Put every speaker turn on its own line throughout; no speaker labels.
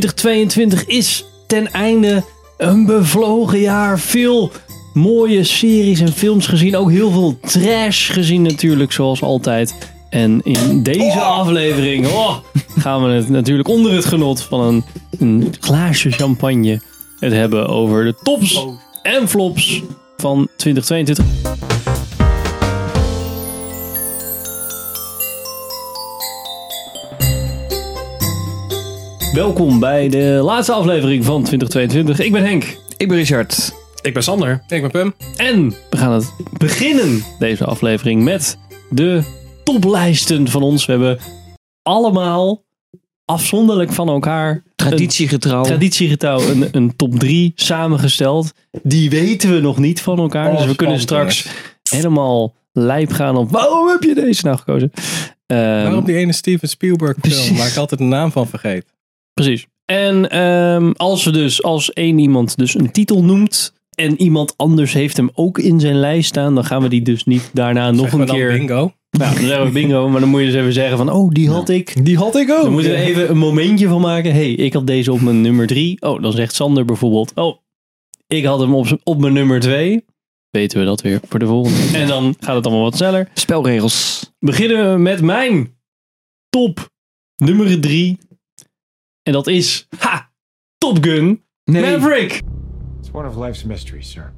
2022 is ten einde een bevlogen jaar. Veel mooie series en films gezien. Ook heel veel trash gezien natuurlijk, zoals altijd. En in deze aflevering oh, gaan we het natuurlijk onder het genot van een, een glaasje champagne... het hebben over de tops en flops van 2022. Welkom bij de laatste aflevering van 2022. Ik ben Henk.
Ik ben Richard.
Ik ben Sander. Ik ben Pum.
En we gaan het beginnen, deze aflevering, met de toplijsten van ons. We hebben allemaal afzonderlijk van elkaar
Traditiegetrouw.
traditiegetouw een, een top 3 samengesteld. Die weten we nog niet van elkaar. dus we kunnen straks helemaal lijp gaan op waarom heb je deze nou gekozen? Ehm,
Waarom die ene Steven Spielberg film
Precies.
waar ik altijd de naam van vergeet?
Precies. En ehm, als we dus als één iemand dus een titel noemt en iemand anders heeft hem ook in zijn lijst staan, dan gaan we die dus niet daarna nog
Zeggen
een
we dan
keer.
bingo.
Nou, dan zijn we bingo, maar dan moet je dus even zeggen van, oh, die had ik.
Die had ik ook.
Dan moeten we even een momentje van maken. hey, ik had deze op mijn nummer drie. Oh, dan zegt Sander bijvoorbeeld, oh, ik had hem op, z'n- op mijn nummer twee. Weten we dat weer voor de volgende. En dan gaat het allemaal wat sneller.
Spelregels.
Beginnen we met mijn top nummer drie. En dat is, ha, Top Gun. Maverick.
It's one of life's mysteries, sir.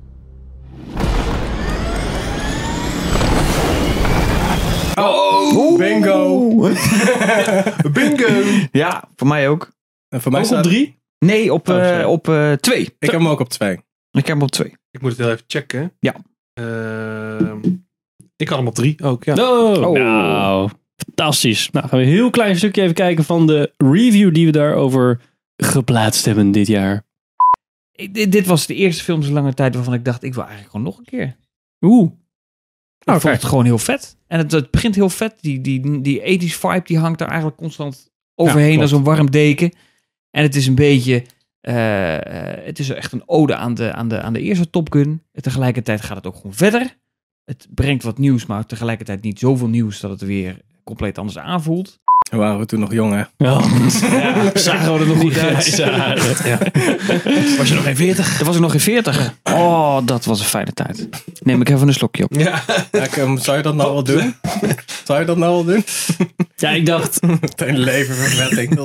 Oh.
Oh. Bingo.
Bingo. ja, voor mij ook.
En voor mij
Ook op
staat...
drie.
Nee, op,
Oh,
eh,
sorry.
op eh, twee.
Ik heb hem ook op twee.
Ik heb hem op twee.
Ik moet het heel even checken.
Ja.
Ehm, ik had hem op drie ook, ja.
Oh.
Oh.
Nou, fantastisch. Nou, gaan we een heel klein stukje even kijken van de review die we daarover geplaatst hebben dit jaar.
Ik- dit, dit was de eerste film zo lange tijd waarvan ik dacht, ik wil eigenlijk gewoon nog een keer.
Oeh.
Ik vond het gewoon heel vet. En het, het begint heel vet. Die, die, die 80s vibe die hangt er eigenlijk constant overheen
klopt.
als een warm deken. En het is een beetje... eh, eh, het is echt een ode aan de, aan, de, aan de eerste Top Gun. En Tegelijkertijd gaat het ook gewoon verder. Het brengt wat nieuws, maar tegelijkertijd niet zoveel nieuws dat het weer compleet anders aanvoelt.
En waren we toen nog jong, hè?
ja, zagen we er nog goed uit.
Was je nog geen 40?
Er was ik nog geen 40. Oh, dat was een fijne tijd. Neem ik even een slokje op.
Ja, ik, ehm, zou je dat nou wel doen? Zou je dat nou wel doen?
Ja, ik dacht,
Ten leven verwetting.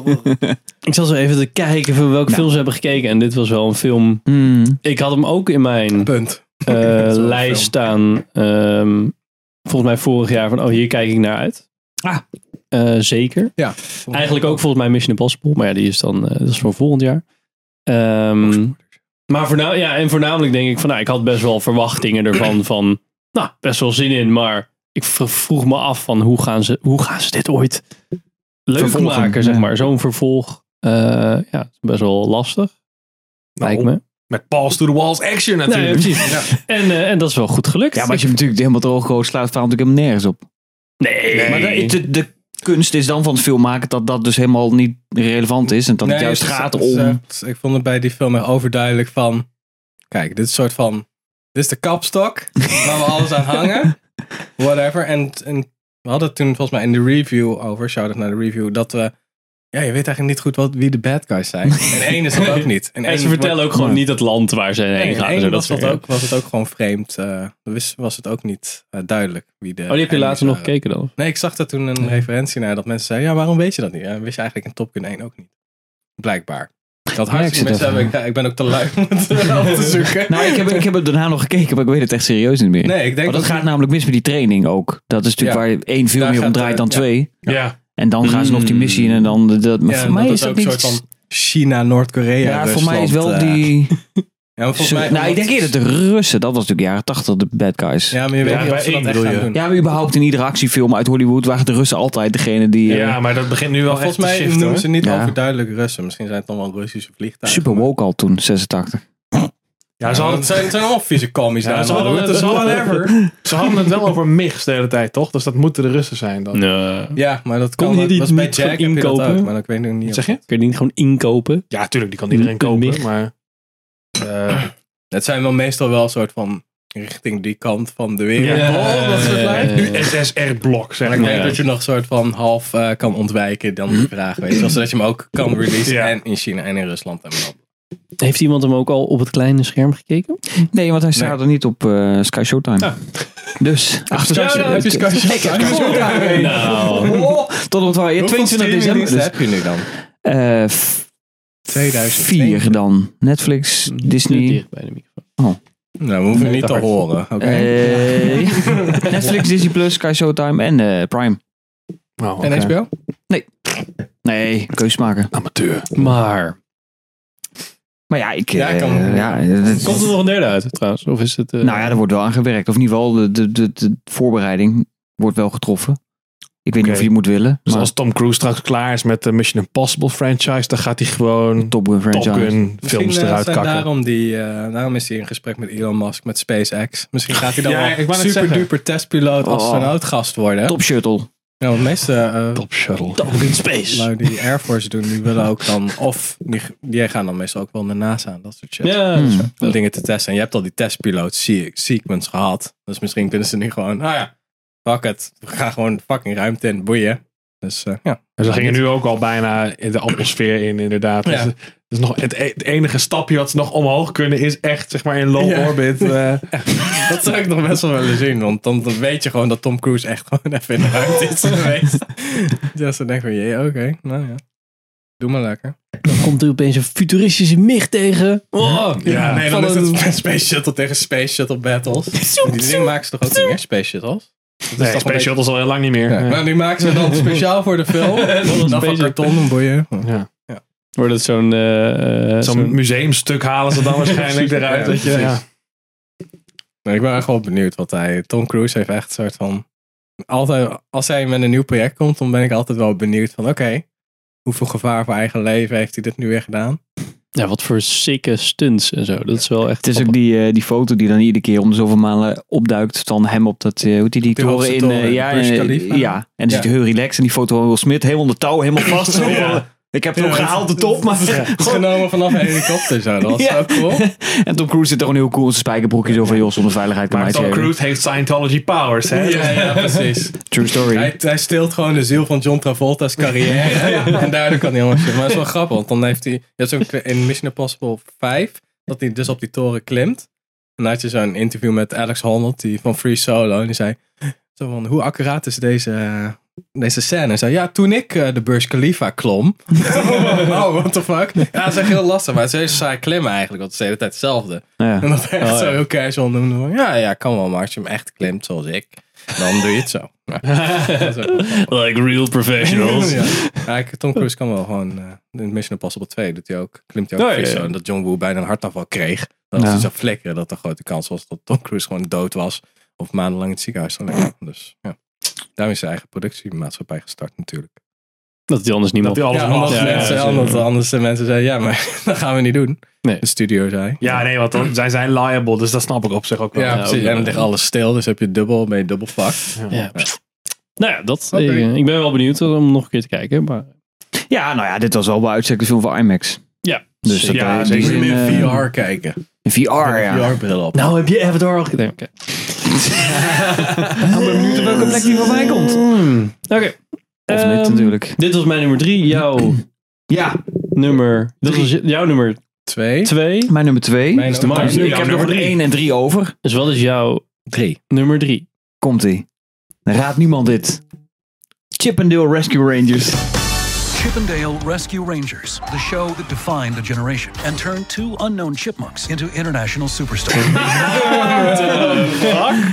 ik zal zo even te kijken voor welke
Nou.
films we hebben gekeken. En dit was wel een film.
Hmm.
Ik had hem ook in mijn
Punt.
eh,
is wel een
lijst
film.
staan. ehm, volgens mij vorig jaar van, oh, hier kijk ik naar uit.
Ah.
Eh, zeker.
Ja.
Eigenlijk ook volgens mij Mission Impossible. Maar ja, die is dan eh, dat is voor volgend jaar. Ehm, maar voorna ja, en voornamelijk denk ik van, nou, ik had best wel verwachtingen ervan van, nou, best wel zin in. Maar ik v- vroeg me af van, hoe gaan ze, hoe gaan ze dit ooit leuk
Vervolgen,
maken, zeg
ja.
maar. Zo'n vervolg, eh, ja, is best wel lastig,
Nou,
lijkt me.
Met balls to the walls action
Nee,
natuurlijk.
precies. En, eh, en dat is wel goed gelukt.
Ja, maar als je hem natuurlijk helemaal droog gooit, slaat het verhaal natuurlijk helemaal nergens op.
nee.
Maar de, de, de kunst is dan van het film maken dat dat dus helemaal niet relevant is. En dat het juist
het is-
gaat
het is,
om...
eh, het is- ik vond het bij die film echt overduidelijk van... Kijk, dit is een soort van... Dit is de kapstok waar we alles aan hangen. Whatever. En, en we hadden het toen volgens mij in de review over... Shout-out naar de review. Dat we... Ja, je weet eigenlijk niet goed wat, wie de bad guys zijn. En één is dat ook niet. En,
en
één
ze vertellen ook gewoon niet het land waar ze
wordt-
heen
Nee, en
gaan. en
één
zo,
was,
soort
dat
dingen.
ook, was het ook gewoon vreemd. eh, wist- was het ook niet eh, duidelijk wie de...
Oh, die heb je later nog gekeken dan?
Nee, ik zag daar toen een referentie naar dat mensen zeiden: ja, waarom weet je dat niet? Ja, wist je eigenlijk in Top Gun 1 ook niet? Blijkbaar. Dat
ik zit
hartstikke mensen
even-
hebben, ik, ja, ik ben ook te lui om het wel te zoeken.
Nou, ik heb, ik heb het daarna nog gekeken, maar ik weet het echt serieus niet meer.
nee, ik denk
Want Oh, dat
dat
gaat nou- namelijk mis met die training ook. Dat is natuurlijk waar één film
Daar
meer om
gaat,
draait
eh,
dan
ja.
twee.
Ja.
En dan gaan ze nog die
Mm.
missie in en dan... Dat, maar
ja,
voor mij
dat
is dat
ook
niet...
een soort van China, Noord-Korea.
ja, voor mij is
Rusland,
wel
eh,
die...
Ja, maar volgens mij,
nou, ik denk eerder de Russen. Dat was natuurlijk jaren tachtig, de bad guys.
Ja, maar je weet
Ja,
niet of ze
bij
dat
één
echt
bedoel
gaan
je.
doen.
Ja, maar überhaupt in iedere actiefilm uit Hollywood waren de Russen altijd degene die...
Ja.
eh,
maar dat begint nu wel
Maar
echt
volgens mij
te shiften.
noemen ze
hoor.
niet
Ja.
overduidelijk Russen. Misschien zijn het dan wel Russische vliegtuigen.
Super
maar-
woke al toen, 86.
Ja, ze
Ja,
hadden,
het zijn, het zijn allemaal vieze commies
Ja,
daar.
ze
man.
hadden
Het dus
het-
is whatever.
ze hadden het wel over mix de hele tijd, toch? Dus dat moeten de Russen zijn dan.
Nee.
Ja, maar dat
Kon
kan
je
ook-
die
was bij
niet gewoon
Jack heb je dat
inkopen?
ook, maar ik weet nu niet.
Wat
of-
zeg je?
Kun je die niet gewoon inkopen?
Ja, tuurlijk, die kan iedereen
Een
kopen.
mix.
Maar eh,
Het zijn wel meestal wel een soort van richting die kant van de wereld.
Ja.
Oh, dat soort
Ja.
lijnen.
Nu SSR-blok, zeg
Maar ik
maar.
denk dat je nog soort van half eh, kan ontwijken dan de vraag, weet je wel. Zodat je hem ook kan releasen
Hm? Ja.
en in China en in Rusland. En dan.
Heeft iemand hem ook al op het kleine scherm gekeken?
Nee, want hij staat er niet op eh, Sky Showtime.
Ah.
Dus achter
Sky- heb je Sky Showtime?
Ik heb Sky Showtime.
Nou.
Oh, tot op het waar- ja, 22 december.
streamingdiensten
Dus,
heb je nu dan?
eh, v-
2004.
vier dan. Netflix,
Mm,
Disney.
Dicht bij de microfoon.
Nou, we hoeven
Nee,
niet
dat
te
hard.
horen. Oké.
eh, Netflix, Disney Plus, Sky Showtime en eh, Prime.
Oh,
En
oké.
HBO?
Nee, keus maken.
Amateur.
Maar.
Maar ja, ik.
Ja,
eh,
kan.
ja, dat-
Komt er nog een derde uit trouwens? Of is het. eh,
Nou ja, er wordt wel aan gewerkt. Of in ieder geval, de, de, de, de voorbereiding wordt wel getroffen. Ik weet niet
Oké.
of je het moet willen.
Dus
maar
als Tom Cruise straks klaar is met de Mission Impossible franchise, dan gaat hij gewoon
Top Gun
Top
franchise.
Gun films
Misschien, eh,
eruit
zijn
kakken.
Daarom, die, eh, daarom is hij in gesprek met Elon Musk, met SpaceX. Misschien gaat hij dan
Ja, ik
wel
wou net
super duper
zeggen.
testpiloot
Oh.
astronaut gast worden.
Top Shuttle.
Nou, de meeste eh,
Top Shuttle.
in space.
lui Nou, die Air Force doen, die willen ook dan... Of, die, die gaan dan meestal ook wel naar NASA en dat soort shit.
Ja,
Hmm.
dat is
Om
waar.
dingen te testen. En je hebt al die testpiloot se- sequence gehad. Dus misschien kunnen ze nu gewoon, nou ja, fuck het. We gaan gewoon fucking ruimte in, boeien. Dus eh, ja.
En ze gingen nu ook al bijna in de atmosfeer in, inderdaad.
Ja.
Dus, dus nog het, e- het enige stapje wat ze nog omhoog kunnen is echt zeg maar in low
Ja.
orbit. eh,
Dat zou ik nog best wel willen zien. Want dan dan weet je gewoon dat Tom Cruise echt gewoon even in de ruimte is geweest. Dus dan denk ik van, jee, oké. nou ja. Doe maar lekker.
Dan komt er opeens een futuristische mig tegen. Oh,
Ja, nee, dan
van
is
een-
het Space Shuttle tegen Space Shuttle battles. Die dingen maken ze toch ook niet meer, Space Shuttles? Dat is toch
nee,
een
Space
beetje-
Shuttle is al heel lang niet meer.
Ja, maar die Nou, maken ze dan speciaal voor de film. Nou,
een
Dan van
Space
karton, dan boeien.
Ja.
Wordt het zo'n. eh, eh,
Zo'n museumstuk halen ze dan waarschijnlijk eruit.
Ja,
dat je,
precies.
ja.
Nou, ik ben echt wel benieuwd wat hij. Tom Cruise heeft echt een soort van. Altijd, als hij met een nieuw project komt, dan ben ik altijd wel benieuwd van: oké, hoeveel gevaar voor eigen leven heeft hij dit nu weer gedaan?
Ja, wat voor sikke stunts en zo. Dat is wel echt.
Het is ook die, eh, die foto die dan iedere keer om de zoveel malen opduikt. Van hem op dat, eh, hoe heet die, die
De
toren
hoogste
in.
toren,
eh, ja,
Burj
eh,
Khalifa.
ja, en dan
Ja.
zit hij heel relaxed. En die foto van Will Smith, helemaal onder touw, helemaal vast. Zo
Ja.
van, Ik heb het
Ja,
ook
het-
gehaald, de top. Maar,
Het is genomen vanaf een helikopter zo. Dat was
Ja.
zo cool.
en Tom Cruise zit er gewoon heel cool in zijn spijkerbroekje. Zo van, joh, zonder veiligheid kan
Maar
mij
Tom
het schelen.
Cruise heeft Scientology powers, hè?
Ja, ja, precies.
True story.
Hij, hij steelt gewoon de ziel van John Travolta's carrière. En daardoor kan hij helemaal shit. Maar dat is wel grappig, want dan heeft hij. Je hebt zo'n in Mission Impossible 5 dat hij dus op die toren klimt. En dan had je zo'n interview met Alex Honnold die van Free Solo. En die zei: zo van, Hoe accuraat is deze, deze scène? En zei: Ja, toen ik eh, de Burj Khalifa klom. oh, what the fuck? Ja, dat is echt heel lastig. Maar het is heel saai klimmen eigenlijk, want het is de hele tijd hetzelfde.
Ja.
En dat hij echt
Oh, ja.
zo heel casual noemde. van, Ja, ja, kan wel, maar als je hem echt klimt zoals ik, dan doe je het zo. Ja. Dat is ook wel grappig.
Like real professionals.
Ja. Ja, ik- Tom Cruise kan wel gewoon. eh, in Mission Impossible 2 doet hij ook, klimt hij ook
Oh,
Ja,
vis
ja, ja.
zo. En dat John Woo bijna een hartaanval kreeg. Dat als
Ja.
hij zou flikkeren, dat de grote kans was dat Tom Cruise gewoon dood was. Of maandenlang in het ziekenhuis zou liggen. Dus ja. Daarom is zijn eigen productiemaatschappij gestart natuurlijk.
Dat hij anders
Dat
niemand.
hij alles
ja,
mag.
omdat,
ja,
mensen,
ja,
omdat anders de mensen zeiden, ja, maar dat gaan we niet doen.
Nee.
De studio zei.
Ja, nee, want dan zijn zij liable, dus dat snap ik op zich ook wel.
Ja,
Ja,
precies.
ook
En
wel.
dan ligt alles stil, dus heb je dubbel, ben je dubbel fucked.
Ja. Nou ja, dat.
Oké.
Ik, eh, ik ben wel benieuwd om nog een keer te kijken. Maar
ja, nou ja, dit was wel bij uitstek de film van IMAX.
ja.
Dus dat
Ja,
in die
zeker.
Moet
zin,
je meer
eh,
VR kijken.
in VR, ja.
VR-bril op.
Nou, heb je Avatar al gedaan? Oké.
Op welke plek die voorbij komt.
Oké.
Of
Ehm,
niet, natuurlijk.
Dit was mijn nummer drie. Jouw
Ja,
nummer. Dit was jouw nummer
Twee.
twee.
mijn nummer twee.
Mijn
is de man.
ook.
Nu
ik heb
jouw
nog
nummer
een
drie.
één en drie over.
Dus wat is jouw
Drie.
nummer drie?
Komt ie. Raadt niemand dit. Chippendale Rescue Rangers.
Chippendale Rescue Rangers, the show that defined a generation and turned two unknown chipmunks into international superstars.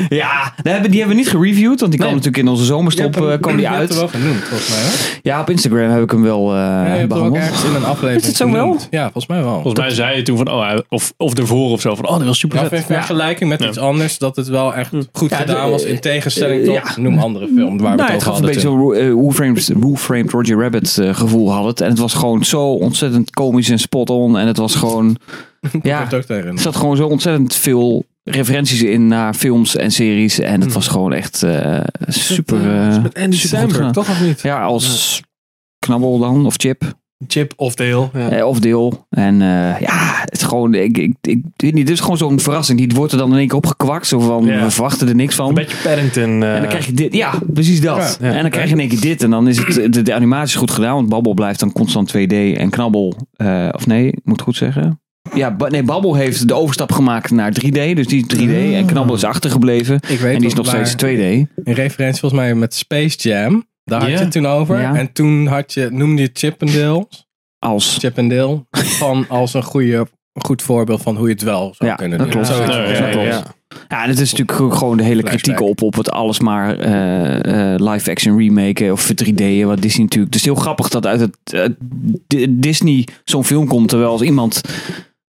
Ja, die hebben, die hebben we niet gereviewd, want die kwam
Nee.
natuurlijk in onze zomerstop eh, kwam die
Je hebt
uit.
het wel genoemd, volgens mij. Hoor.
Ja, op Instagram heb ik hem wel eh,
Ja, je hebt het ook
behandeld.
ergens in een aflevering
Is het zo wel?
genoemd. Ja, volgens mij wel.
Volgens mij zei je toen van, oh, of, of ervoor of zo, van, oh, dat was super
Ja, of in vergelijking met iets anders, dat het wel echt goed
Ja,
gedaan
de-
was. In tegenstelling
eh,
tot,
ja.
noem andere film waar we het
Nou, het
over
gaf een
hadden.
beetje
toen.
zo'n Ro- eh, Who Framed, Who Framed Roger Rabbit eh, gevoel had het. En het was gewoon zo ontzettend komisch en spot on. En het was gewoon...
Ik
ja,
heb het ook tegen.
er zat gewoon zo ontzettend veel referenties in naar films en series. En het was gewoon echt eh, super... eh,
Met
super
Andy
goed
Samberg,
gedaan.
toch of niet?
Ja, als knabbel dan, of chip.
Chip of deel. Ja.
Eh, of deel. En eh, ja, het is gewoon, ik, ik, ik weet niet, dit is gewoon zo'n verrassing. Die wordt er dan in één keer opgekwakt. Zo van,
Ja.
we verwachten er niks van.
Een beetje Paddington. eh,
En dan krijg je dit. Ja, precies dat.
Ja, ja.
en dan krijg je in één keer dit. En dan is het, de, de animatie is goed gedaan. Want Babbel blijft dan constant 2D. En Knabbel, eh, of nee, ik moet het goed zeggen. Ja, ba- nee, Babbel heeft de overstap gemaakt naar 3D. Dus die is 3D.
Ah.
En Knabbel is achtergebleven.
Ik weet
en die is
nog
nog steeds
waar-
2D.
Een referentie volgens mij met Space Jam. Daar had
Ja.
je het toen over.
Ja.
En toen had je, noemde je Chippendale.
Als.
Chippendale. Van als een, goede, goed voorbeeld van hoe je het wel zou
Ja,
kunnen
dat
doen.
klopt.
Zoiets.
Ja, ja,
dat klopt.
ja.
Ja, en het is natuurlijk ook gewoon de hele
Flashback.
kritiek op, op het alles maar eh, eh, live-action remaken of 3D'en, wat Disney natuurlijk... Het is heel grappig dat uit het uit Di- Disney zo'n film komt, terwijl als iemand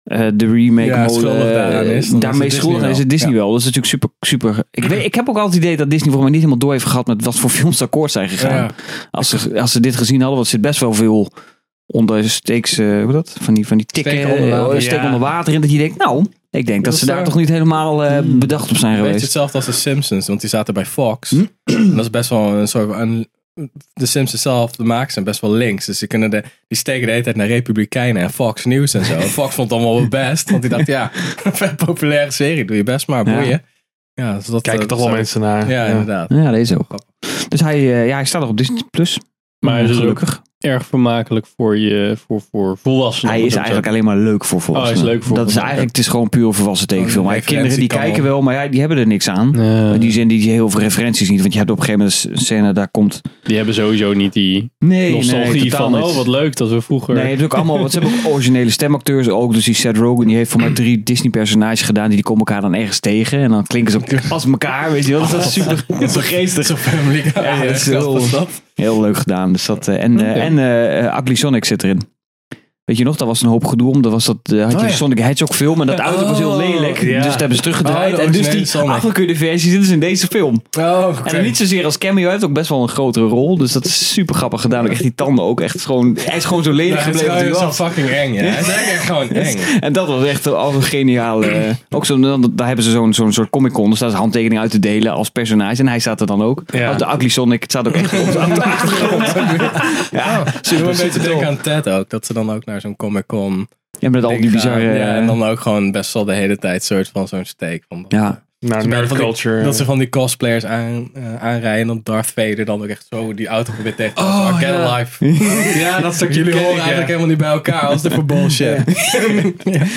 eh, de remake
Ja,
mode,
schuldig
eh,
daaraan is, dan is
daarmee
het
schuldig
Disney
is,
wel.
het Disney
Ja.
wel. Dat is natuurlijk super... super ik, weet, ik heb ook altijd het idee dat Disney voor mij niet helemaal door heeft gehad met wat voor films ze akkoord zijn gegaan.
Ja.
Als, ze, als ze dit gezien hadden, want er zit best wel veel onder steeks, eh, hoe dat? Van die, van die tikken,
Steken onder water,
eh, steek
ja.
onder water in, dat je denkt, nou... Ik denk dat,
is
ze daar
waar. Hmm.
toch niet helemaal eh, bedacht op zijn
Een beetje
geweest.
hetzelfde als de Simpsons, want die zaten bij Fox. en dat is best wel een soort van... De Simpsons zelf, de makers zijn best wel links. Dus die, kunnen de, die steken de hele tijd naar Republikeinen en Fox News en zo. En Fox vond het allemaal wel best, want die dacht, ja, een vet populaire serie, doe je best maar,
Ja.
boeien. Ja, dus dat,
kijken
eh,
toch wel
zo-
mensen naar.
Ja, inderdaad.
Ja, deze ook. Dus hij, eh, ja, hij staat nog op Disney Plus.
Maar hij is dus ook
gelukkig.
Erg vermakelijk voor, je, voor, voor volwassenen.
Hij
om
is
het zo te
eigenlijk alleen maar leuk voor
Oh, hij is
volwassenen.
leuk voor
dat is
volwassenen.
eigenlijk, het is gewoon puur volwassen tekenfilm. Maar
Referentie
kinderen die
kan
kijken
wel.
wel, maar ja, die hebben er niks aan.
zeggen. Eh, Ja.
In die
die,
zin die heel veel referenties niet. Want je hebt op een gegeven moment een scène, daar komt...
hebben sowieso niet die
Nee,
nostalgie van, oh wat leuk dat we vroeger...
Nee, het is ook allemaal, want ze hebben ook originele stemacteurs ook. Dus die Seth Rogen, die heeft voor mij drie Disney-personages gedaan. Die, die komen elkaar dan ergens tegen. En dan klinken ze als elkaar, weet je wel. Dus dat is super, super geestig.
Zo'n Family Guy.
Ja, dat is
eh,
heel-
was dat.
Heel leuk gedaan. Dus dat, eh, en eh, en eh, eh, Ugly Sonic zit erin. Weet je nog, daar was een hoop gedoe om. Dat was dat, eh, had je
Oh, ja.
Sonic Hedgehog film en dat auto was heel
Oh,
lelijk.
ja.
Dus dat hebben ze teruggedraaid.
Oh, de
en dus
originele
die
Sonic.
afgekeurde versie zit dus in deze film.
Oh, oké.
En niet zozeer als cameo, hij heeft ook best wel een grotere rol. Dus dat is super grappig gedaan. Ook echt die tanden ook. Echt gewoon, hij is gewoon zo
Ja,
lelijk
het is
gebleven. als hij
gewoon zo
was.
fucking eng, ja. Het is eigenlijk gewoon eng.
En dat was echt al een geniale... eh, ook zo, dan- daar hebben ze zo'n zo'n soort comic-con. Daar staat een handtekening uit te delen als personage. En hij staat er dan ook.
Ja.
Op de Ugly Sonic. Het staat ook echt op de
Oh.
Ja, ze doen een beetje denken aan Ted ook. Dat ze dan ook naar zo'n Comic-Con...
Ja, met al die
ding
bizarre...
gaan. Ja, en
eh,
dan ook gewoon best wel de hele tijd soort van zo'n steek. Van dat,
ja.
Naar
Ze
nerd
van die-
culture.
dat ze van die cosplayers aan, eh, aanrijden. En dan Darth Vader dan ook echt zo die auto probeert tegen te
Oh,
houden. Arcade
ja.
Life.
ja, dat stuk
Jullie horen eigenlijk helemaal niet bij elkaar. Als dit voor bullshit.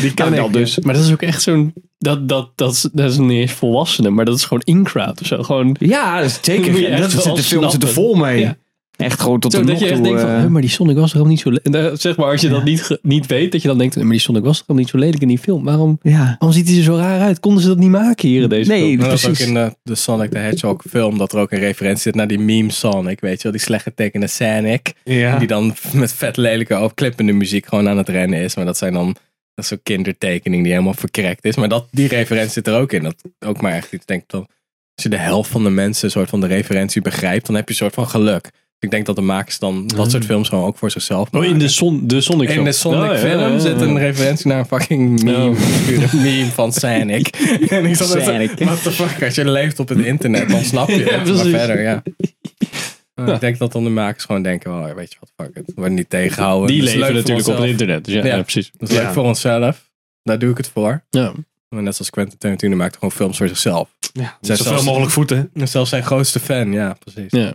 die kan
ik,
wel dus. Maar dat is ook echt zo'n... Dat, dat, dat, is, dat is niet eens volwassenen, maar dat is gewoon in-crowd of zo. Gewoon
Ja, dat is
Dan moet je
zeker.
echt
Dat
wel
zit de film zit
snappen.
er vol mee.
Ja.
Echt gewoon tot
zo
de
dat
nog
je echt
toe.
denkt van,
eh,
"Hè, maar die Sonic was er al niet zo lelijk. En daar- Zeg maar, als je dat niet, ge- niet weet, dat je dan denkt, "Hè, maar die Sonic was er al niet zo lelijk in die film. Waarom,
ja.
waarom ziet hij er zo raar uit? Konden ze dat niet maken hier in deze
Nee,
film?
Maar dat is ook
Precies.
in de, de Sonic the Hedgehog film dat er ook een referentie zit naar die meme Sonic, weet je wel, die slecht getekende Sonic.
Ja.
Die dan met vet lelijke opklippende muziek gewoon aan het rennen is. Maar dat zijn dan, dat is zo'n kindertekening die helemaal verkrekt is. Maar dat, die referentie zit er ook in. Dat ook maar echt, ik denk dat als je de helft van de mensen een soort van de referentie begrijpt, dan heb je een soort van geluk. Ik denk dat de makers dan dat soort films gewoon ook voor zichzelf
Mm. Oh, in de, son, de Sonic
in
film.
de Sonic
Oh, ja,
film
ja, ja,
zit
ja.
een referentie naar een fucking meme.
Oh.
Een meme van Sonic. en ik zat net zo,
Sonic.
what the fuck, als je leeft op het internet, dan snap je
Ja,
het. maar
precies.
verder, ja. Maar Ik denk dat dan de makers gewoon denken, oh, weet je wat, fuck it. We worden niet tegenhouden.
Die
Dat is
leven
dus leuk voor
natuurlijk op het
onszelf.
internet. Dus ja,
Ja.
ja, precies.
Dat is leuk
Ja.
voor onszelf. Daar doe ik het voor.
Ja.
Maar net zoals Quentin Tarantino maakt gewoon films voor zichzelf.
Ja,
Zij
zoveel
zelfs-
mogelijk voeten.
Zelfs zijn grootste fan, ja, precies.
Ja.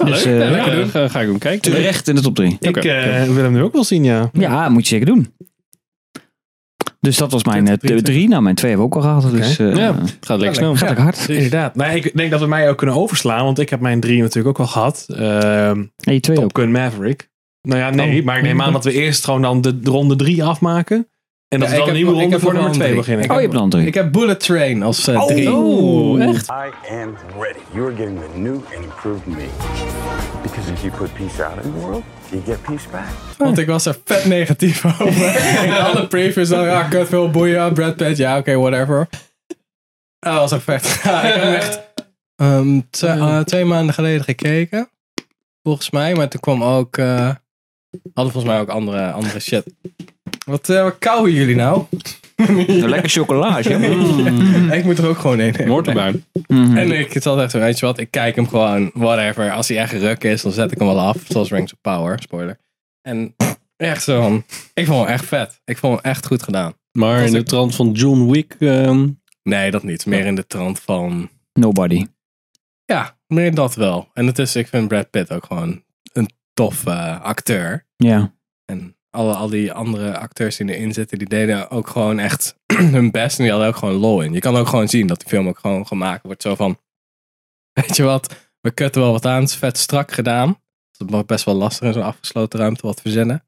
Nou, Dus, leuk. eh, Ja, lekker
doen. Ga, ga ik hem kijken.
Terecht in de top 3.
Ik eh, wil hem nu ook wel zien, ja.
Ja, moet je zeker doen. Dus dat was mijn eh,
Drie,
drie. Nou, mijn twee hebben we ook al gehad. Dus eh,
Ja, gaat lekker snel.
gaat ook hard.
Inderdaad. Nou, ik denk dat we mij ook kunnen overslaan, want ik heb mijn drie natuurlijk ook al gehad. Ehm,
En je twee ook.
Top Gun Maverick. Nou ja, nee,
Oh.
maar ik neem aan dat we eerst gewoon dan de ronde drie afmaken. En dat
Ja, ik
we dan een
heb
nieuwe
nog- ik
ronde
heb
voor
nog
nummer
een
twee
drie.
beginnen.
Ik
Oh, je
heb-
hebt er dan drie.
Ik heb Bullet Train als eh, drie.
Oh, echt?
I am ready. You are getting the new and improved me. Because if you put peace out in the world, you get peace back.
Want ik was er vet negatief over. In alle previews dan, ja, kut veel boeien, Brad Pitt, ja, oké, whatever. Ah, Dat was ook vet. Ja, ik heb hem echt ehm, twee, eh, twee maanden geleden gekeken. Volgens mij, maar toen kwam ook... eh, hadden volgens mij ook andere, andere shit. Wat, eh wat kauwen jullie nou?
Lekker chocolaatje.
Ik moet er ook gewoon een hebben.
Hoort erbij.
En ik zat echt zo, weet je wat, ik kijk hem gewoon, whatever. Als hij echt ruk is, dan zet ik hem wel af. Zoals Rings of Power, spoiler. En echt zo. van, Ik vond hem echt vet. Ik vond hem echt goed gedaan.
Maar in de
ik-
trant van John Wick. ehm,
Nee, dat niet. Meer in de trant van.
Nobody.
Ja, meer dat wel. En het is, ik vind Brad Pitt ook gewoon een tof eh, acteur.
Ja.
En alle, al die andere acteurs die erin zitten, die deden ook gewoon echt hun best. En die hadden ook gewoon lol in. Je kan ook gewoon zien dat die film ook gewoon gemaakt wordt. Zo van, weet je wat, we kutten wel wat aan. Het is vet strak gedaan. Het was best wel lastig in zo'n afgesloten ruimte wat verzinnen.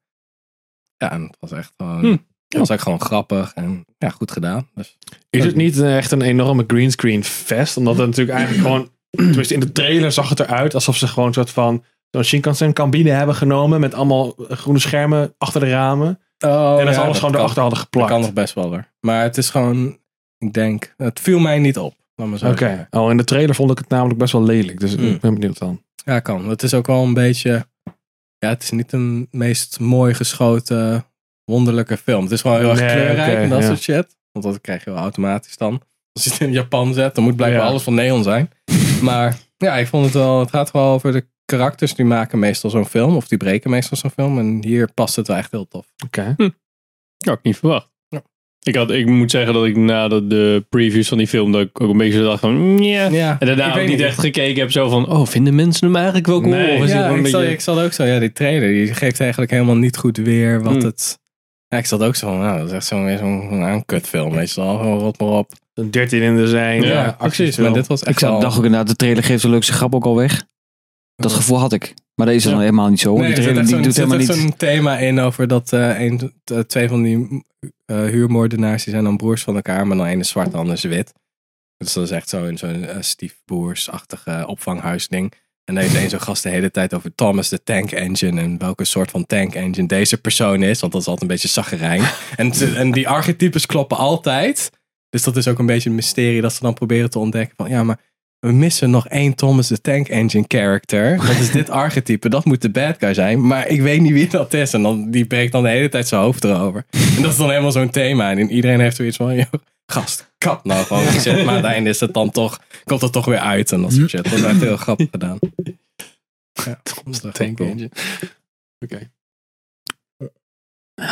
Ja, en het was echt gewoon,
Hm.
het was ook gewoon grappig en ja, goed gedaan. Dus
Is het niet eh, echt een enorme greenscreen fest? Omdat het natuurlijk eigenlijk gewoon... Tenminste, in de trailer zag het eruit alsof ze gewoon een soort van... Zo'n Shinkansen cabine hebben genomen met allemaal eh, groene schermen achter de ramen. en dat ze alles gewoon erachter hadden
Oh, Dat
geplakt.
kan nog best wel hoor. Maar het is gewoon, ik denk, het viel mij niet op. Laat maar zo
Oké.
zeggen.
Oh, in de trailer vond ik het namelijk best wel lelijk. Dus
Hmm.
ik ben benieuwd dan.
Ja, kan. Het is ook wel een beetje, ja, het is niet de meest mooi geschoten, wonderlijke film. Het is gewoon heel erg
Nee,
kleurrijk
oké,
en dat
ja.
soort shit. Want dat krijg je wel automatisch dan. Als je het in Japan zet, dan moet blijkbaar
Ja.
alles van neon zijn. Maar ja, ik vond het wel, het gaat wel over de karakters die maken meestal zo'n film. Of die breken meestal zo'n film. En hier past het wel echt heel tof.
Ja,
Oké.
had ik niet verwacht.
Ja.
Ik, had, ik moet zeggen dat ik na de, de previews van die film dat ik ook een beetje zo dacht van, mm, ja.
Ja,
En daarna
ik
ook
weet
niet
niet.
echt gekeken heb zo van, oh, vinden mensen hem eigenlijk wel cool?
Nee.
of is het
ja,
gewoon
ik,
een
zat,
beetje...
ik zat ook zo. Ja, die trailer die geeft eigenlijk helemaal niet goed weer wat
Hmm.
het... Ja, ik zat ook zo van, nou, dat is echt zo'n zo'n zo'n kutfilm, weet je wel. Gewoon rot maar op.
13 in de zijn. Ja,
precies.
acties
Maar dit was echt
Ik zou,
wel-
dacht ook inderdaad, de trailer geeft de leukste grap ook al weg. Dat gevoel had ik. Maar dat is dan
Ja.
helemaal niet zo.
Nee,
die
er zit
trailer
echt
die
zo'n-
doet
er zit
helemaal
echt
niet.
zo'n thema in over dat eh, een, t- eh, twee van die eh, huurmoordenaars, die zijn dan broers van elkaar, maar dan één is zwart, de ander is wit. Dus dat is echt zo'n zo'n eh, stiefbroersachtige eh, opvanghuisding. En daar heeft één zo'n gast de hele tijd over Thomas de Tank Engine en welke soort van tank engine deze persoon is, want dat is altijd een beetje zaggerijn. en, ze- en die archetypes kloppen altijd. Dus dat is ook een beetje een mysterie dat ze dan proberen te ontdekken van ja, maar we missen nog één Thomas de Tank Engine character. Dat is dit archetype. Dat moet de bad guy zijn. Maar ik weet niet wie dat is. En dan, die breekt dan de hele tijd zijn hoofd erover. En dat is dan helemaal zo'n thema. En iedereen heeft zoiets van... Yo, gast, kap nou gewoon. die shit. Maar aan het einde is het dan toch, komt het toch weer uit. En dat soort shit. Dat is echt heel grappig gedaan. Ja, Thomas de Tank Engine.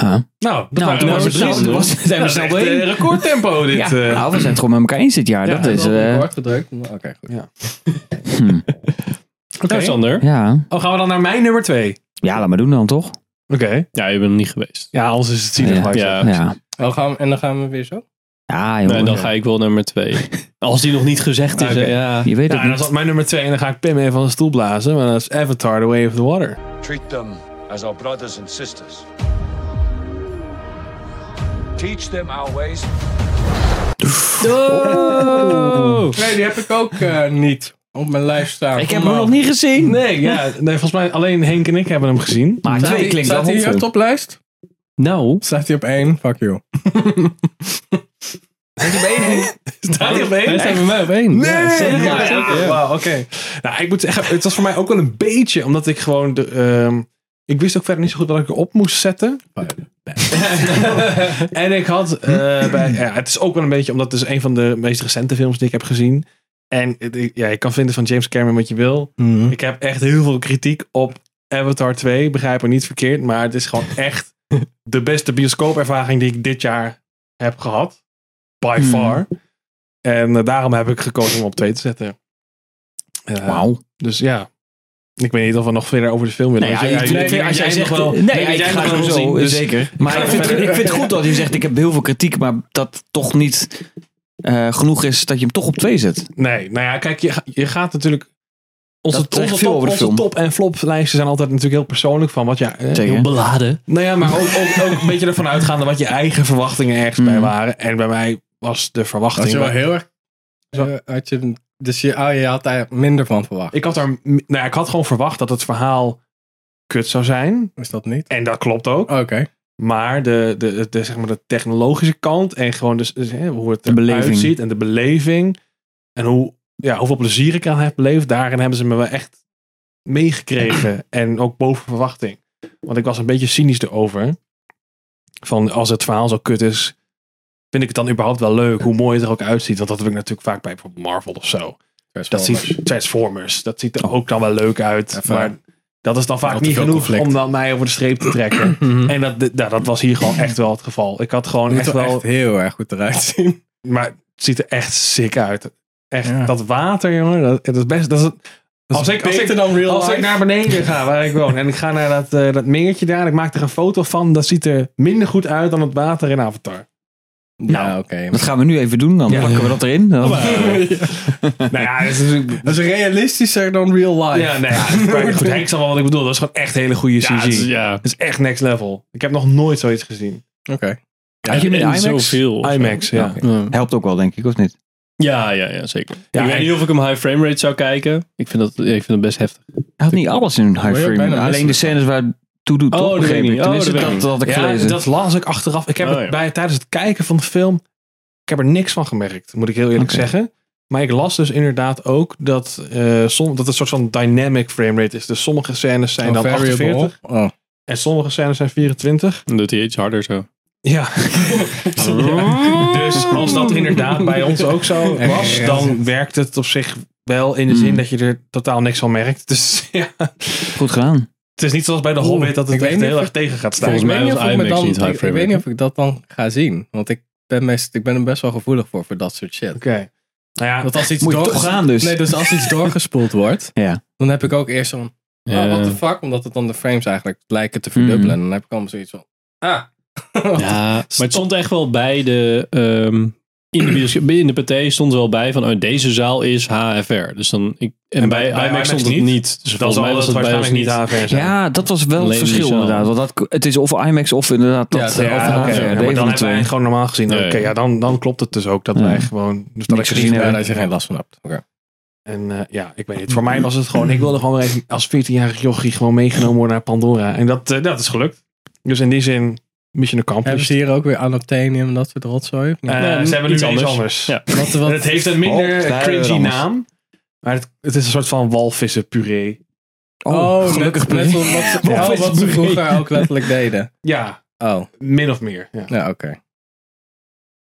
Huh.
Nou, dat
Nou,
waren
toen
maar
was het
drie,
snel,
hoor.
was- zijn we
Dat is
snel
echt,
doorheen.
eh, recordtempo dit.
Ja,
eh.
nou, we zijn het gewoon met elkaar eens dit jaar.
Ja,
dat is. eh,
Wordt gedrukt. Nou, Oké, goed.
hm.
Oké, Nou, Sander.
ja.
Oh, gaan we dan naar mijn nummer twee?
ja, laat maar doen dan toch?
Oké.
Ja, je bent er niet geweest.
Ja, anders is het zielig.
Ja.
maar ik zeg.
Ja,
Ja,
Dan Oh, gaan we- en dan gaan we weer zo.
ja
Nee,
jongen.
dan ga ik wel nummer twee. Als die nog niet gezegd is,
Oké.
eh, ja.
Je weet
Ja,
het
en dan
niet.
zat mijn nummer twee en dan ga ik Pim even van de stoel blazen. Maar dat is Avatar, The Way of the Water.
Treat them as our brothers and sisters. Teach them our ways.
Oh!
Nee, die heb ik ook eh, niet op mijn lijst staan.
Ik heb hem nog niet gezien.
Nee, ja, nee, volgens mij alleen Henk en ik hebben hem gezien.
Maar
Staat
twee
hij-
klinkt wel
Staat hij hier op
hoopvol.
toplijst?
Nou,
Staat hij op één? Fuck you.
Staat hij op één?
Hij staat bij mij op één.
Nee!
Ja, staat-
Ja,
ja,
oké.
ja.
Wauw, oké. Nou, ik moet zeggen, het was voor mij ook wel een beetje, omdat ik gewoon de... ehm, ik wist ook verder niet zo goed wat ik erop moest zetten. en ik had eh, bij, ja, het is ook wel een beetje, omdat het is een van de meest recente films die ik heb gezien. En het- ik- ja, je kan vinden van James Cameron wat je wil. Ik heb echt heel veel kritiek op Avatar 2. Begrijp me niet verkeerd, maar het is gewoon echt de beste bioscoopervaring die ik dit jaar heb gehad. By
Hmm.
far. En eh, daarom heb ik gekozen om op 2 te zetten. Eh,
wauw.
Dus ja. Ik weet niet of we nog verder over de film willen.
Nee, Nou ja,
Want
ik-
jij- jij-
nee, als jij
jij
zegt.
nog wel-
Nee,
jij
ik
nog
ga
wel
hem
wil zien,
zo.
dus-
Zeker.
ga
Maar ik vind,
verder.
ik vind het goed dat je zegt: ik heb heel veel kritiek, maar dat toch niet eh, genoeg is dat je hem toch op twee zet.
Nee, nou ja, kijk, je, ga- je gaat natuurlijk... Onze,
Dat
onze,
zegt
top,
veel over de
onze
film.
top- en floplijsten zijn altijd natuurlijk heel persoonlijk van wat je... eh,
Zeker.
Beladen.
Nou ja, maar ook, ook, ook een beetje ervan uitgaande wat je eigen verwachtingen ergens bij
Mm.
waren. En bij mij was de
Had
verwachting...
je wel
bij-
heel erg... eh, had je, dus je, ah, je had daar minder van verwacht.
ik, had daar, nou ja, ik had gewoon verwacht dat het verhaal kut zou zijn.
Is dat niet? Oh,
En dat klopt ook.
Oké.
Maar de, de, de, de, zeg maar de technologische kant en gewoon dus, dus, hè, hoe het
De beleving.
eruit ziet en de beleving. En hoe, ja, hoeveel plezier ik aan heb beleefd. Daarin hebben ze me wel echt meegekregen. en ook boven verwachting. Want ik was een beetje cynisch erover. Van als het verhaal zo kut is, vind ik het dan überhaupt wel leuk. Hoe mooi het er ook uitziet. Want dat heb ik natuurlijk vaak bij Oh. bijvoorbeeld Marvel of zo. Dat ziet Transformers. Dat ziet er ook dan wel leuk uit.
Even-
Maar Dat is dan vaak
Al te
niet
veel
genoeg
conflict.
om dan mij over de streep te trekken. en dat, nou, dat was hier gewoon echt wel het geval. Ik had gewoon
moet
echt
er
wel...
echt heel erg goed eruit zien.
Maar het ziet er echt sick uit. Echt,
Ja.
dat water, jongen. Dat, dat is best... Dat is, als ik, als, ik,
dan real
als ik naar beneden ga, waar ik woon, en ik ga naar dat, eh dat mingertje daar, en ik maak er een foto van, dat ziet er minder goed uit dan het water in Avatar.
Ja, oké.
Dat gaan we nu even doen. Dan pakken we dat erin.
Oh,
Dan-
nou ja, dat is natuurlijk...
Dat is dus realistischer dan real life.
Ja, nee, Dus ja, maar goed, Henk zal wel wat ik bedoel. Dat is gewoon echt hele goede CG.
Ja, het is- ja.
Dat is echt next level. Ik heb nog nooit zoiets gezien.
Oké.
Had je hem in
En
IMAX?
Zoveel. of zo.
IMAX, Ah, ja.
Ja.
Helpt ook wel, denk ik, of niet?
Ja, ja, ja, zeker.
Ja,
ik weet
en-
niet of ik hem high frame rate zou kijken. Ik vind dat, ik vind dat best heftig.
Hij had niet alles in een high
Word je ook
frame.
bijna
Alleen de
misselijk
scènes waar het toe doet,
Oh,
toch?
dat
Begreep
weet
ik.
ik niet.
Tenminste,
Oh, dat weet
dat,
ik
dat had ik gelezen.
dat las ik achteraf. Ik heb
Oh,
het
ja.
bij, tijdens het kijken van de film, ik heb er niks van gemerkt, moet ik heel eerlijk
Oké.
zeggen. Maar ik las dus inderdaad ook dat, eh som, dat het een soort van dynamic frame rate is. Dus sommige scènes zijn
Oh,
dan
variable.
48
Oh.
en sommige scènes zijn 24.
Dan doet hij iets harder zo.
Ja. Dus als dat inderdaad bij ons ook zo was, dan werkt het op zich wel in de zin
Hmm.
dat je er totaal niks van merkt. Dus ja,
Goed gedaan.
het is niet zoals bij de
Oeh,
Hobbit dat het
ik weet
echt
niet
heel
of
erg tegen gaat staan.
Volgens
Ik
mij
weet
was
niet of ik me
IMAX
dan-
niet high
ik- Ik
frame
weet
rate.
niet of ik dat dan ga zien. Want ik ben, best, ik ben er best wel gevoelig voor, voor dat soort shit.
Oké. Nou ja,
Want als iets
Moet je
doorges-
toch gaan dus.
Nee, dus als iets doorgespoeld wordt,
Ja.
dan heb ik ook eerst zo'n...
Ja.
Oh, what the fuck? Omdat het dan de frames eigenlijk lijken te verdubbelen. En dan heb ik allemaal zoiets van... Ah.
Ja, maar het stond echt wel bij de... ehm, in de, bioscoop, in de paté stond er wel bij van oh, deze zaal is HFR. Dus dan, ik, en,
En
bij,
bij- bij
IMAX stond het
niet.
niet. Dus volgens mij was het bij ons niet.
AVR
Ja, dat was wel het
Alleen die
verschil
zaal.
inderdaad. Want dat, het is of IMAX of inderdaad
Ja,
dat. eh,
ja,
of
Ja,
een
oké.
HVR,
Ja,
een
maar
van de
dan hebben wij
twee.
het gewoon normaal gezien.
Ja, ja.
Oké, ja, dan, dan klopt het dus ook dat
Ja.
wij gewoon... Dus dat
Niks gezien
ik gezien
hebben.
heb.
Ja, dat je geen last van hebt. Oké.
En eh, ja, ik weet niet. Voor mij was het gewoon... Ik wilde gewoon weer even als 14-jarig jochie gewoon meegenomen worden naar Pandora. En dat, eh, dat is gelukt. Dus in die zin, mission
Hebben
accomplished.
ze hier ook weer Anatanium en dat soort rotzooi? of niet?
Eh,
Ja,
ze hebben nu
iets
iets anders.
anders.
Ja.
Ja.
Wat-
En
wat-
het heeft een minder
Oh, daar
cringy
anders.
naam. Maar het, het is een soort van walvissenpuree.
Oh,
net-
gelukkig.
net, wat, ze- ja,
Wat is
wat ze
het
vroeger ook letterlijk deden.
Ja,
Oh,
min of meer. Ja.
ja, oké.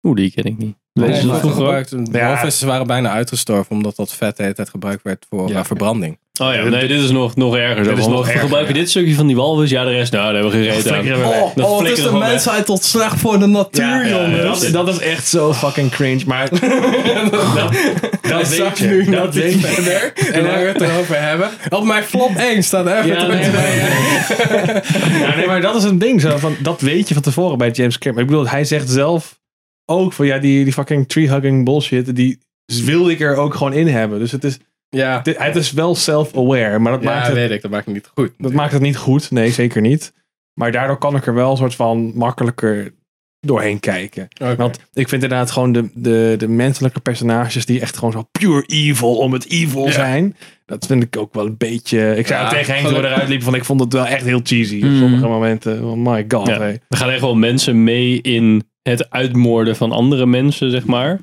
Oeh, die ken ik niet.
Nee,
Deze is
ze waren
vroeger ook.
gebruikt- de
Ja.
walvissen waren bijna uitgestorven omdat dat vet de hele tijd gebruikt werd voor
Ja.
eh, verbranding.
Oh ja, nee, dit is nog, nog erger. Dit
is nog erger,
Gebruik je
ja.
dit stukje van die walvis? Ja, de rest, nou, daar hebben we geen reet aan.
Flikkeren we weg.
Dat flikkeren we gewoon weg.
tot slecht voor de
Ja,
natuur,
ja, dat, dat is echt zo fucking cringe. Maar dat, dat weet
zag
je.
nu
dat
dat
weet
iets
je.
verder. En dan we het erover hebben. Op mijn flop 1 staat even
Ja,
te
nee, maar, ja, nee, maar dat is een ding. Zo, van, dat weet je van tevoren bij James Cameron. Ik bedoel, hij zegt zelf ook van ja, die, die fucking tree-hugging bullshit, die wilde ik er ook gewoon in hebben. Dus het is,
Ja,
dit- het is wel self-aware, maar dat, maakt
ja
het,
weet ik. Dat maakt het niet goed.
dat maakt het niet goed. Nee, zeker niet. Maar daardoor kan ik er wel een soort van makkelijker doorheen kijken.
Oké.
Want ik vind inderdaad gewoon de, de, de menselijke personages die echt gewoon zo pure evil om het evil
Ja.
zijn. Dat vind ik ook wel een beetje. Ik zei
Ja,
ook tegen Henk toen we
gelukkig.
eruit liepen van ik vond het wel echt heel cheesy. Op
Mm.
sommige momenten. Oh my god.
Ja.
hey.
Er gaan echt wel mensen mee in het uitmoorden van andere mensen, zeg maar.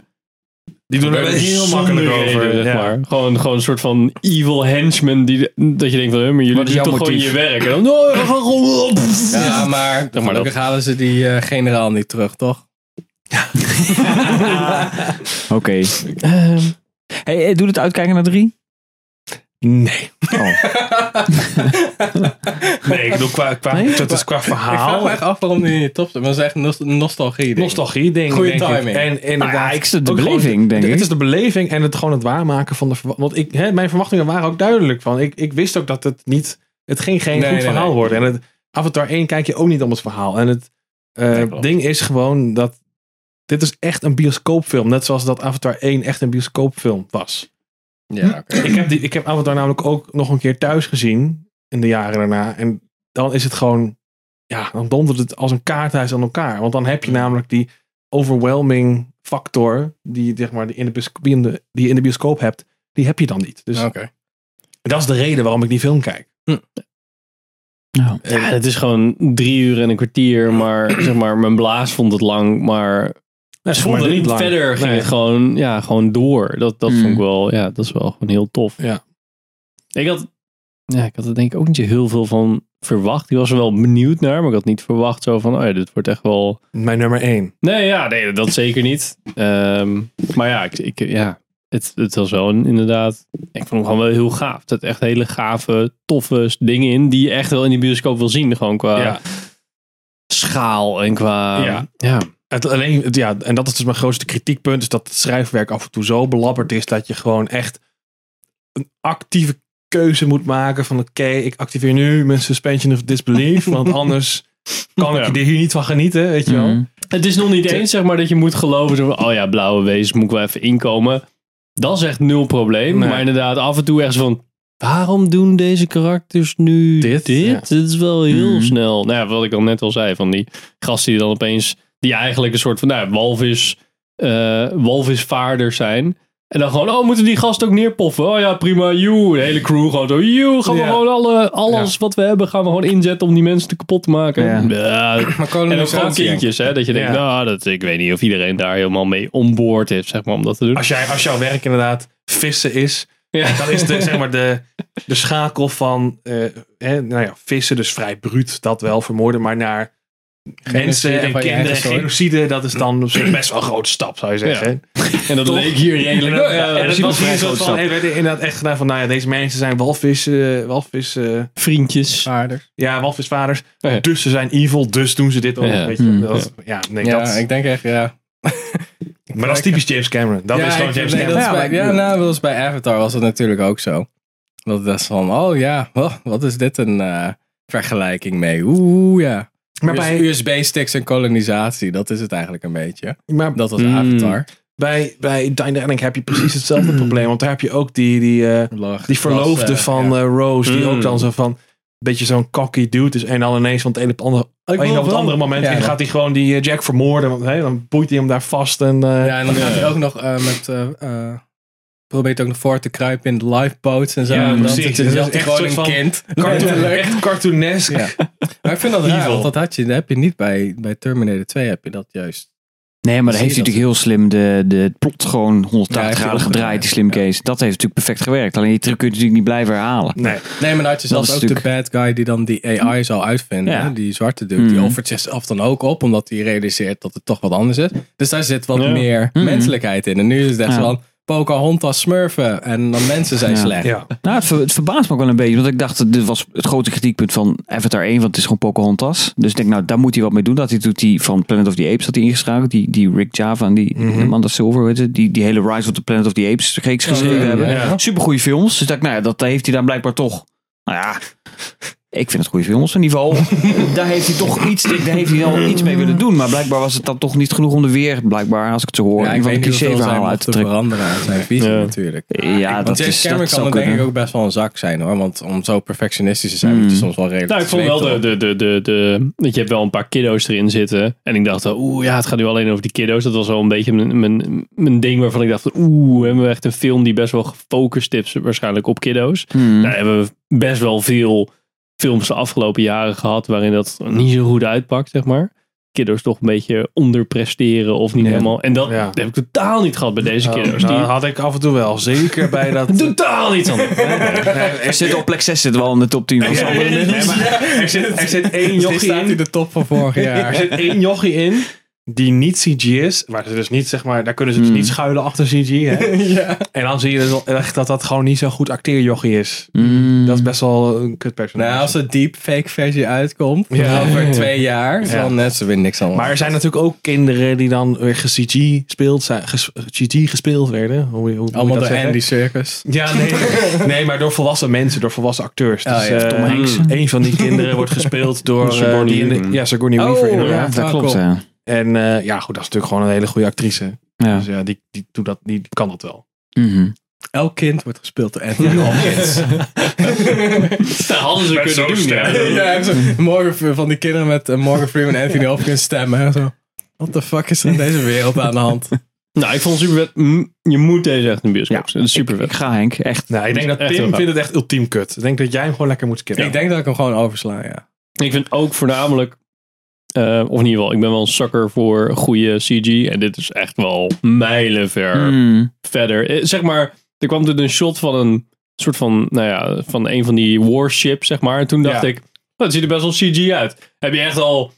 Die doen er
Daar
wel
ben je
heel
zonder
makkelijk
reden,
over.
zeg
ja.
maar. Gewoon, gewoon een soort van evil henchman. Die, dat je denkt van, hè, maar jullie
Wat is
doen
jouw
toch gewoon
motief?
je werk. En dan, "Oh, we gaan gewoon op."
Ja, maar
dat-
gelukkig halen ze die eh, generaal niet terug, toch?
Oké. Ehm, Hey,
eh,
hey, doet het uitkijken naar drie?
Nee.
Oh.
Nee, ik bedoel, qua, qua,
Nee?
dat is qua
Ik vraag
verhaal.
me echt af waarom die in je top staat. Maar dat is echt nos- nostalgie. denk ik.
Nostalgie ding.
Goeie
denk
timing. Nou
Ik. En inderdaad.
ik zit de
ook gewoon-
beleving, denk
De-
ik.
Het is de beleving en het gewoon het waarmaken van de verwa- Want ik, hè, mijn verwachtingen waren ook duidelijk. Van. Ik, ik wist ook dat het niet. Het ging geen
Nee,
goed
nee,
verhaal
nee.
worden. En het Avatar 1 kijk je ook niet om het verhaal. En het eh,
Nee, klopt.
ding is gewoon dat. Dit is echt een bioscoopfilm. Net zoals dat Avatar 1 echt een bioscoopfilm was.
Ja, oké.
Ik heb, die, ik heb Avatar namelijk ook nog een keer thuis gezien. In de jaren daarna. En dan is het gewoon. Ja, dan dondert het als een kaarthuis aan elkaar. Want dan heb je namelijk die overwhelming factor. Die, zeg maar, die, in de bioscoop, die, in de, die je in de bioscoop hebt. Die heb je dan niet. Dus
Oké.
dat is de reden waarom ik die film kijk.
Ja, het is gewoon drie uur en een kwartier. Maar zeg maar, mijn blaas vond het lang. Maar
Nou,
Ze vonden
maar
niet
lang.
verder, ging
Nee.
het gewoon, ja, gewoon door. Dat, dat
Mm.
vond ik wel, ja, dat is wel gewoon heel tof.
Ja.
Ik had, ja, ik had er denk ik ook niet zo heel veel van verwacht. Ik was er wel benieuwd naar, maar ik had niet verwacht zo van, oh ja, dit wordt echt wel...
Mijn nummer 1.
Nee, ja, nee, dat zeker niet. Ehm, maar ja, ik, ik, ja, het, het was wel een- inderdaad. Ik vond hem gewoon wel heel gaaf. Er zitten echt hele gave, toffe dingen in die je echt wel in die bioscoop wil zien. Gewoon qua
Ja.
schaal en qua.
Ja.
ja.
Het, alleen, het- ja, en dat is dus mijn grootste kritiekpunt, is dat het schrijfwerk af en toe zo belabberd is dat je gewoon echt een actieve keuze moet maken van oké, ik activeer nu mijn suspension of disbelief, want anders kan ik
Ja.
er hier niet van genieten, weet je wel.
Mm.
Mhm.
Het is nog niet eens zeg maar dat je moet geloven. Zo van, oh ja, blauwe wezens moet ik wel even inkomen. Dat is echt nul probleem.
Nee.
Maar inderdaad, af en toe echt zo van. Waarom doen deze karakters nu
Dit?
dit?
Ja. Hmm.
Dit is wel heel
Mhm.
snel. Nou ja, wat ik al net al zei, van die gasten die dan opeens. die eigenlijk een soort van. Nou, ja, walvis. eh, walvisvaarders zijn. En dan gewoon, oh, moeten we die gast ook neerpoffen? Oh ja, prima, joe. De hele crew gewoon zo, joe. Gaan we
Ja.
gewoon alle, alles wat we hebben, gaan we gewoon inzetten om die mensen te kapot te maken. Ja,
Maar
en ook gewoon
kolonisatie.
kindjes, hè? Dat je denkt,
Ja.
nou, dat, ik weet niet of iedereen daar helemaal mee onboord is, zeg maar, om dat te doen.
Als, jij, als jouw werk inderdaad vissen is,
Ja.
dan is de, zeg maar de, de schakel van eh, hè, nou ja, vissen, dus vrij bruut, dat wel, vermoorden, maar naar mensen en
van je
kinderen,
eigen soort.
genocide, dat is dan op zich best wel een grote stap, zou je zeggen.
En dat leek hier redelijk...
Ja,
ja,
en dat
principe
was hier
vrij
een soort
grote
van,
stap.
hey, werd er inderdaad echt gedaan van, nou ja, deze mensen zijn walvis, eh, walvis, eh,
Vriendjes.
Aardig.
ja, walvisvaders,
Oh
Ja.
dus ze zijn evil, dus doen ze dit ook,
Ja.
weet je.
Hmm.
Dat, ja, nee,
Ja,
dat,
ik denk echt, ja.
maar dat is typisch James Cameron. Dat
ja,
is gewoon
ik-
James
nee,
Cameron.
dat is bij- ja, nou, dat was bij Avatar was dat natuurlijk ook zo. Dat het best van, oh ja, oh, wat is dit een eh, vergelijking mee? Oeh, ja.
Maar bij,
USB-sticks en kolonisatie, dat is het eigenlijk een beetje.
maar
Dat was
Mm.
Avatar.
bij, bij Dynamic heb je precies hetzelfde probleem, want daar heb je ook die, die, eh,
Lag-
die verloofde
was, eh,
van
ja.
eh, Rose, die
Hmm.
ook dan zo van, een beetje zo'n cocky dude is en dan ineens van het ene op het andere,
wil
een op het
wel-
andere moment
Ja,
en
dat-
gaat hij gewoon die eh, Jack vermoorden, want hè, dan boeit hij hem daar vast en... eh,
Ja, en dan gaat hij ook nog eh, met... eh, eh, Probeert ook nog voor te kruipen in de lifeboats en zo.
Ja,
En
precies.
Dat,
Dat
is
is
altijd
echt
gewoon
een
een
soort van
kind.
Cartoon,
Letterlijk.
echt cartoonesk.
Ja. Maar ik vind dat raar,
Evil.
want dat had je, dat heb je niet bij, bij Terminator 2 heb je dat juist.
Nee, maar
Zie
dan heeft hij
je dat?
natuurlijk heel slim de, de het plot gewoon 180
Ja, heeft hij
graden gedraaid,
omgedraaid,
die slim
ja.
case. Dat heeft natuurlijk perfect gewerkt. Alleen die truc kun je natuurlijk niet blijven herhalen.
Nee.
Nee, maar dan had je zelfs
is
ook de bad guy die dan die AI zou uitvinden.
Ja.
hè, Die zwarte dude, die
Mhm.
offert zichzelf dan ook op, omdat hij realiseert dat het toch wat anders is. Dus daar zit wat
Ja.
meer
Mhm.
menselijkheid in. En nu is het echt
Ja.
van Pocahontas smurfen en dan mensen zijn
Ja.
slecht.
Ja.
Nou, het, ver- het verbaast me ook wel een beetje. Want ik dacht, dit was het grote kritiekpunt van Avatar 1, want het is gewoon Pocahontas. Dus ik denk, nou, daar moet hij wat mee doen. Dat hij doet die van Planet of the Apes, had hij ingeschakeld. Die, die Rick Java en die
Mhm.
Amanda Silver, hoe heet ze? die, die hele Rise of the Planet of the Apes reeks geschreven hebben.
Ja.
Supergoeie films. Dus ik dacht, nou ja, dat heeft hij daar blijkbaar toch. Nou ja, ik vind het goede films een niveau. daar heeft hij toch iets, daar heeft hij al iets mee willen doen. Maar blijkbaar was het dan toch niet genoeg om er weer, blijkbaar, als ik het zo hoor,
Ja,
een van de cliché verhaal uit
uit
te
te
trekken.
veranderen aan zijn visie
Ja.
natuurlijk.
Ja,
Want
dat
James
is
Cameron
dat
kan
zou
dan denk ik
kunnen.
ook best wel een zak zijn hoor. Want om zo perfectionistisch te zijn, moet je
Mm.
soms wel redelijk
Nou, ik vond wel de,
zweten.
de, de, de, de... dat Je hebt wel een paar kiddo's erin zitten. En ik dacht, oeh, ja, het gaat nu alleen over die kiddo's. Dat was wel een beetje mijn, mijn, mijn ding waarvan ik dacht, oeh, hebben we echt een film die best wel gefocust is waarschijnlijk op kiddo's.
Hmm.
Hm.
Daar hebben we best wel veel films de afgelopen jaren gehad waarin dat niet zo goed uitpakt, zeg maar. Kiddo's toch een beetje onderpresteren of niet
Ja.
helemaal. En dat
Ja.
heb ik totaal niet gehad bij deze kiddo's.
Nou,
Die-
had ik af en toe wel. Zeker bij dat...
totaal niet aan.
Er zit op plek 6 zit wel in de top 10 van Sam.
Nee, maar er, zit, er zit één
Dus die
jochie
staat in
in.
de top van vorig jaar.
Er zit één jochie in die niet CG is. Waar ze dus niet, zeg maar, daar kunnen ze dus
Hmm.
niet schuilen achter CG. Hè?
ja.
En dan zie je dus wel echt dat dat gewoon niet zo'n goed acteerjochie is.
Mm.
Dat is best wel een kutpersonage.
Hmm. Nou, als de deepfake versie uitkomt,
Ja.
over twee jaar,
Ja.
dan net, ze winnen niks aan.
maar er zijn natuurlijk ook kinderen die dan weer ge-CG gespeeld, zijn, ges- CG gespeeld werden. Hoe, hoe, moet je
allemaal
dat
door
zeggen?
Andy Circus.
Ja, nee. nee, maar door volwassen mensen, door volwassen acteurs.
Oh,
dus,
ja.
eh,
Tom
Hanks.
Een van die kinderen wordt gespeeld door eh,
Sigourney
die in de-
Weaver.
ja, Sigourney
Oh,
Weaver.
Ja,
inderdaad.
dat klopt.
cool.
Ja.
En eh, ja, goed, dat is natuurlijk gewoon een hele goede actrice.
Ja.
Dus ja, die, die, doet dat, die kan dat wel.
Mhm.
Elk kind wordt gespeeld door Andy Hopkins.
Dat hadden ze kunnen doen. Ja.
ja, en zo, Morgan, van die kinderen met eh, Morgan Freeman en Anthony Hopkins stemmen. hè, Zo. What the fuck is er in deze wereld aan de hand?
Nou, ik vond het super vet. Mm, Je moet deze echt in de bioscoop zien. Het is super
Ik
vet.
ga Henk, echt.
Nou, ik denk dat
Echt heel
Tim
gaaf.
vindt het echt ultiem kut. Ik denk dat jij hem gewoon lekker moet skippen.
Ik denk dat ik hem gewoon oversla, ja.
Ik vind ook voornamelijk, eh, of in ieder geval, ik ben wel een sucker voor goede CG. En dit is echt wel mijlenver
Hmm.
Mm.
verder. Eh, Zeg maar, er kwam toen een shot van een soort van, nou ja, van een van die warships, zeg maar. En toen dacht oh,
Ja.
ik, nou, dat ziet er best wel CG uit. Heb je echt al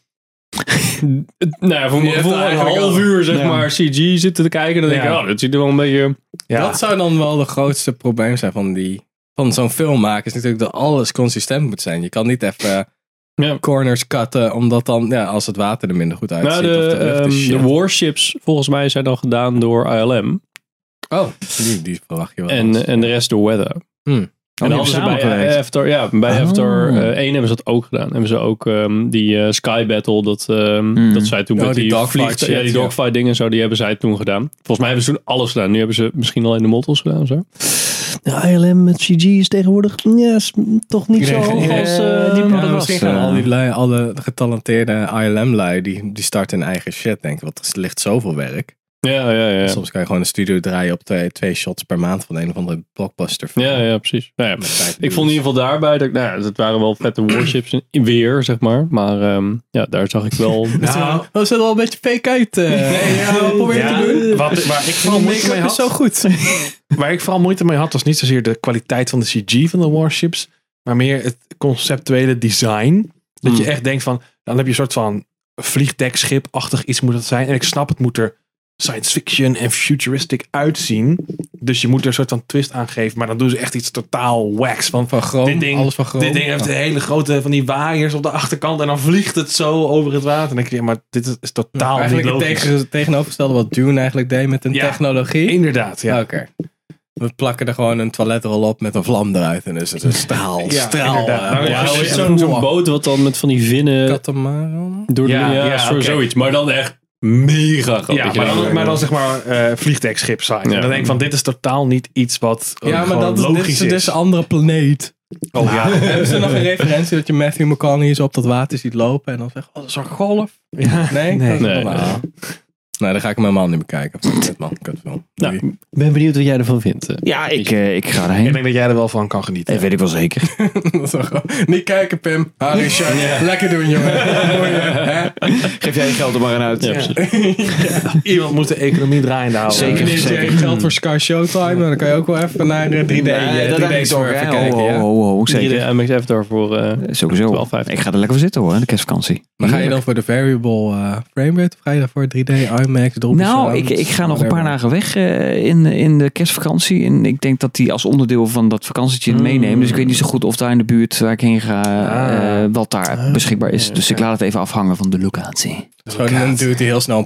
nou ja, voor mijn
Je hebt
gevoel een
eigenlijk
half
al-
uur zeg
Ja.
maar CG zitten te kijken. Dan denk ik,
Ja.
oh, dat ziet er wel een beetje...
Ja.
Dat zou dan wel de grootste probleem zijn van, die- van zo'n film maken. Is natuurlijk dat alles consistent moet zijn. Je kan niet even
Ja.
corners cutten, omdat dan, ja, als het water er minder goed uitziet.
Nou,
of
de,
de, lucht
ehm,
is shit.
de warships volgens mij zijn dan gedaan door ILM.
Oh, die, die verwacht je wel.
En, eh, en de rest door Weather. En dan
hebben
hadden ze bij
samengewerkt.
eh, Avatar, ja, bij
Oh.
Avatar eh, 1 hebben ze dat ook gedaan. Hebben ze ook ehm, die eh, Sky Battle, dat, ehm,
Hmm.
dat zij toen
Oh,
met
die
die,
dogfight
vliegt-
shit,
ja, die
ja.
dogfight dingen en zo, die hebben zij toen gedaan. Volgens mij hebben ze toen alles gedaan. Nu hebben ze misschien al in de models gedaan en zo. De ILM met CG is tegenwoordig ja, is toch niet zo hoog
iedereen-
als eh, die
Ja,
man
Ja,
dat
misschien
was,
gaan
eh,
al die lui, alle getalenteerde ILM-lui, die, die starten hun eigen shit, denk ik. Want er ligt zoveel werk.
Ja, ja, ja.
Soms kan je gewoon een studio draaien op twee, twee shots per maand van een of andere blockbuster. film.
Ja, ja, precies. Nou ja,
Met vijf
ik
dudes.
vond in ieder geval daarbij, dat, ik- nou ja, dat waren wel vette warships in- in weer, zeg maar. Maar ehm, ja, daar zag ik wel...
Dat is wel- dat ziet er al een beetje fake uit. eh. ja, wat probeer je
Ja,
te doen?
Wat, waar, ik vooral
Die
moeite mee
make-up is zo
had,
goed.
waar ik vooral moeite mee had, was niet zozeer de kwaliteit van de CG van de warships, maar meer het conceptuele design. Dat
Hmm.
je echt denkt van, dan heb je een soort van vliegdekschip-achtig iets moet dat zijn. En ik snap, het moet er science fiction en futuristic uitzien. Dus je moet er een soort van twist aan geven, maar dan doen ze echt iets totaal wax. Van,
Van Chrome,
Dit ding-
alles van Chrome.
Dit ding heeft
Ja.
de hele grote van die waaiers op de achterkant en dan vliegt het zo over het water. En dan denk je, ja, maar dit is, is totaal niet
Eigenlijk het
logisch.
tegen, tegenovergestelde wat Dune eigenlijk deed met een
Ja.
technologie.
Inderdaad, ja.
Oké. We plakken er gewoon een toiletrol op met een vlam eruit. En dus het is een straal.
Ja,
straal.
inderdaad.
eh,
Nou, ja,
Ja,
blauw.
precies.
is zo'n zo'n boot wat dan met van die vinnen
Katamaran?
door de
Ja,
ja,
ja,
zo-
oké.
zoiets. Maar dan echt mega grappig.
Ja,
Oh, Dat je
maar dan,
denkt,
maar dan zeg maar eh vliegdekschip zijn.
Ja.
En dan denk ik van, dit is totaal niet iets wat eh,
Ja, maar
gewoon
dat is, dit
logisch
is,
is.
dit is een andere planeet.
Oh, ja.
Hebben ze nog een referentie dat je Matthew McConaughey zo op dat water ziet lopen en dan zegt, oh, dat is een golf. Nee?
Nee.
Dat is
Nee.
normaal. Nee, dan ga ik hem helemaal niet meer kijken. Dit man, kutfilm.
Nou,
Doei.
Ik ben benieuwd wat jij ervan vindt. eh.
Ja, ik, eh, ik ga erheen.
Ik denk dat jij er wel van kan genieten.
Dat weet ik wel zeker.
Dat is wel gewoon- niet kijken, Pim. Ah, Richard. Lekker doen, jongen. Mooi, hè?
Geef jij je geld er maar aan uit.
Ja, precies.
Iemand moet de economie draaiende houden.
Zeker.
Wanneer je geld voor Sky Showtime, dan kan je ook wel even naar de 3D.
Nee,
eh,
dat
3D
denk ik ook.
surfen
hè. Oh,
kijken,
Ho,
ja.
ho, ho, ho,
Hier
zeker.
de MX Avatar voor... eh,
Sowieso.
12,50.
Ik ga er lekker voor zitten hoor, in de kerstvakantie.
Maar ga je dan voor de variable eh, frame rate of ga je dan voor 3D, IMAX, droppers?
Nou, ik, ik ga nog een paar dagen weg eh, in, in de kerstvakantie. En ik denk dat die als onderdeel van dat vakantietje
Mm.
meenemen. Dus ik weet niet zo goed of daar in de buurt waar ik heen ga,
Ah.
eh, wat daar beschikbaar is. Dus ik laat het even afhangen van de locatie.
Gewoon een dude die heel snel een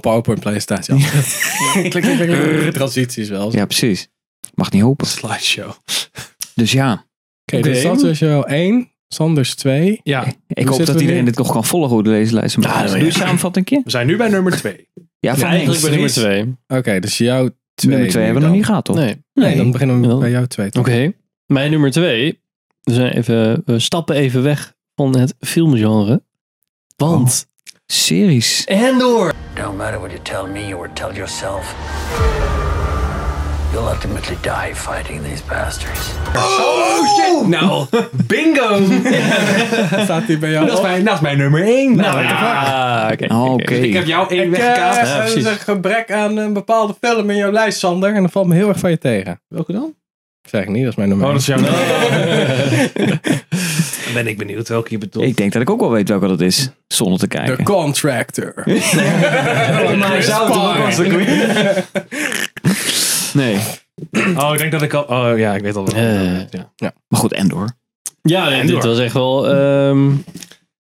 PowerPoint-presentatie af. klik, klik, klik, klik. Transities wel.
Ja, precies. Mag niet hopen.
Slideshow.
Dus ja,
Oké, dus
Oké.
dat is jou 1, Sanders 2.
Ja,
ik hoop
zitten
dat
we
iedereen
nu?
dit nog kan volgen hoe de deze lijst.
Ja,
Maar
dat
doe
wil
je
je.
samenvatting een keer?
we zijn nu bij nummer twee.
Ja, van
eigenlijk bij nummer
links.
twee.
Oké, dus jouw 2.
Nummer twee hebben we nog niet gehad, toch?
Nee.
Nee, dan beginnen we
Ja.
bij jouw 2.
Oké. Mijn nummer twee. We, zijn even, we stappen even weg van het filmgenre. Want...
Series.
En door!
No matter what you tell me or tell yourself, you'll ultimately die fighting these bastards.
Nou, bingo!
Staat die bij jou
dat, is mijn, dat is mijn nummer één. Nou,
Ah, oké.
Ah, Oké.
Ik eh, heb jou één weggekaast.
Ja, precies.
een gebrek aan een bepaalde film in jouw lijst, Sander. En dat valt me heel erg van je tegen. Welke dan? Ik zeg niet, dat is mijn nummer.
Oh, dat
één.
is jouw Dan ben ik benieuwd welke je bedoelt.
Ik denk dat ik ook wel weet welke dat is, zonder te kijken.
The Contractor.
maar zou het ook als
Nee.
Oh, ik denk dat ik al... Oh ja, ik weet al wat
Eh.
ja.
Maar goed, Endor.
Ja, nee,
En
dit
door.
was echt wel. ehm,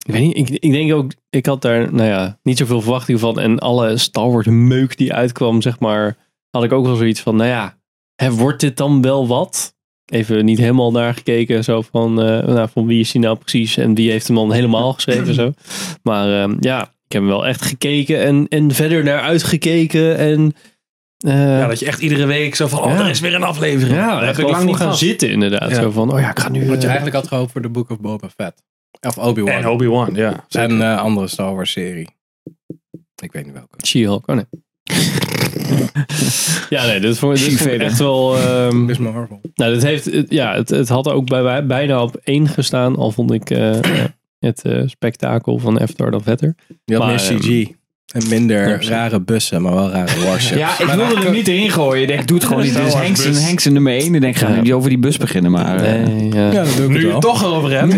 ik weet niet, ik, ik denk ook, ik had daar, nou ja, niet zoveel verwachtingen van. En alle Star Wars meuk die uitkwam, zeg maar, had ik ook wel zoiets van, nou ja, hè, wordt dit dan wel wat? Even niet helemaal naar gekeken, zo van, eh, nou, van wie is hij nou precies en wie heeft hem dan helemaal geschreven, zo. Maar ehm, ja, ik heb hem wel echt gekeken en, en verder naar uitgekeken en... eh,
Ja, dat je echt iedere week zo van... Oh,
Ja.
er is weer een aflevering.
ja,
Daar
daar
heb ik
wel
lang
voor
niet
gaan
gehad.
zitten inderdaad.
Ja.
Zo van, oh ja, ik ga nu...
Wat je
eh,
eigenlijk had gehoopt voor de Book of Boba Fett. Of Obi-Wan.
En Obi-Wan, ja.
En eh, andere Star Wars serie. Ik weet niet welke.
She-Hulk, oh nee. ja, nee, dit vond, dit vond ik
She-Vader.
echt wel... ehm,
Miss Marvel.
nou, dit heeft, het- ja, het, het had ook bij, bij- bijna op één gestaan, al vond ik eh, eh, het eh, spektakel van Avatar dan vetter.
Je had
Maar, eh,
meer CG. En minder
ja, precies.
rare bussen, maar wel rare warships.
Ja, ik wilde er niet in gooien. Ik denk, doe het gewoon niet. Dit is Henks en Henks en nummer 1. Ik denk, ga
Ja.
niet over die bus beginnen,
Ah,
maar... eh,
Nee, ja.
Ja, dat doe ik
Nu
het
je het
wel.
toch erover hebt.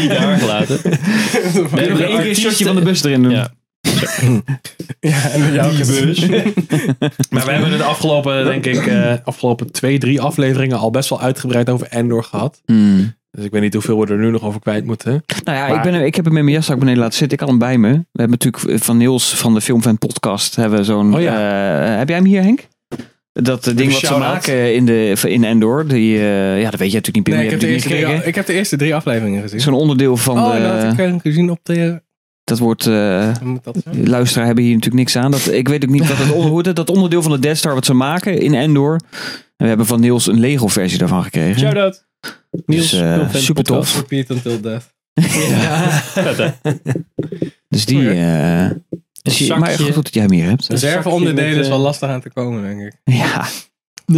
Die daar gelaten.
eh, We hebben nog één keer een shotje van de bus erin doen.
Ja.
Ja, en met jou gebeurt.
Maar Nou, we hebben het de afgelopen, denk ik, eh, afgelopen twee, drie afleveringen al best wel uitgebreid over Endor gehad.
Hmm.
Dus ik weet niet hoeveel we er nu nog over kwijt moeten.
Nou ja, ik, ben, ik heb hem in mijn jaszak beneden laten zitten. Ik had hem bij me. We hebben natuurlijk van Niels van de Filmfan podcast hebben we zo'n...
Oh
eh, heb jij hem hier, Henk? Dat eh, ding wat ze
shout-out.
maken in, de, in Endor. Die, eh, ja, dat weet je natuurlijk niet. Pim,
Nee, ik
je
heb, de
hebt het
eerste drie,
niet gekeken.
ik heb de eerste drie afleveringen gezien.
Zo'n onderdeel van
oh,
de...
dat heb ik eh, gezien op de...
dat wordt... eh,
moet dat zijn?
De luisteraar hebben hier natuurlijk niks aan. Dat, ik weet ook niet wat het onder, hoe het- dat onderdeel van de Death Star wat ze maken in Endor. En we hebben van Niels een Lego versie daarvan gekregen.
out.
Dus, eh, super tof.
Repeat until death.
Dus die... eh, dus je, maar goed dat jij hem hier hebt.
Reserveonderdelen is wel lastig aan te komen, denk ik.
Ja.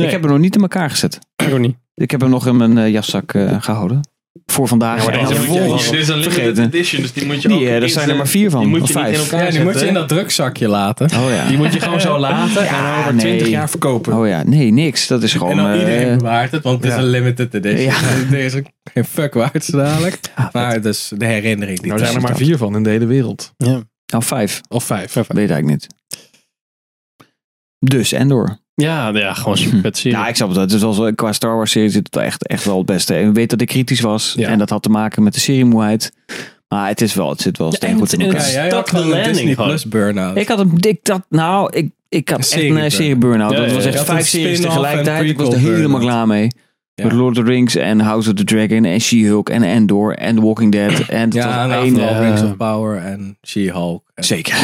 Ik heb hem nog niet in elkaar gezet.
niet.
Ik heb hem nog in mijn eh, jaszak eh, gehouden. Voor vandaag.
maar
en
deze
dan
moet je-
vervolgens
dit is een limited
vergeten.
edition, dus die moet je
Die,
ook
eh, er
in
zijn
de-
er maar vier van,
Die moet
of
je niet
vijf.
in elkaar
Ja, die
zetten.
moet je in dat drukzakje laten.
Oh ja.
Die moet je gewoon zo laten en
Ja,
over
nee.
20 jaar verkopen.
Oh ja, nee, niks. Dat is gewoon...
En dan
eh,
iedereen bewaart het, want het is een limited edition.
Ja.
Dus er is ook geen fuck waard zo dadelijk.
ah,
Maar het is de herinnering die
Nou
het
zijn
is.
er maar vier van in de hele wereld.
nou, vijf.
Of Oh, vijf.
Weet eigenlijk niet. Dus Endor.
Ja, ja, gewoon super vet serie.
Ja, ik snap het. wel. Het is wel zo, qua Star Wars serie zit het echt, echt wel het beste. En we weten dat ik kritisch was.
Ja.
En dat had te maken met de seriemoeheid. Maar het is wel, het zit wel
Ja,
steen
en
goed
het-
in
en
elkaar.
het
Ja, jij
Stuck
had
the
gewoon een
landing
Disney
gewoon.
Plus burn-out.
Ik had een, ik dat, nou, ik, ik had
Een
echt
serie
een eh,
burn-out.
serie burn-out.
Ja,
dat
ja,
was
ja.
echt
Ik had
vijf
een
series
spin-off en
tegelijkertijd. Ik was er
prequel
helemaal
burn-out.
klaar mee.
Ja.
Met Lord of the Rings en House of the Dragon en She-Hulk en Endor en The Walking Dead. En het
ja, nou.
was
en
één,
vooral
eh,
Rings of Power en She-Hulk. En-
Zeker,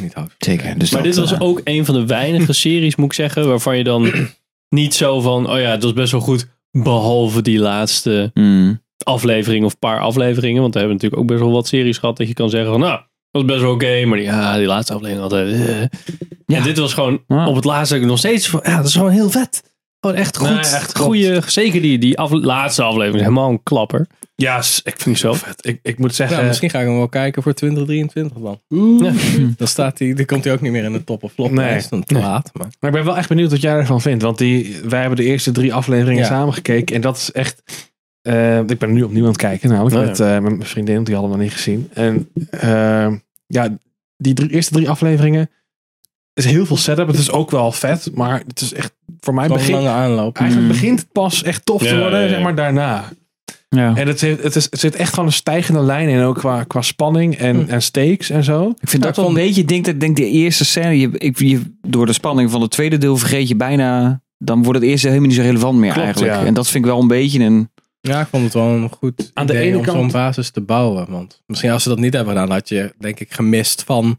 Niet Hulk.
zeker. Dus
Maar
dat,
dit was
eh,
ook een van de weinige series, moet ik zeggen, waarvan je dan niet zo van, oh ja, dat is best wel goed, behalve die laatste
mm,
aflevering of paar afleveringen, want we hebben natuurlijk ook best wel wat series gehad dat je kan zeggen van, nou, dat was best wel oké, maar die, ah, die laatste aflevering altijd. eh.
Ja.
En dit was gewoon
Ja.
op het laatste nog steeds van, ja, dat is gewoon heel vet. Gewoon echt goed.
Nee, echt
goede, zeker die, die afle- laatste aflevering, helemaal een klapper.
Ja, s- ik vind het zo vet. Ik, ik moet
Ja,
zeggen,
misschien ga ik hem wel kijken voor 2023 dan. Dan, staat hij, dan komt hij ook niet meer in de top of flop.
Nee.
Nee. Is dan te
Nee.
laat. Maar.
maar ik ben wel echt benieuwd wat jij ervan vindt. Want die, wij hebben de eerste drie afleveringen
Ja.
samen gekeken. En dat is echt... eh, ik ben nu opnieuw aan het kijken, namelijk
Oh ja.
met, eh, met mijn vriendin, want die hadden we nog niet gezien. En eh, ja, die drie, eerste drie afleveringen is heel veel setup. Het is ook wel vet, maar het is echt voor mij
Het was een
begin,
lange aanloop.
eigenlijk
Mm.
begint het pas echt tof te
Ja,
worden,
ja, ja.
zeg maar daarna.
ja.
En het, heeft- het, is, het zit echt gewoon een stijgende lijn in, ook qua, qua spanning en, en stakes en zo.
Ik vind
Ja,
dat wel een
ik vond-
beetje, ik denk, dat- ik denk de eerste scène, je, ik, je, door de spanning van het tweede deel vergeet je bijna, dan wordt het eerste helemaal niet zo relevant meer
Klopt,
eigenlijk.
ja.
En dat vind ik wel een beetje een,
Ja, ik vond het wel een goed
Aan de
idee
ene
om
kant-
zo'n basis te bouwen. Want misschien als ze dat niet hebben gedaan, had je denk ik gemist van...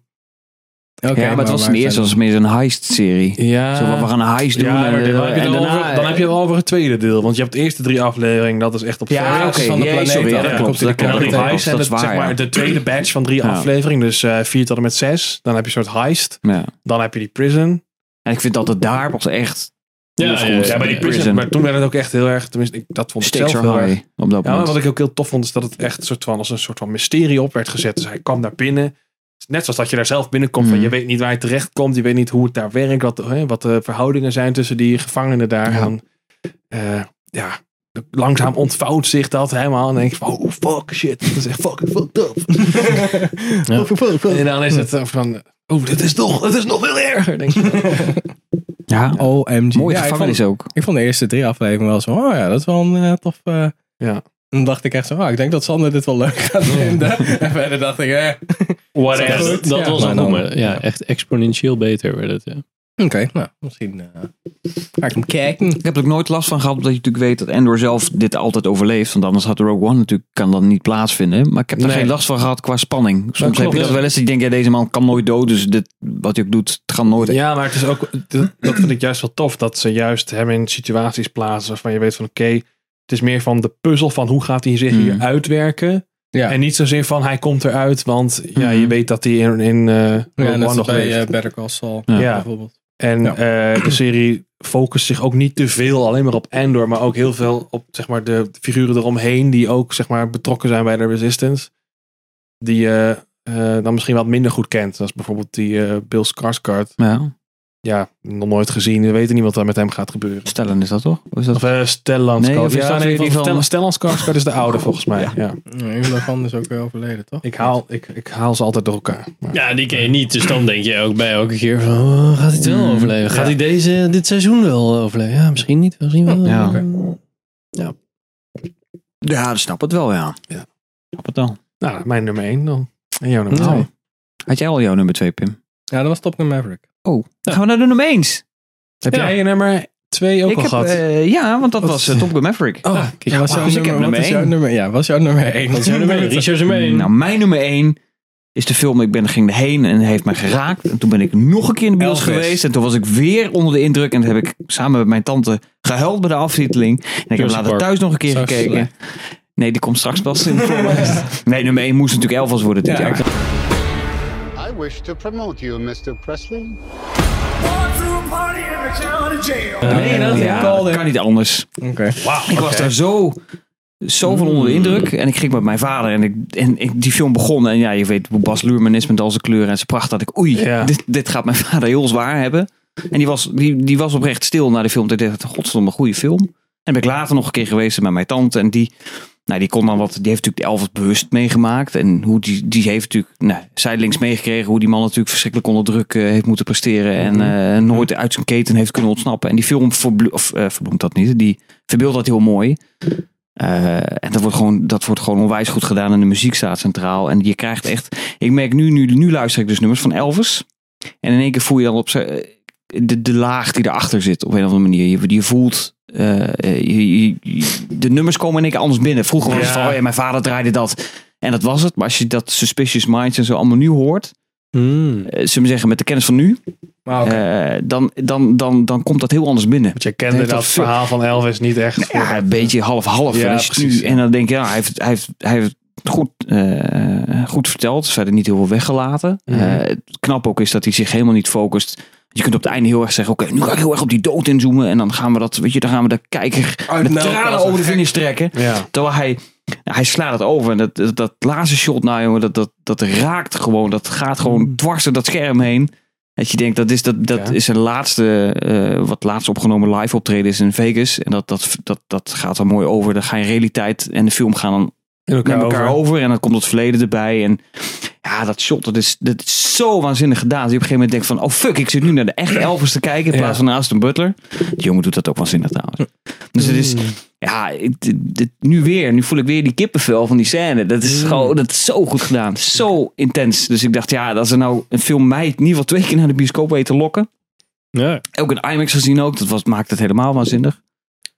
Oké,
ja, maar het was
waar
in de
zijn
eerste, was
we?
het meer zo'n heist serie.
Ja.
Zo van, we gaan een heist doen.
Ah. Ja,
en,
maar dan,
eh,
heb je
en
het al
daarna-
over, dan heb je het al over het tweede deel. Want je hebt de eerste drie afleveringen, dat is echt op
Ja,
vrijdag.
oké.
van de
ja,
planeet
sorry, ja,
af,
dat
dan
klopt.
komt hij
Dat
de
En
klopt.
kant
dan die
op.
dat
heist, en
klopt,
dat,
dat is
zeg
waar,
maar
ja.
de tweede batch van drie
Ja.
afleveringen. Dus eh, vier tot en met zes. Dan heb je een soort heist.
Ja.
Dan heb je die prison.
En ik vind dat het daar pas echt
Ja, ja, ja,
bij die prison.
Maar toen werd het ook echt heel erg, tenminste, ik, dat vond ik
stakes
zelf heel
are
erg.
high op dat
Ja, maar
moment.
wat ik ook heel tof vond, is dat het echt soort van als een soort van mysterie op werd gezet. Dus hij kwam daar binnen. Net zoals dat je daar zelf binnenkomt. Van,
Mm.
je weet niet waar je terecht komt. Je weet niet hoe het daar werkt. Wat, hè, wat de verhoudingen zijn tussen die gevangenen daar.
Ja.
En, eh, ja, langzaam ontvouwt zich dat helemaal. En dan denk je van, oh fuck shit. Dat is echt fucking fucked up. Fuck, fuck, fuck. En dan is het eh, van, oh dit is nog, het is nog veel erger. Denk je.
ja,
OMG.
mooie
Ja, ik,
gevangenis
vond,
ook.
ik vond de eerste drie afleveringen wel zo oh ja, dat is wel een eh, tof... eh.
Ja.
En dan dacht ik echt zo, ah, ik denk dat Sander dit wel leuk gaat vinden. En verder dacht ik, eh, oké,
Whatever.
Zo
Dat,
goed, ja.
was
Maar
een
dan-
bommer. Ja,
ja.
echt exponentieel beter werd het. Ja.
nou, misschien eh, ga ik hem kijken.
Ik heb er ook nooit last van gehad, omdat je natuurlijk weet dat Endor zelf dit altijd overleeft. Want anders had Rogue One natuurlijk, kan dat niet plaatsvinden. Maar ik heb er
Nee.
geen last van gehad qua spanning. Soms heb
klopt,
je dat
ja.
wel eens, dat je denkt, ja, deze man kan nooit dood. Dus dit, wat hij ook doet, het gaat nooit.
Ja, maar het is ook, dat dat vind ik juist wel tof, dat ze juist hem in situaties plaatsen waarvan je weet van oké, het is meer van de puzzel van hoe gaat hij zich
Mm.
hier uitwerken.
Mhm. Ja.
En niet zozeer van hij komt eruit, want ja,
Mhm.
je weet dat hij in, in eh, Rogue
Ja, net
One
als
nog
bij
leeft.
eh, Better Call Saul
Ja.
Ja.
bijvoorbeeld.
en
ja.
eh, de serie focust zich ook niet te veel alleen maar op Endor, maar ook heel veel op zeg maar, de figuren eromheen die ook zeg maar, betrokken zijn bij de Resistance. Die je eh, dan misschien wat minder goed kent. Dat is bijvoorbeeld die eh, Bill Skarsgård.
Ja.
ja, nog nooit gezien. We weten niet wat er met hem gaat gebeuren.
Stellen is dat toch? Of is dat...
Of eh, Stellan
Nee, of
Skarsgård.
is dat
Ja,
in
nee,
ieder
van
geval-
Stellan- Stellan Skarsgård is de oude volgens mij. Ja.
Een daarvan is ook weer overleden, toch?
Ik, haal, ik, ik haal ze altijd door elkaar. Maar-
Ja, die ken je niet. Dus dan denk je ook bij elke keer van, oh, gaat hij het
Mm,
wel overleven? Gaat hij deze, dit seizoen wel overleven? Ja, misschien niet. Misschien wel.
Ja.
Oké.
Ja, dat snap het wel, ja.
Ja.
Snap het dan.
Nou, mijn nummer 1 dan. En jouw nummer
Oh.
2.
Had jij al jouw nummer 2, Pim?
Ja, dat was Top Gun Maverick.
Oh, dan gaan we naar de nummer 1.
Heb jij je nummer 2 ook
ik
al
heb,
gehad?
eh, ja, want dat
Wat-
was eh, Top Gun Maverick.
oh,
Ja, was jouw
dus
nummer,
ik heb
wat
nummer
is jouw
één.
nummer? Ja, was jouw nummer 1?
Wat is jouw nummer één? Richard is nummer één.
Nou, mijn nummer 1 is de film. Ik ben, ging erheen en heeft mij geraakt. En toen ben ik nog een keer in de bios
Elvis.
geweest. En toen was ik weer onder de indruk. En toen heb ik samen met mijn tante gehuild bij de aftiteling. En ik heb
Jurassic
later
Park.
thuis nog een keer
Zo
gekeken.
slecht.
Nee, die komt straks pas in de film. Nee, nummer 1 moest natuurlijk Elvis worden dit
Ja.
jaar.
I wish to promote you, Mr. Presley.
eh, Nee, dat
Ja, dat kan niet anders.
Oké.
Ik was daar zo, zo van onder de indruk. En ik ging met mijn vader en, ik, en ik, die film begon. En ja, je weet hoe Bas Luhrmann is met al zijn kleuren en zijn pracht. Dat ik, oei,
Ja.
dit, dit gaat mijn vader heel zwaar hebben. En die was, die, die was oprecht stil na de film. Ik dacht, godverdomme, een goede film. En ben ik later nog een keer geweest met mijn tante. En die, nou, die kon dan wat, die heeft natuurlijk de Elvis bewust meegemaakt. En hoe die, die heeft natuurlijk nou, zijdelings meegekregen hoe die man natuurlijk verschrikkelijk onder druk eh, heeft moeten presteren. En eh, nooit uit zijn keten heeft kunnen ontsnappen. En die film verblo of, eh, verbloemt dat niet. Die verbeeldt dat heel mooi. Eh, en dat wordt, gewoon, dat wordt gewoon onwijs goed gedaan. En de muziek staat centraal. En je krijgt echt. Ik merk nu, nu, nu luister ik dus nummers van Elvis. En in één keer voel je dan op zijn- eh, de, de laag die erachter zit op een of andere manier. Je, je voelt. eh, eh, je- je- je- de nummers komen in één keer anders binnen. Vroeger was het
Ja.
van, oh ja, mijn vader draaide dat. En dat was het. Maar als je dat Suspicious Minds en zo allemaal nu hoort. eh, zullen we zeggen, met de kennis van nu.
Maar oké.
eh, dan, dan, dan, dan komt dat heel anders binnen.
Want je kende
Heeft
dat,
dat veel-
verhaal van Elvis niet echt.
Ja, een beetje half-half.
Ja,
En als je het nu-
precies.
en dan denk je, ja, hij heeft, hij heeft, hij heeft het goed, eh, goed verteld. Dus verder niet heel veel weggelaten.
Mhm.
Eh, het knap ook is dat hij zich helemaal niet focust. Je kunt op het einde heel erg zeggen, oké, nu ga ik heel erg op die dood inzoomen. En dan gaan we dat, weet je, dan gaan we de kijker de
Uitmelken als
tranen
een
over de
gek.
finish trekken.
Ja.
Terwijl hij, hij slaat het over. En dat, dat, dat laatste shot, nou jongen, dat, dat, dat raakt gewoon. Dat gaat gewoon dwars door dat scherm heen. Dat je denkt, dat is, dat, dat
Hmm. Ja.
is zijn laatste, eh, wat laatst opgenomen live optreden is in Vegas. En dat, dat, dat, dat gaat dan mooi over. Dan ga je realiteit en de film gaan dan
In
met
elkaar,
elkaar
over.
over. En dan komt het verleden erbij. En ja, dat shot, dat is, dat is zo waanzinnig gedaan. Dat je op een gegeven moment denkt van, oh fuck, ik zit nu naar de echte Elvis te kijken. In plaats van naar Aston Butler. Die jongen doet dat ook waanzinnig trouwens. Dus het
Hmm.
is, ja, ik- dit- dit- nu weer. Nu voel ik weer die kippenvel van die scène. Dat is gewoon, dat is zo goed gedaan. Zo intens. Dus ik dacht, ja, als er nou een film mij in ieder geval twee keer naar de bioscoop weet te lokken.
Ja.
Ook een IMAX gezien ook. Dat was, maakt het helemaal waanzinnig.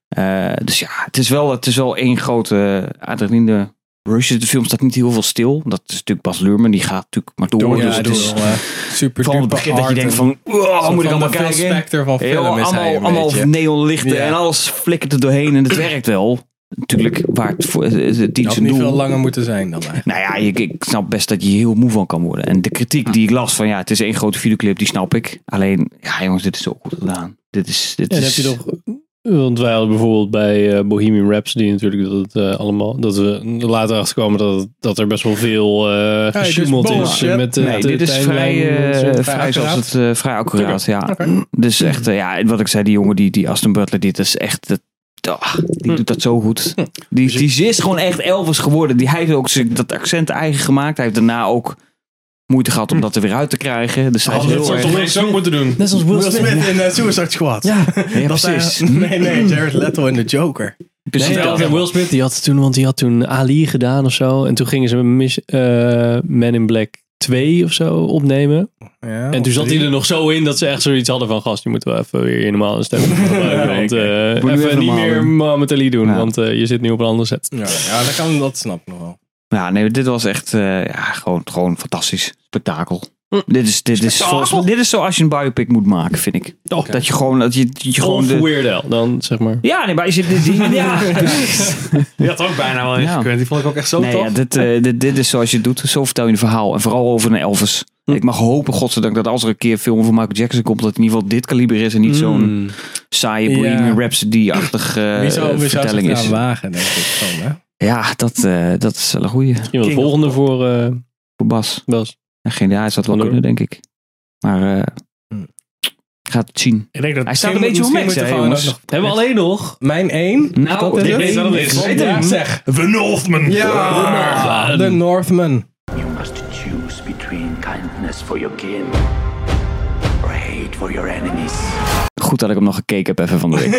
Eh, dus ja, het is wel, het is wel één grote adrenaline rush. De film staat niet heel veel stil. Dat is natuurlijk Bas Luhrmann. Die gaat natuurlijk maar door.
ja,
dus het is
wel, eh, super
vooral het
duper
begin dat je
hard
denkt
en
van, wow,
soort
moet ik
van
allemaal
de Phil
kijken?
Spector van
Heel,
film is hij
allemaal
een
allemaal
beetje.
neonlichten
Ja.
en alles flikkert er doorheen en het werkt wel. Natuurlijk, waar het voor het- het het dient
Dat had
zijn
Nou, niet
doel.
veel langer moeten zijn dan eigenlijk.
Nou ja, ik, ik snap best dat je hier heel moe van kan worden. En de kritiek die ik las van ja, het is één grote videoclip, die snap ik. Alleen, ja jongens, dit is zo goed gedaan. Dit is, dit
En heb
is...
je toch... Want wij hadden bijvoorbeeld bij eh, Bohemian Rhapsody natuurlijk dat het eh, allemaal... Dat we later achterkwamen dat, het- dat er best wel veel eh
dit is
gesjoemeld is.
bullshit.
eh, met, eh,
nee,
de
dit is vrij,
tijdlijn en zo.
eh,
Vrij
vrij, zoals
accuraat?
het, eh, vrij accuraat. Ja. Dus echt, eh, ja, en wat ik zei, die jongen, die, die Aston Butler, dit is echt, dat, ah, die doet dat zo goed. Die, die is gewoon echt Elvis geworden. Die, hij heeft ook zich dat accent eigen gemaakt. Hij heeft daarna ook moeite gehad om dat er weer uit te krijgen. Dus
Oh,
hij is
Hadden we
heel
dat
erg-
soort opeens ook moeten doen.
Net als Will
Will
Smith.
Smith in eh, Suicide Squad.
Ja,
Ja,
Dat hij-
precies.
nee, nee, Jared Leto in The Joker.
Precies
Nee,
dat.
oké, Will Smith die had toen, want die had toen Ali gedaan of zo. En toen gingen ze Miss, eh, Man in Black 2 of zo opnemen.
Ja,
Oh,
en toen zat hij er nog zo in dat ze echt zoiets hadden van... Gast, je moet wel even weer je normale stem gebruiken. want eh,
Moet nu
even,
even
niet
normaal
meer
doen.
Mohammed Ali doen,
Ja.
want eh, je zit nu op een andere set.
Mm,
ja, ja dat, kan, dat snap ik nog wel.
Ja, nee, dit was echt eh, ja, gewoon, gewoon fantastisch. Spektakel. Dit is, dit, is volgens, mij- dit is zoals je een biopic moet maken, vind ik.
Oké.
Dat je gewoon, dat je, dat je gewoon
Of
de,
Weird Al, dan zeg maar.
Ja, nee, maar is het dit die? Ja,
Die had ook bijna wel
Ja.
ingekund. Die vond ik ook echt zo
Nee,
tof.
ja, dit, eh, dit, dit is zoals je het doet. Zo vertel je een verhaal. En vooral over een Elvis. Ik mag hopen, godzijdank, dat als er een keer een film van Michael Jackson komt, dat het in ieder geval dit kaliber is en niet zo'n
Mm.
saaie
Hm. Ja.
Bohemian Rhapsody-achtig eh,
Wie zou, wie zou
vertelling
zich
is.
daar wagen, denk ik. Van, hè?
Ja, dat, eh, dat is wel een goeie
Misschien wel het volgende voor eh
voor Bas.
Bas.
En geen idee, hij zou het wel
Hallo.
kunnen, denk ik. Maar eh,
Hm.
ik gaat het zien.
Ik denk dat
Hij staat
misschien-
een beetje
misschien
omheks,
moeten we
hè,
gewoon
jongens?
ook
Hebben we alleen nog?
nog- eh. Mijn één.
Nou,
ik weet wat het is.
Ja,
Ik weet het.
zeg.
nog- The Northman.
Ja, de Northman.
You must choose between kindness for your kin or hate for your enemies.
Goed dat ik hem nog gekeken heb even van de week.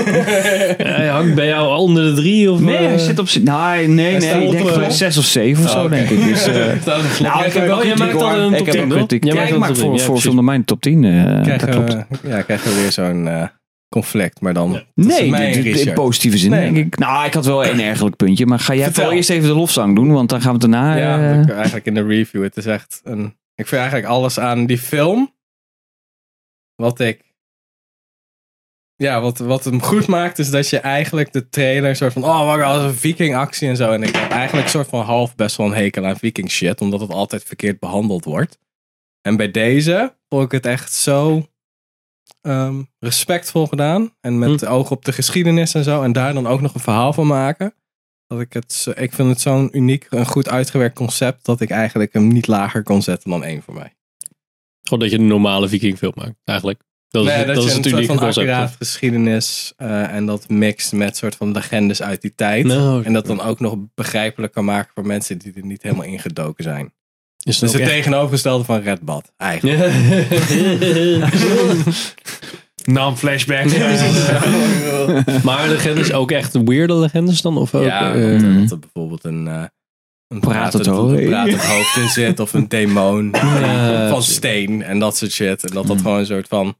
Hij hangt bij jou onder de drie of
Nee, hij
eh,
zit op z'n... Nee, nee,
staat
nee. Ik denk
op,
wel
eh,
zes of zeven of zo, denk ik. Dus, eh,
Dat is een
nou, ik heb wel
Jij
kritiek,
maakt al
hoor.
een top
Ik heb
10,
wel
toch?
kritiek.
Jij
Ja,
maakt
ik
al
maak
een top
voor,
10,
voor
ja,
zonder mijn top 10. eh dat
krijgen
klopt.
we- ja, krijgen we weer zo'n eh, conflict. Maar dan tussen
Nee,
mij en
dit- dit- in
Richard.
positieve zin
Nee.
denk ik. Nou, ik had wel één ergerlijk puntje. Maar ga jij
Vertel.
vooral eerst even de lofzang doen, want dan gaan we het daarna...
Ja,
eh,
dat ik eigenlijk in de review. Het is echt een... Ik vind eigenlijk alles aan die film... Wat ik... Ja, wat, wat hem goed maakt is dat je eigenlijk de trailer een soort van... Oh, wat een viking actie en zo. En ik heb eigenlijk een soort van half best wel een hekel aan viking shit. Omdat het altijd verkeerd behandeld wordt. En bij deze vond ik het echt zo ehm, respectvol gedaan. En met de oog op de geschiedenis en zo. En daar dan ook nog een verhaal van maken. Dat ik, het, zo- ik vind het zo'n uniek en goed uitgewerkt concept dat ik eigenlijk hem niet lager kon zetten dan één voor mij.
Gewoon dat je een normale vikingfilm maakt, eigenlijk. Dat is,
Nee,
dat is het
een soort
unieke
van
concept.
accuraat geschiedenis eh, en dat mixt met soort van legendes uit die tijd.
Nou,
En dat dan ook nog begrijpelijk kan maken voor mensen die er niet helemaal ingedoken zijn.
is
Dus
het
het
ook echt-
tegenovergestelde van Red Bad, eigenlijk.
Nam flashback.
maar legendes ook echt weirde legendes dan? Of ook,
Ja,
eh,
dat,
eh,
dat er bijvoorbeeld een, eh een
Pratend
pratend-
hoofd.
een pratend hoofd in zit of een demon
Ja,
van
precies.
steen en dat soort shit. En dat dat
Mm.
gewoon een soort van...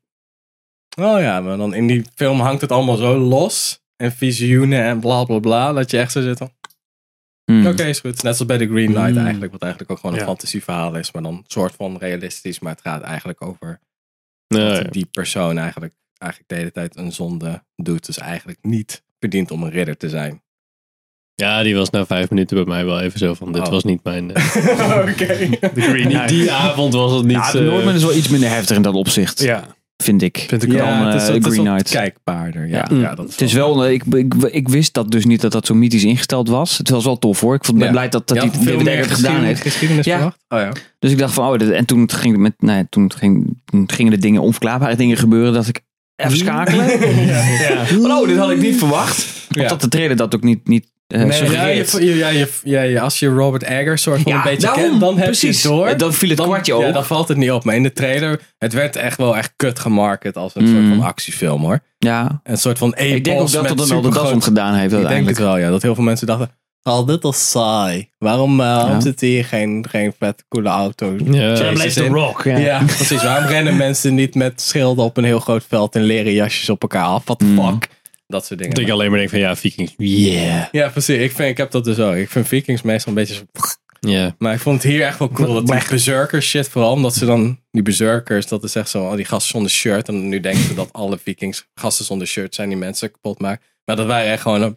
Oh ja, maar dan in die film hangt het allemaal zo los. En visioenen en bla bla bla. Dat je echt zo zit van...
hmm.
Oké, is goed. Net zoals bij The Green Knight
Mm.
eigenlijk. Wat eigenlijk ook gewoon een
Ja.
fantasieverhaal is. Maar dan een soort van realistisch. Maar het gaat eigenlijk over
nee.
dat die persoon eigenlijk, eigenlijk de hele tijd een zonde doet. Dus eigenlijk niet verdient om een ridder te zijn.
Ja, die was na vijf minuten bij mij wel even zo van, dit
Oh.
was niet mijn... eh,
Oké.
niet die avond was het niet...
Ja, de
eh,
Noordman is wel iets minder heftig in dat opzicht,
Ja.
vind ik.
Vind ik
Dan,
wel.
eh,
het is, wat- het is
Green
wat
Knight.
kijkbaarder. Ja,
Ja.
ja. dat
Het is wel, eh, ik, ik, ik wist dat dus niet dat dat zo mythisch ingesteld was. Het was wel tof hoor. Ik vond, ben
Ja.
blij dat, dat
Ja,
hij
veel
het
meer
het gedaan
geschiedenis-
heeft.
Geschiedenis
Ja.
verwacht. Oh ja.
Dus ik dacht van, oh, dit- en toen, het ging met, nou ja, toen, het ging, toen gingen de dingen, onverklaarbare dingen gebeuren, dat ik even schakelen. Van, oh, dit had ik niet verwacht.
Ja.
Omdat de trailer dat ook niet, niet eh
Nee, ja,
suggereert.
je, ja, je, ja, je- als je Robert Eggers soort van
Ja,
een beetje
daarom,
kent, dan heb
precies.
je het door.
Dan viel het
dan,
kwartje
Ja,
ook.
dan valt het niet op. Maar in de trailer, het werd echt wel echt kut gemarket als een soort
Mm.
van actiefilm hoor.
Ja.
Een soort van epos
Ik denk ook dat
met
dat dan wel de das
supergroot-
om gedaan heeft
Ik denk het
uiteindelijk.
wel, ja. Dat heel veel mensen dachten, al dit is saai. Waarom, eh, waarom zitten hier geen, geen vet coole auto's?
ja.
Jezus in?
Rock.
Ja. precies. Waarom rennen mensen niet met schilden op een heel groot veld en leren jasjes op elkaar af? What the
Mm.
fuck? Dat soort dingen.
Dat ik alleen maar denk van, ja, vikings. Yeah.
Ja, precies. Ik, vind, ik heb dat dus ook. Ik vind Vikings meestal een beetje zo...
Ja.
Maar ik vond het hier echt wel cool. Dat die berserkers shit, vooral omdat ze dan... Die berserkers, dat is echt zo... al die gasten zonder shirt. En nu denken ze dat alle Vikings gasten zonder shirt zijn die mensen kapot maken. Maar dat waren echt gewoon eh,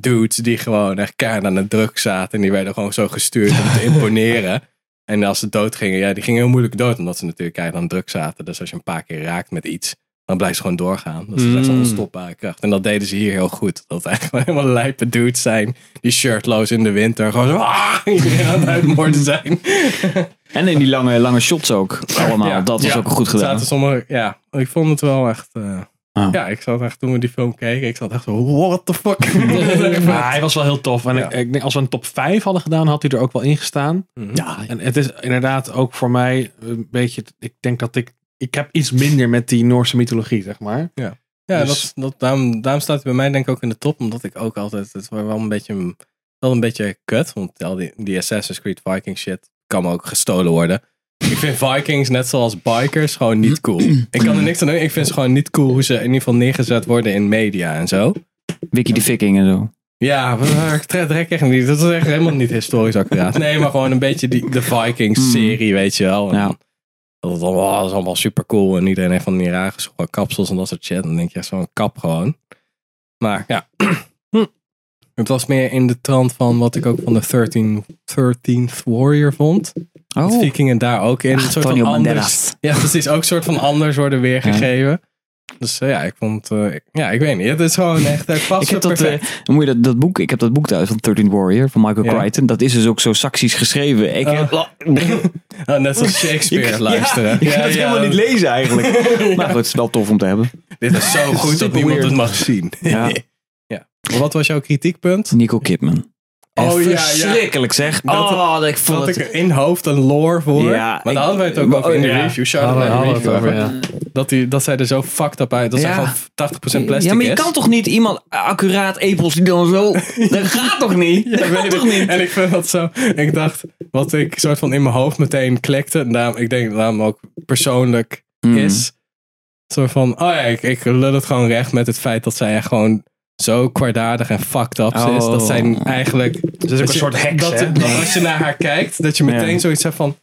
dudes die gewoon echt keihard aan de druk zaten. En die werden gewoon zo gestuurd om te imponeren. En als ze dood gingen, ja, die gingen heel moeilijk dood. Omdat ze natuurlijk keihard aan de druk zaten. Dus als je een paar keer raakt met iets... Dan blijft ze gewoon doorgaan. Dat is echt een
Mm.
onstopbare kracht. En dat deden ze hier heel goed. Dat het eigenlijk gewoon helemaal lijpe dudes zijn. Die shirtloos in de winter. Gewoon zo. "Ah!" iedereen aan het uitmoorden zijn.
En in die lange, lange shots ook. Allemaal.
Ja.
Ah, dat was
Ja.
ook goed gedaan.
Zaten sommige, ja, ik vond het wel echt. eh,
Ah.
Ja, ik zat echt toen we die film keken. Ik zat echt zo. What the fuck?
Maar hij was wel heel tof. En
Ja.
ik, ik denk, als we een top 5 hadden gedaan, had hij er ook wel in gestaan.
ja.
En het is inderdaad ook voor mij een beetje. Ik denk dat ik. Ik heb iets minder met die Noorse mythologie, zeg maar.
Ja,
Dus-
dat, dat, daarom, daarom staat hij bij mij denk ik ook in de top. Omdat ik ook altijd, het was wel een beetje, een- wel een beetje kut. Want al die, die Assassin's Creed Viking shit kan me ook gestolen worden. Ik vind Vikings, net zoals bikers, gewoon niet cool. Ik kan er niks aan doen. Ik vind ze gewoon niet cool hoe ze in ieder geval neergezet worden in media en zo.
Wiki de Viking en zo.
Ja, maar ik trek trek echt niet. Dat is echt helemaal niet historisch accuraat. Nee, maar gewoon een beetje die, de Vikings-serie, weet je wel. En
Mm. Ja.
Dat is allemaal, dat is allemaal super cool. En iedereen heeft van die rare schoenen, kapsels en dat soort shit. Dan denk je, echt zo'n kap gewoon. Maar ja. Hm. Het was meer in de trant van wat ik ook van de 13, 13th Warrior vond.
Oh,
Vikingen daar ook in. een soort
Antonio
van anders,
Banderas.
ja, precies. Ook een soort van anders worden weergegeven. Dus eh, ja, ik vond... eh, ik- ja, ik weet niet. Het is gewoon echt... Het past
Ik heb
zo
dat,
perfect.
eh, moet je dat, dat boek, ik heb dat boek thuis van 13 Warrior van Michael
Ja.
Crichton. Dat is dus ook zo saxisch geschreven. Ik,
Ah. Ah, net als Shakespeare
Ja,
luisteren.
je kan het helemaal niet lezen eigenlijk. Maar goed, het is wel tof om te hebben.
Dit is zo goed dat
Super
niemand
weird.
het mag zien.
Ja.
ja. Maar Wat was jouw kritiekpunt?
Nico Kidman.
Oh, ja, ja.
Verschrikkelijk zeg.
Dat-
oh, dat ik vond
Dat
het...
ik er in hoofd een lore voor.
Ja,
maar
ik-
daar
oh,
hadden wij het ook over in de
ja.
review. Shout out
Hadden-
naar de
hadden we
review.
het
Over,
over,
Dat, die, dat zij er zo fucked up uit. Dat zij
Ja.
gewoon 80% plastic
ja, maar je
is.
kan toch niet iemand accuraat epels die dan zo... dat gaat toch niet? Dat
Ik weet
gaat
het.
toch niet?
En ik vind dat zo. Ik dacht, wat ik soort van in mijn hoofd meteen klikte. En daarom, ik denk dat daarom ook persoonlijk
Mhm.
is. Soort van, oh ja, ik, ik lul het gewoon recht met het feit dat zij echt gewoon zo kwaadaardig en fucked up is.
Oh.
Dat zij eigenlijk...
is ook
dat
een
je-
soort heks,
dat,
hè?
dat als je naar haar kijkt, dat je meteen
Ja.
zoiets hebt van...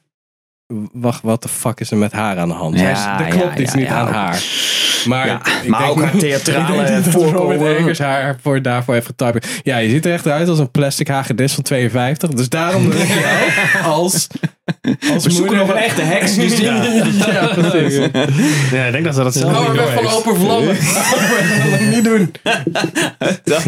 Wacht, wat de fuck is er met haar aan de hand?
Ja,
Zij is- er klopt
ja,
iets
ja,
niet
ja.
aan haar. Maar,
Ja,
ik
maar
denk
ook haar
niet-
theatrale
ik denk niet dat
voorkomen.
Robert Eggers haar voor, daarvoor heeft getypt. Ja, je ziet er echt uit als een plastic hagedis van 52. Dus daarom wil ik jou als, als moeder... nog een
echte heks, dus ja.
ja, precies.
Ja, ik denk dat ze dat zelf
Hou er
niet
weg
door
van
heeft.
open vlammen. Dat moet ik niet doen.
Dat-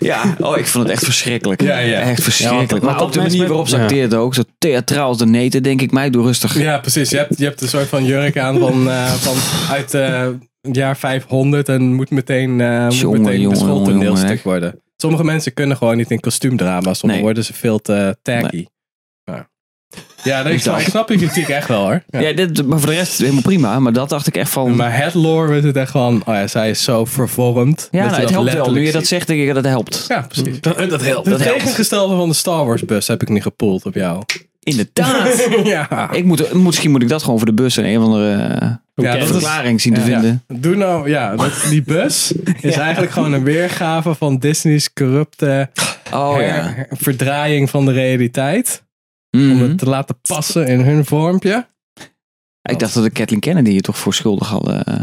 ja. oh, ik vond het echt verschrikkelijk.
Ja, ja.
Echt
Ja, want-
verschrikkelijk.
want
maar op de
mensen
manier
met-
waarop ze
Ja.
acteerde ook, zo theatraal als de neten, denk ik mij door rustig.
Ja, precies. Je hebt, je hebt een soort van jurk aan van, eh, van uit eh, het jaar 500 en moet meteen, eh moet
Jongen,
meteen
jongen,
beschot en
jongen, jongen,
deelstuk
hè.
worden. Sommige mensen kunnen gewoon niet in kostuumdrama. Soms
Nee.
worden ze veel te tacky. Maar- Ja, dat- ik, snap, ik snap je kritiek echt wel hoor. Ja.
Ja, dit, maar voor de rest helemaal prima. Maar dat dacht ik echt van...
Maar het lore is het echt gewoon, oh ja, zij is zo vervormd.
ja,
dat
nou,
je
het
dat
helpt wel. Nu
letterlijk
je dat
ziet.
zegt, denk ik dat het helpt.
Ja, precies.
Dat, dat helpt.
Het
Dat helpt.
tegengestelde van de Star Wars bus heb ik nu gepoeld op jou.
Inderdaad.
ja.
ik moet, misschien moet ik dat gewoon voor de bus en een van de
Ja, dat is-
verklaring zien te
Ja.
vinden.
Doe nou, ja, dat, die bus is eigenlijk gewoon een weergave van Disney's corrupte
Oh
her-
ja.
her- verdraaiing van de realiteit. Om
Mhm.
het te laten passen in hun vormpje.
Ik dacht dat de Kathleen Kennedy je toch voor schuldig hadden eh,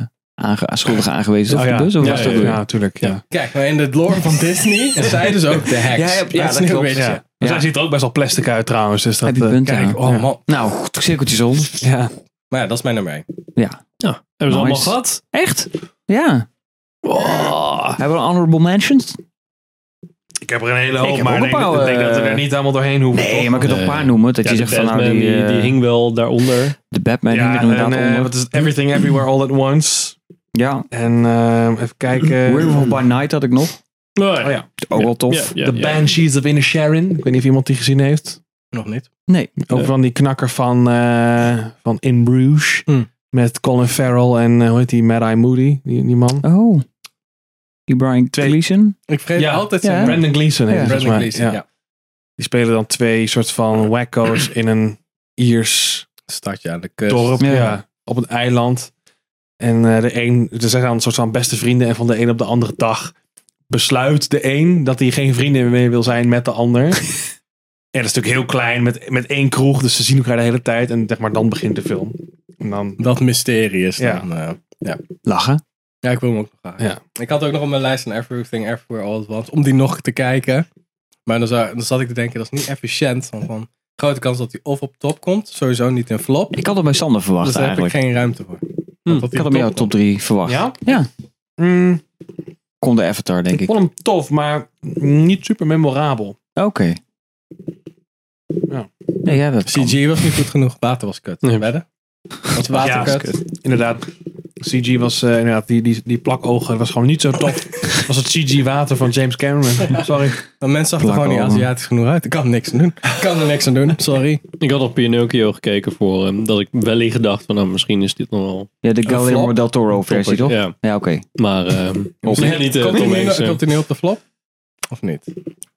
aange schuldig aangewezen
Oh,
of
ja.
de bus? Of
Ja,
was
ja,
dat
ja,
weer?
natuurlijk. Ja.
Kijk, maar in de lore van Disney is zij dus ook de heks.
Ja, ja, ja,
is
dat
een
klopt,
beetje-
ja.
Maar zij ziet er ook best wel plastic uit trouwens. Dus dat,
Heb je
eh,
punt,
kijk,
ja.
oh
Ja.
man.
Nou, cirkeltjes om.
Ja.
Maar ja, dat is mijn nummer één.
Hebben ze allemaal
Nice.
gehad?
Echt? Ja. Hebben we een honorable mentions?
Ik heb er een hele
Ik
hoop,
heb
maar
ook
ik
een
denk,
paar,
ik denk dat we
eh,
er niet allemaal doorheen hoeven.
Nee,
toch?
maar ik kan toch
Nee.
een paar noemen. Dat
Ja,
je
de
zegt van nou,
Batman,
die,
die, die,
eh,
hing wel daaronder.
de Batman
Ja,
hing er
en,
inderdaad
eh,
onder.
wat is het? Everything Everywhere All At Once.
Ja.
En ehm, even kijken.
Werewolf by Night had ik nog.
Oh ja,
Ook wel tof.
Ja,
The
ja.
Banshees of Inner Sharon. Ik weet niet of iemand die gezien heeft.
Nog niet.
Nee. Oh.
Ook van die knakker van, eh, van In Bruges.
Hmm.
Met Colin Farrell en eh, hoe heet die? Mad Eye Moody, die, die man.
Oh. Die Brian
Twee.
Gleason.
Ik vergeet
Ja,
altijd
ja,
zijn naam.
Brandon Gleeson heet
Ja.
hij volgens
Brandon
mij.
Gleeson,
Ja.
ja.
Die spelen dan twee soort van wacko's in een Iers
Stadje aan de kust.
dorp.
Ja.
Ja. op een eiland. En eh, de een, ze zijn dan een soort van beste vrienden. En van de een op de andere dag besluit de een dat hij geen vrienden meer wil zijn met de ander. en dat is natuurlijk heel klein, met, met één kroeg. Dus ze zien elkaar de hele tijd. En zeg maar, dan begint de film. En dan
Dat mysterie is
Ja.
dan. eh,
Lachen.
Ja, ik wil hem ook nog graag. Ik had ook nog op mijn lijst een Everything Everywhere All At Once. Om die nog te kijken. Maar dan, zou, dan zat ik te denken, dat is niet efficiënt. Want van grote kans dat hij of op top komt. Sowieso niet in flop.
Ik had het bij Sander verwacht
dus daar
eigenlijk.
heb ik geen ruimte voor.
Hm, ik had hem in jouw top 3 verwacht.
Ja?
Ja.
Mm,
Kon de Avatar, denk
ik
ik.
vond hem tof, maar niet super memorabel.
Oké.
Ja.
Nee, ja, dat kan.
CG was niet goed genoeg. Water was kut.
Nee.
Wedden? Was water
Ja,
kut?
Inderdaad, CG was eh, inderdaad, die, die, die plakogen was gewoon niet zo tof. als het CG water van James Cameron. Sorry.
Want mensen zag er
Plak
gewoon niet
allemaal.
Aziatisch genoeg uit. Ik kan niks aan doen. Ik kan er niks aan doen. Sorry.
Ik had op Pinocchio gekeken voor hem. Dat ik wellicht dacht van nou, misschien is dit nog wel...
Ja, de
Een
Guillermo
flop.
del Toro versie, toch?
Ja,
Ja, oké.
maar... ehm
Of-
nee, niet eh,
komt,
Tom
hij nu,
Hanks. eh.
komt hij nu op de flop? Of niet?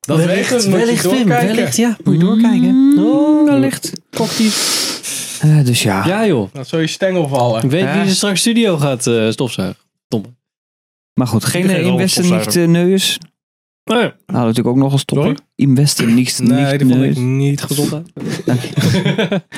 Dat weten we, moet je
wellicht, Wim,
doorkijken.
wellicht, ja. Moet je doorkijken. Oh, wellicht. Eh, dus ja.
Ja joh.
Dan Nou, zou je stengel vallen.
Ik weet
Ja.
wie ze straks studio gaat eh, stofzuigen. Tom.
Maar goed, geen
Geen
eh,
rol
Investen
of
niet
opzuiger.
uh, neus.
Oh
Nee.
Nou, natuurlijk ook nog als topper.
Sorry?
Investen niet
Nee, die vond ik
neus.
niet
Gezondheid.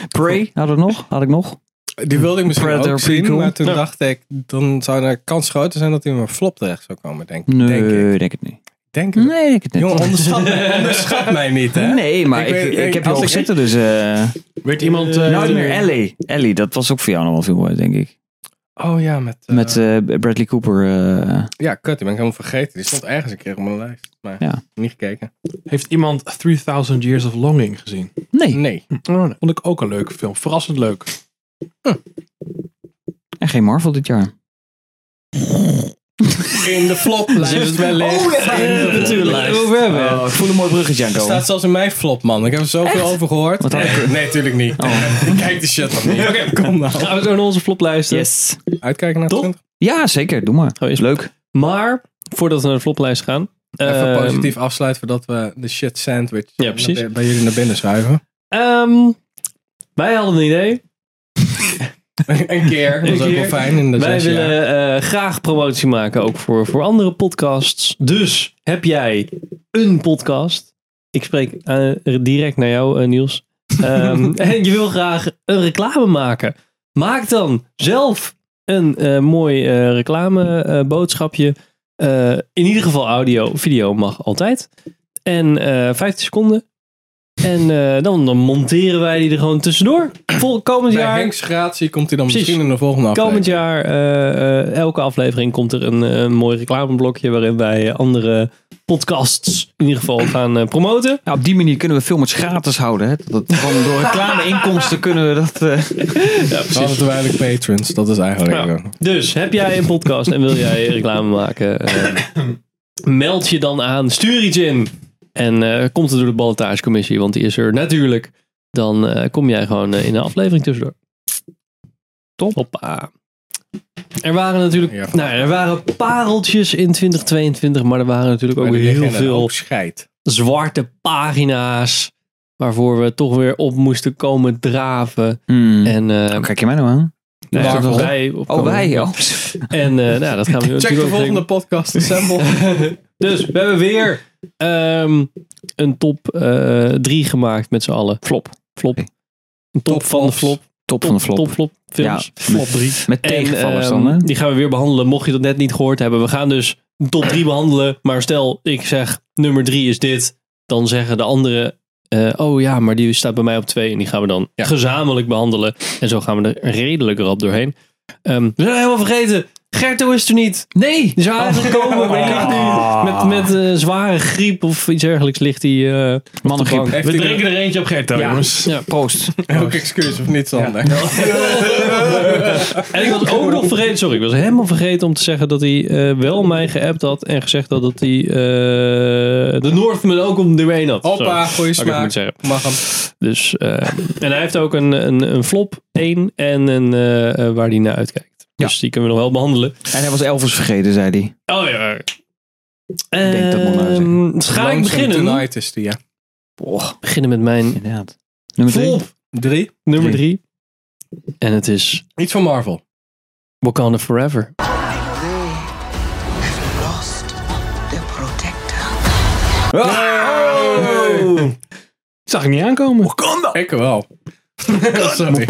Prey had ik nog. Had ik nog.
Die wilde ik misschien
Predator
ook zien,
prequel.
maar toen
Ja.
dacht ik, dan zou de kans groter zijn dat hij in een flop terecht zou komen, denk,
Nee,
denk ik.
denk, het niet.
Denk ik.
Nee, denk het niet.
Jongen, onderschat, mij- onderschat mij niet, hè?
Nee, maar
Ik
ik, ik,
weet- ik-
heb je
als
al
ik-
zitten, dus... eh
Werd iemand... eh,
nou, niet meer Ellie. Ellie, dat was ook voor jou nog wel veel, waard, denk ik.
Oh ja, met... eh,
Met eh, Bradley Cooper. eh,
Ja, kut, die ben ik helemaal vergeten. Die stond ergens een keer op mijn lijst, maar
Ja.
niet gekeken.
Heeft iemand 3000 Years of Longing gezien?
nee.
Nee.
Oh, nee. Vond ik ook een leuke film. Verrassend leuk.
En geen Marvel dit jaar.
In de
Oh,
floplijst wellicht.
natuurlijk.
ik voel een mooi bruggetje
Er
aankomen.
staat zelfs in mijn flop, man. Ik heb er zoveel over gehoord.
Wat had Oh. ik
Nee, natuurlijk niet. Ik kijk de shit van niet. Oké, kom nou.
Gaan we zo naar onze floplijsten.
Yes.
Uitkijken naar
Top.
20.
Ja, zeker. Doe maar.
Oh, is
Leuk.
Maar, voordat we naar de floplijst gaan.
Even
ehm,
positief afsluiten voordat we de shit sandwich
Ja, precies.
naar- bij jullie naar binnen schuiven.
ehm, wij hadden een idee.
een keer. Dat is
Een
ook wel
keer.
fijn in de
Wij
zes jaar.
willen eh, graag promotie maken, ook voor, voor andere podcasts. Dus heb jij een podcast? Ik spreek eh, direct naar jou, eh, Niels. Ehm, en je wil graag een reclame maken. Maak dan zelf een eh, mooi reclameboodschapje. Eh, in ieder geval audio, video mag altijd. En eh 15 seconden. En eh, dan, dan monteren wij die er gewoon tussendoor. Vol komend
Bij
jaar.
Henks gratie komt hij dan
Precies.
misschien in de volgende
Komend jaar,
aflevering.
eh, eh, elke aflevering komt er een, eh, een mooi reclameblokje waarin wij eh, andere podcasts in ieder geval gaan eh, promoten.
Nou, op die manier kunnen we filmers gratis houden. Hè? Dat, dat- gewoon door reclameinkomsten kunnen we dat... eh,
We hadden te weinig patrons. Dat is eigenlijk...
Ja.
eh,
Dus heb jij een podcast en wil jij reclame maken? eh, meld je dan aan, stuur iets in. En eh, komt het door de ballotagecommissie, want die is er natuurlijk. Dan eh, kom jij gewoon eh, in een aflevering tussendoor. Top. Hoppa. Er waren natuurlijk
Ja.
nou, er waren pareltjes in 2022, maar er waren natuurlijk ook
maar die
heel
liggen in een
veel
hoop scheid.
zwarte pagina's. Waarvoor we toch weer op moesten komen draven.
hmm.
En eh,
Kijk je mij nou aan?
nou ja,
Marvel.
wij op
Oh,
komen.
wij, joh.
En eh, nou, dat gaan we nu
Check
natuurlijk
de
ook
volgende podcast assemble.
Dus we hebben weer ehm, een top 3 gemaakt met z'n allen. Flop. Flop.
Oké.
Een top,
Top
van de
flops.
flop.
Top van de flop.
Top flop films.
Ja.
Flop 3.
Met tegenvallers dan, hè?
Die gaan we weer behandelen, mocht je dat net niet gehoord hebben. We gaan dus een top 3 behandelen. Maar stel, ik zeg nummer 3 is dit. Dan zeggen de anderen, eh, oh ja, maar die staat bij mij op 2. En die gaan we dan gezamenlijk behandelen. En zo gaan we er redelijk rap doorheen. Ehm, we zijn helemaal vergeten. Gerto is er niet. Nee. Die zou eigenlijk komen, maar die ligt nu met, met eh, zware griep of iets dergelijks ligt die. eh
Mannengriep.
Heeft
We
hij
drinken er eentje op Gerto, jongens.
ja.
Proost.
er ook excuus of niet, Sander?
En ik was ook nog vergeten, sorry, ik was helemaal vergeten om te zeggen dat hij eh, wel mij geappt had en gezegd had dat hij eh, de Northman ook om de been had.
Hoppa,
Sorry.
goeie
Had ik even moeten zeggen.
smaak. Mag hem.
Dus, eh, en hij heeft ook een, een, een flop 1 en een eh, eh, waar hij naar uitkijkt. Dus die kunnen we nog wel behandelen.
En hij was Elvis vergeten, zei hij.
Oh ja.
denk dat nog maar eens.
Ehm, dus ga ik
Lonesome
beginnen?
Tonight is die, ja.
Beginnen met mijn
Inderdaad. Nummer drie.
flop
Drie.
nummer 3. En het is
Iets van Marvel.
Wakanda Forever.
lost their protector.
Zag ik niet aankomen.
Oh!
Oh!
Ik wel. Sorry.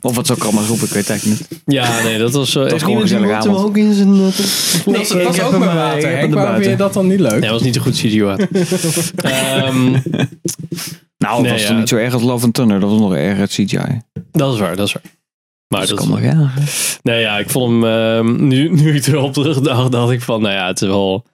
Of wat zou ik allemaal roepen, ik weet het eigenlijk niet.
Ja, nee, dat was zo. Dat
was gewoon een gezellige avond.
Hawkins en dat.
Dat is- dat is ook mijn water. Henk, waarom vind je dat dan niet leuk?
Nee, dat was niet zo goed CGI. Ehm
Nou, dat
Nee,
was
ja.
toch niet zo erg als Love and Thunder. Dat was nog erger, het CGI.
dat is waar, dat is waar. Maar
dat
dat
kan nog, Dus ja.
nee, ja, ik vond hem. ehm, nu, nu ik erop terugdacht, dacht ik van, nou ja, het is wel.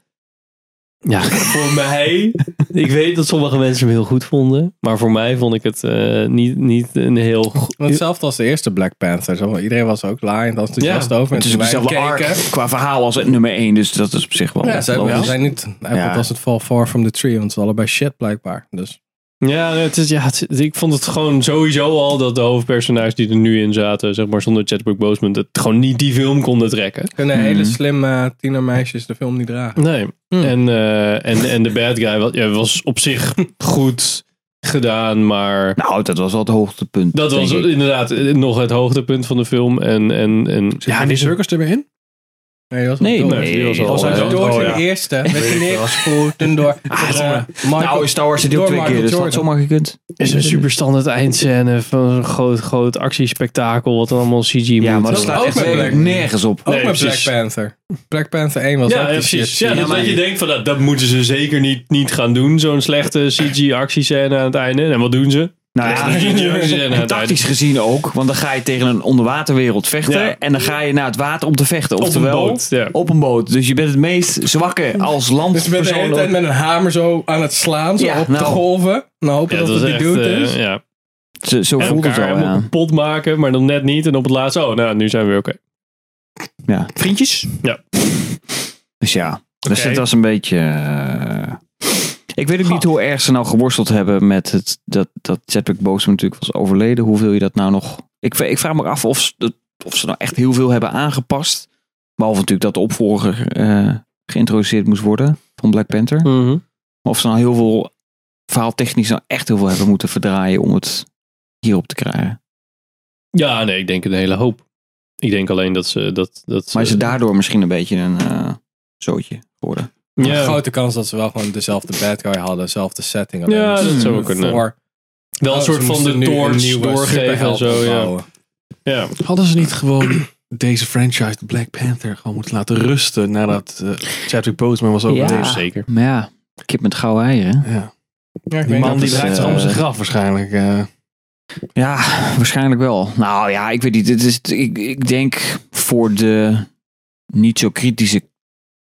Ja, voor mij. Ik weet dat sommige mensen hem heel goed vonden. Maar voor mij vond ik het eh, niet, niet een heel. go-
Want Hetzelfde als de eerste Black Panther. Zo, Iedereen was ook laaiend enthousiast
Ja.
over. En
Het is
toen
ook
wij
dezelfde arc
keken-
qua verhaal als het nummer 1, dus dat is op zich wel...
Ja, ze hebben-
wel-
ze zijn niet... Apple
Ja.
was het fall far from the tree, want ze waren allebei shit blijkbaar. Dus
Ja, het is, ja het- ik vond het gewoon sowieso al dat de hoofdpersonages die er nu in zaten, zeg maar zonder Chadwick Boseman, dat gewoon niet die film konden trekken.
kunnen
Hmm.
hele slimme tienermeisjes de film niet dragen.
Nee. En, eh, en, en de bad guy was, ja, was op zich goed gedaan, maar
Nou, dat was wel het hoogtepunt.
dat
denk
was
ik.
inderdaad eh, nog het hoogtepunt van de film. En, en, en
Ja, die circus er weer in?
Nee, dat was
Nee,
door.
nee,
die was
dat
al-
Dat
Oh,
was
ja.
ook door
Oh,
in de
ja.
eerste. Met die neergespoten door door, eh,
Nou, in
Michael.
Star Wars zit hij ook
door
twee
Michael
keer, dus dat
Jordan.
had zomaar gekund.
is een super standaard eindscène van een groot, groot actiespektakel, wat dan allemaal CG
Ja,
moet. eh.
maar dat
staat
staat
ook echt
echt
met werkelijk Black-
nergens op.
Ook
Nee,
met
precies.
Black Panther. Black Panther 1 was ook
Ja,
die
ja,
shit.
precies. Ja,
Ja,
dat, dat je denkt van nou, dat, dat moeten ze zeker niet, niet gaan doen. Zo'n slechte CG-actiescène aan het einde. En wat doen ze?
Nou ja, tactisch gezien ook. Want dan ga je tegen een onderwaterwereld vechten.
Ja.
En dan ga je naar het water om te vechten.
Op een
Oftewel,
boot, ja.
op een boot. Dus je bent het meest zwakke als
Dus je
landpersoon.
bent de hele tijd met een hamer zo aan het slaan, zo
Ja,
op
nou.
de golven. En dan hopen
Ja,
dat
dat
het
is
die
echt,
dude
eh,
is.
Ja.
Zo, zo
En
voelt het
elkaar
wel,
helemaal
ja.
kapot maken, maar dan net niet. En op het laatst, oh, nou, nu zijn we weer oké.
Ja. Vriendjes?
Ja.
Dus ja, dus
Oké.
het was een beetje... eh, ik weet ook niet hoe erg ze nou geworsteld hebben met het, dat, dat Chadwick Boseman natuurlijk was overleden. Hoeveel je dat nou nog... Ik, v- ik vraag me af of, ze dat- of ze nou echt heel veel hebben aangepast. Behalve natuurlijk dat de opvolger eh, geïntroduceerd moest worden van Black Panther.
Mhm.
Maar Of ze nou heel veel verhaaltechnisch nou echt heel veel hebben moeten verdraaien om het hierop te krijgen.
Ja, nee, ik denk een hele hoop. Ik denk alleen dat ze dat. dat
Maar is het daardoor misschien een beetje een eh, zootje geworden?
Maar
Ja.
Grote kans dat ze wel gewoon dezelfde bad guy hadden, dezelfde setting.
Ja,
Alleen
dat
dus
zou
eh,
kunnen.
voor-
Wel een
Oh,
soort
ze
van
moesten
de
nu een
torch
nieuwe
doorgeven en
superheld
zo, ja.
opbouwen.
ja.
Hadden ze niet gewoon deze franchise, de Black Panther, gewoon moeten laten rusten nadat eh, Chadwick Boseman was overleden?
Maar ja, kip met gouden eieren.
Ja.
Ja, ik
Die
weet
man
dat
die
is,
draait zich
eh,
om zijn graf waarschijnlijk.
Ja, waarschijnlijk wel. Nou ja, ik weet niet. Dit is, ik, ik denk voor de niet zo kritische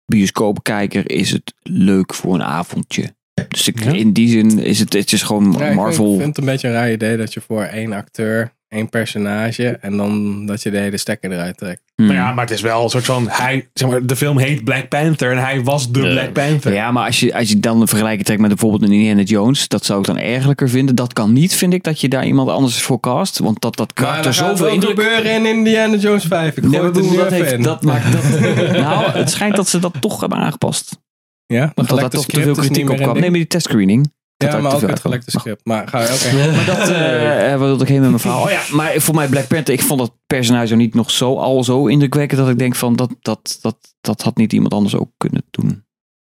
bioscoopkijker is het leuk voor een avondje. Dus ik, in die zin is het, het is gewoon
Ja, ik
Marvel.
vind- vind het een beetje een raar idee dat je voor één acteur, één personage en dan dat je de hele stekker eruit trekt.
Hmm.
Maar ja, maar het is wel een soort van. Hij, zeg maar, de film heet Black Panther en hij was de Black Panther.
Ja, maar als je, als je dan een vergelijking trekt met bijvoorbeeld een Indiana Jones, dat zou ik dan ergelijker vinden. Dat kan niet, vind ik, dat je daar iemand anders voor cast. Want dat, dat
Maar
karakter
er gaat
zoveel
wel
indruk...
gebeuren in Indiana Jones 5. Ik
Nee,
gooi
maar
het er
bedoel,
nu
dat
even
heeft-
in.
dat maakt Nou, het schijnt dat ze dat toch hebben aangepast.
Ja,
Want dat
gelekte
daar toch te
script
veel
is niet
kritiek
meer
op
een
kwam.
ding.
Nee, maar die testscreening. dat
ja,
daar
maar
te
ook
veel
het
uitkwam.
gelekte script. Maar ga je ook
Maar dat, eh eh, wat wilde ik heen met mijn verhaal? Oh ja, maar voor mij Black Panther, ik vond dat personage ook niet nog zo al zo indrukwekkend dat ik denk van dat, dat, dat, dat had niet iemand anders ook kunnen doen.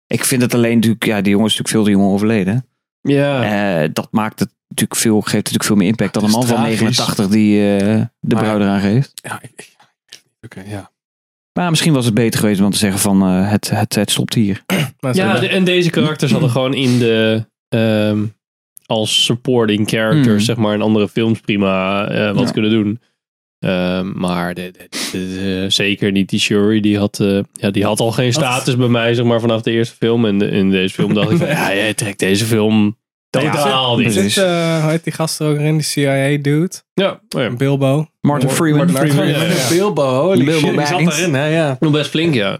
Ik vind het alleen natuurlijk, ja, die jongen is natuurlijk veel te jong overleden.
Ja.
Eh, dat maakt het natuurlijk veel, geeft natuurlijk veel meer impact dan een
Het
man
is
van
tragisch.
89 die eh, de
Maar-
bruid eraan geeft.
Ja, ik- ik- oké, ja.
Maar misschien was het beter geweest om te zeggen van eh, het, het, het stopt hier.
Ja, de- en deze karakters hadden gewoon in de. ehm, als supporting characters,
Mm.
zeg maar, in andere films prima eh, wat
Ja.
kunnen doen. Ehm, maar de, de- de- de- zeker niet die Shuri, die had, eh, ja, die had al geen status bij mij, zeg maar, vanaf de eerste film. En de- in deze film dacht ik van, ja, jij trekt deze film totaal
Er
niet.
zit, eh, hoe heet die gast er ook in? Die CIA-dude.
Ja, oh ja.
Bilbo.
Martin Freeman.
Martin Freeman.
Ja, ja.
Bilbo, holy
Bilbo
shit. Die zat
Baggins.
daarin, hè? Ja.
Nog best flink, ja.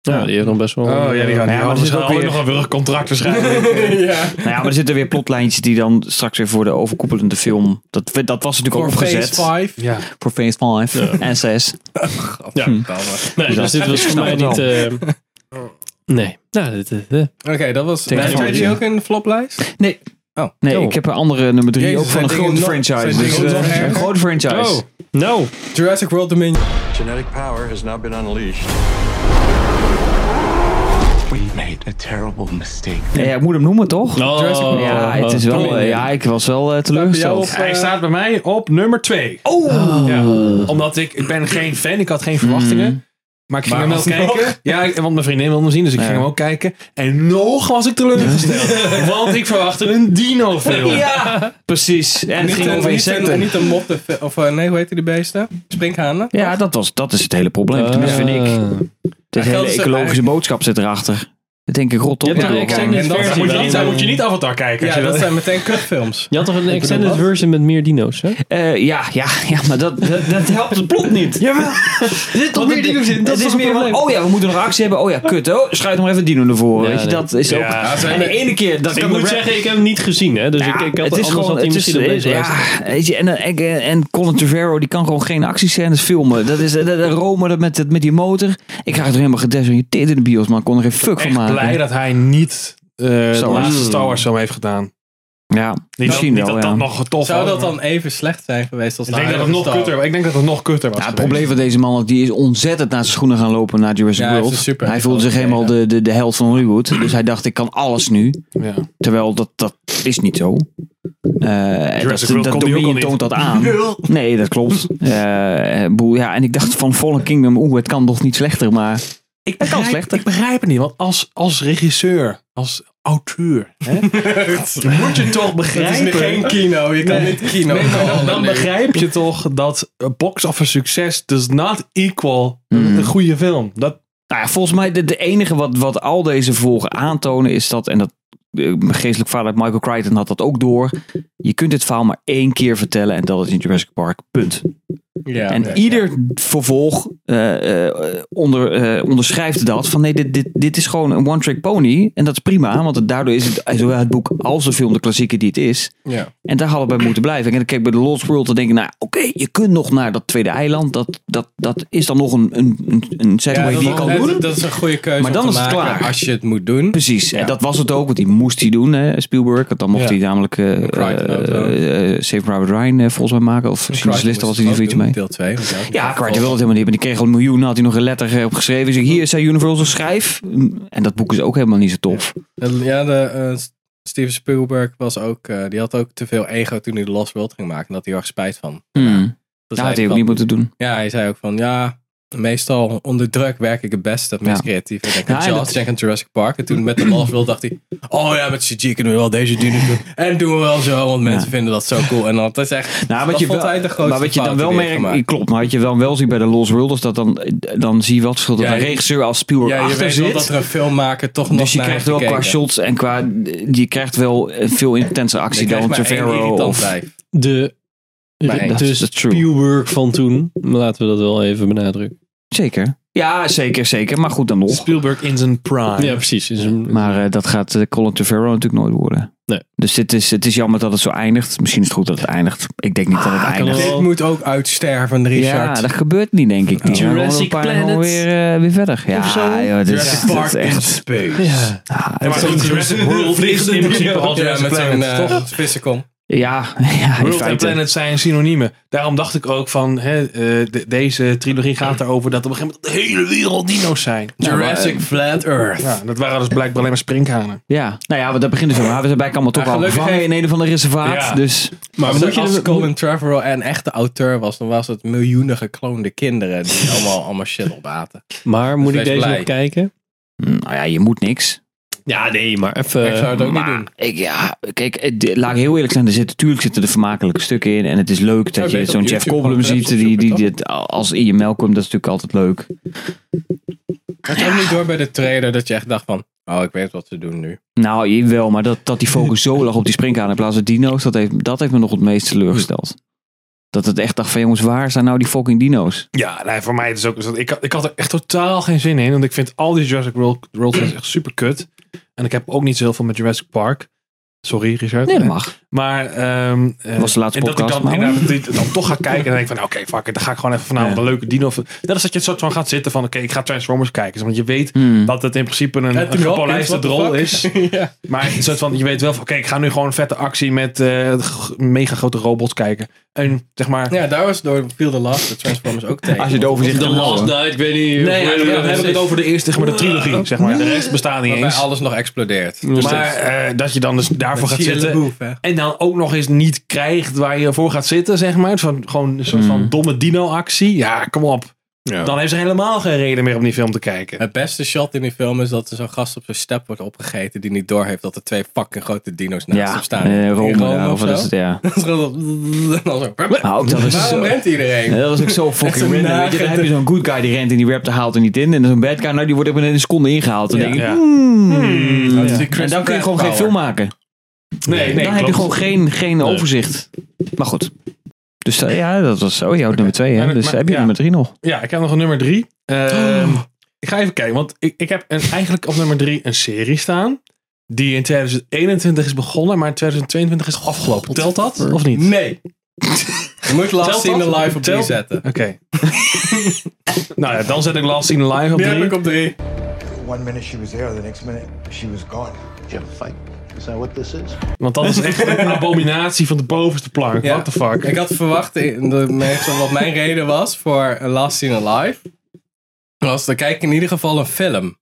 Ja, die heeft nog best wel...
Oh ja, die gaan
maar er
ja,
zit ook
ook
weer-
nog een willig contract waarschijnlijk.
ja.
Nou ja, maar er zitten weer plotlijntjes die dan straks weer voor de overkoepelende film. Dat, dat was natuurlijk
Voor
ook opgezet.
Phase 5.
ja.
Voor Phase 5 en 6.
Ja. Nee, dus dit was voor mij
Ik snap
niet...
het
eh, nee. Nou, dit, dit- dit-
Oké, dat was...
Tegen
Ben
Phase
je die ook in de floplijst?
Nee.
Oh.
Nee, ik heb een andere nummer 3
Jezus,
ook van
zijn
een
dingen
grote
nog-
franchise.
zijn
Dus,
dingen nog
eh,
erger?
een grote franchise.
Oh, no.
Jurassic World Dominion.
Genetic power has now been unleashed.
We made a terrible mistake.
Ja, ja, ik moet hem noemen toch?
Jurassic World.
ja, het is wel, eh, ja, ik was wel eh, teleurgesteld.
Hij staat bij mij op nummer 2.
Oh.
Ja. Omdat ik, ik ben geen fan, ik had geen
Hmm.
verwachtingen. Maar ik ging
Maar
hem wel
alsnog.
kijken. Ja, ik- want mijn vriendin wilde hem zien, dus ik ging hem ook kijken. En nog was ik teleurgesteld. want ik verwachtte een dino-film.
Ja, precies. En het
Niet
ging
een-
over
niet een-
insecten.
Niet een motte... Of eh, nee, hoe heette die beesten? Sprinkhanen?
Ja, dat, was, dat is het hele
Oh.
probleem. Tenminste, vind ik. De
dat
hele
is-
ecologische boodschap zit erachter. Dat denk ik rot op.
hebt
Ik
er
wil
ook
gewoon-
geen-
En dat
Versie
Moet je
waarin-
niet, dan moet je niet Avatar kijken. als
Ja,
je
dat
dat-
zijn meteen kutfilms.
Je had toch een extended
wat?
version met meer dino's, hè?
Eh, ja, ja, ja, maar dat, dat, dat helpt het plot niet.
Jawel.
Er zit toch
Want
meer
het-
dino's in?
het
Dat
is
is
meer
meer
van,
oh ja, we moeten nog actie hebben. Oh ja, kut. Oh, schuif nog even dino naar voren.
Ja,
weet je,
nee.
dat is
Ja,
ook...
ze
en
hebben-
de ene keer... Dat
ik
kan de
moet
rap-
zeggen, ik heb hem niet gezien, hè? Dus ik, ik had
het is gewoon...
had hij
Het is,
misschien op deze lijst.
ja, weet je, en, en, en Colin Trevorrow die kan gewoon geen actiescènes filmen. Dat is de, de Rome dat met, met die motor. Ik raak er helemaal gedesoriënteerd in de bios, maar ik kon er geen fuck van
echt
maken.
blij dat hij niet eh de
Wars.
laatste Star Wars film heeft gedaan. Niet
Ja,
dat-
misschien
niet
wel,
dat
ja.
dat nog tof
Zou
was,
dat
maar-
dan even slecht zijn geweest als
Ik
de
denk dat het
huidige
nog
Star
kutter, ik denk dat het nog kutter was.
Ja, het probleem van deze man is, die is ontzettend naar zijn schoenen gaan lopen naar Jurassic
Ja, hij is
World.
een
dus
super-
hij voelde zich helemaal de, de, de held van Hollywood. Dus hij dacht, ik kan alles nu.
Ja.
Terwijl dat, dat is niet zo. Eh dat,
Jurassic World
dat
kon die ook
Dominion
al niet.
toont dat aan. Nee, dat klopt. Eh, boel, ja, en ik dacht van Fallen Kingdom, oeh, het kan nog niet slechter, maar...
Ik
kan
begrijp,
slechter.
ik begrijp het niet, want als, als regisseur, als auteur. Hè? Moet je toch begrijpen.
Het is geen kino, je kan niet kino
Nee, maar dan,
callen
dan
nu.
begrijp je toch dat eh, box office succes does not equal een goede film. Dat,
Nou ja, volgens mij de, de enige wat, wat al deze volgen aantonen is dat, en dat eh, mijn geestelijk vader Michael Crichton had dat ook door. Je kunt dit verhaal maar één keer vertellen en dat is in Jurassic Park. Punt.
Ja,
en
nee,
ieder vervolg eh, eh, onder, eh, onderschrijft dat van nee, dit, dit, dit is gewoon een one-trick pony. En dat is prima, want het- daardoor is het zowel het boek als de film de klassieker die het is.
Ja.
En daar hadden we bij moeten blijven. En dan kijk bij The Lost World, dan denk ik, nou oké, je kunt nog naar dat tweede eiland. Dat, dat, dat is dan nog een, een, een, een
Ja,
segway
dat,
die je kan
dat-
doen.
dat is een goede keuze.
Maar
om
dan
te
is het
maken
klaar.
Als je het moet doen.
Precies, en dat was het ook, want die moest hij doen, hè, Spielberg. Want dan mocht
Ja.
hij namelijk eh,
Crichton ook,
eh, eh, Save Private Ryan eh, volgens mij maken. Of Schindler's List, daar was hij er zoiets mee.
Deel 2.
Ja, Crichton wilde het helemaal niet, maar die kreeg al een miljoen. Had hij nog een letter eh, op geschreven. Dus hier zei Universal, schrijf. Mm, En dat boek is ook helemaal niet zo tof.
Ja, de, eh, Steven Spielberg was ook, eh, die had ook te veel ego toen hij The Lost World ging maken. En dat had hij heel erg spijt van.
Hmm.
Dat hij
Ja, had hij ook
van-
niet moeten doen.
Ja, hij zei ook van ja, meestal onder druk werk ik het beste, het meest
Ja.
creatief. Ik denk
Ja,
aan
en
Jaws,
dat-
denk aan Jurassic Park. En toen met de Lost World dacht hij, oh ja, met CG kunnen we wel deze dingen doen. En doen we wel zo, want mensen vinden dat zo cool. En dat is echt,
Nou,
dat
wat je
vond
wel-
hij de grootste
maar wat je dan
fout
wel
die hij heeft
merkt,
gemaakt.
klopt, maar wat je dan wel ziet bij de Lost World, is dat dan, dan zie je wel het verschil dat
Ja,
een
je-
regisseur als Spielberg
Ja, je
achter
weet
zit.
wel dat er een filmmaker toch nog
dus je
naar
krijgt wel
heeft
qua
gekeken.
shots en qua. Je krijgt wel eh, veel intense actie
Je
dan
krijgt
een
maar één
Trevorrow
irritant
of.
wijf.
De,
Maar hey,
de,
dat
de
is- dat is true.
Spielberg van toen. Laten we dat wel even benadrukken.
Zeker. Ja, zeker, zeker. Maar goed dan nog.
Spielberg in zijn prime.
Ah, Ja, precies. Is een,
Maar eh, dat gaat eh, Colin Trevorrow natuurlijk nooit worden.
Nee.
Dus dit is, het is jammer dat het zo eindigt. Misschien is het goed dat het eindigt. Ik denk niet dat
Ah,
het eindigt.
Dit moet ook uitsterven,
Ja,
Richard.
dat gebeurt niet, denk ik. Die gaan
Jurassic
gewoon een paar
Planet.
gewoon weer, eh, weer verder. Ja,
zo.
joh, dit is,
Jurassic
dit
Park
is
in
echt.
space.
Ja.
Ah,
Ja, maar goed, Jurassic World is in principe al
Ja,
Jurassic
met zo'n
Planet,
eh,
toch?
vissenkom.
ja, ja, in
World en
feite.
Planet zijn synoniemen. Daarom dacht ik ook van, hè, eh, de- deze trilogie gaat erover dat op een gegeven moment de hele wereld dino's zijn. Nou,
Jurassic Flat Earth.
Ja, dat waren dus blijkbaar alleen maar sprinkhanen.
Ja, nou ja, want daar begint het over. Maar we zijn bij allemaal toch
Ja,
al
gelukkig
gevangen in een of ander reservaat.
Ja.
Dus
Maar
moet je
als
hem-
Colin Trevorrow en echte auteur was, dan was het miljoenen gekloonde kinderen die allemaal, allemaal shit opaten.
Maar moet
Dus
ik
wees
deze
blij.
nog kijken?
nou ja, je moet niks.
Ja, nee, maar
ik zou
even...
het ook
maar
niet doen.
Ik, ja, kijk, eh, dit- laat ik heel eerlijk zijn. Er zitten, natuurlijk zitten er vermakelijke stukken in. En het is leuk dat
Ja,
je
weet
zo'n
op
Jeff
YouTube
Goldblum
ook, hè,
ziet.
op
Die, die,
YouTube,
dit als Ian Malcolm, dat is natuurlijk altijd leuk.
Het kwam niet door bij de trailer dat je echt dacht van, oh, ik weet wat ze doen nu.
Nou, je- wel, maar dat, dat die focus zo lag op die springkaan in plaats van dino's, dat heeft, dat heeft me nog het meest teleurgesteld. Dat het echt dacht van jongens, waar zijn nou die fucking dino's?
Ja, nee, voor mij is het ook. dus dat ik, had- ik had er echt totaal geen zin in. Want ik vind al die Jurassic World, World films echt super kut. En ik heb ook niet zo heel veel met Jurassic Park. Sorry, Richard.
Nee, dat mag.
Maar. ehm, eh,
Was de laatste
en dat
podcast,
ik dan,
maar-
inderdaad die- dan toch ga kijken. En dan denk ik van, nou, oké, fuck it. Dan ga ik gewoon even vanavond
Ja.
een leuke dino. Dat is dat je het soort van gaat zitten van, oké, ik ga Transformers kijken. Want je weet
Hmm.
dat het in principe een,
Anthony
een gepolijste
Hopkins, what
drol
the
is. Maar het is een soort van, je weet wel van, oké, ik ga nu gewoon een vette actie met eh, g- mega grote robots kijken. En zeg maar.
Ja, daar was door viel de last, de Transformers ook tegen.
Als je het overzicht
The
kan
Last
houden.
Night, ik weet niet...
Nee, ja, dan heb ik het over de eerste, zeg maar, de trilogie, zeg maar. De rest bestaat niet
Waarbij
eens.
alles nog explodeert.
Maar eh, dat je dan dus daarvoor gaat
Shia
zitten.
LaBeouf, hè.
En dan ook nog eens niet krijgt waar je voor gaat zitten, zeg maar. Van, gewoon een soort van domme dino-actie. Ja, kom op. Dan heeft ze helemaal geen reden meer om die film te kijken.
Het beste shot in die film is dat er zo'n gast op zijn step wordt opgegeten die niet doorheeft dat er twee fucking grote dino's naast
Ja,
hem staan.
eh,
In
Rome, ja, of
of
wat
zo.
is het, ja.
Dat is gewoon- en dan zo-
Maar ook dat is
Waarom
zo- Eh.
rent iedereen?
Ja, dat was ook zo
Echt
fucking
een
random. Weet je, dan
nagete-
heb je zo'n good guy die rent en die raptor haalt er niet in. En zo'n bad guy, nou, die wordt ook binnen een seconde ingehaald. Dan
Ja.
denk ik,
Ja.
hmm.
Dat is die
En
Chris
dan kun je
Pratt
gewoon geen
power.
film maken.
Nee,
dan heb je gewoon geen, geen overzicht. Maar goed. Dus eh, ja, dat was zo. Je houdt nummer twee, hè?
Maar-
Dus
maar-
heb je
ja.
nummer drie nog?
Ja, ik heb nog een nummer drie. Ehm, Ik ga even kijken, want ik, ik heb een, eigenlijk op nummer drie een serie staan. Die in 2021 is begonnen, maar in 2022 is afgelopen. Telt dat of niet?
Nee. Je moet
Telt
Last in
dat?
the Live op
Telt-
3 zetten.
Oké. nou ja, dan zet ik Last Seen Alive op
Die
drie.
heb ik op 3.
One minute she was there, the next minute she was gone. Did you have a fight? Is that what this is?
Want dat is echt een abominatie van de bovenste plank.
Ja.
What the fuck?
Ik had verwacht in de meestal wat mijn reden was voor Last Seen Alive. Was dan kijk ik in ieder geval een film.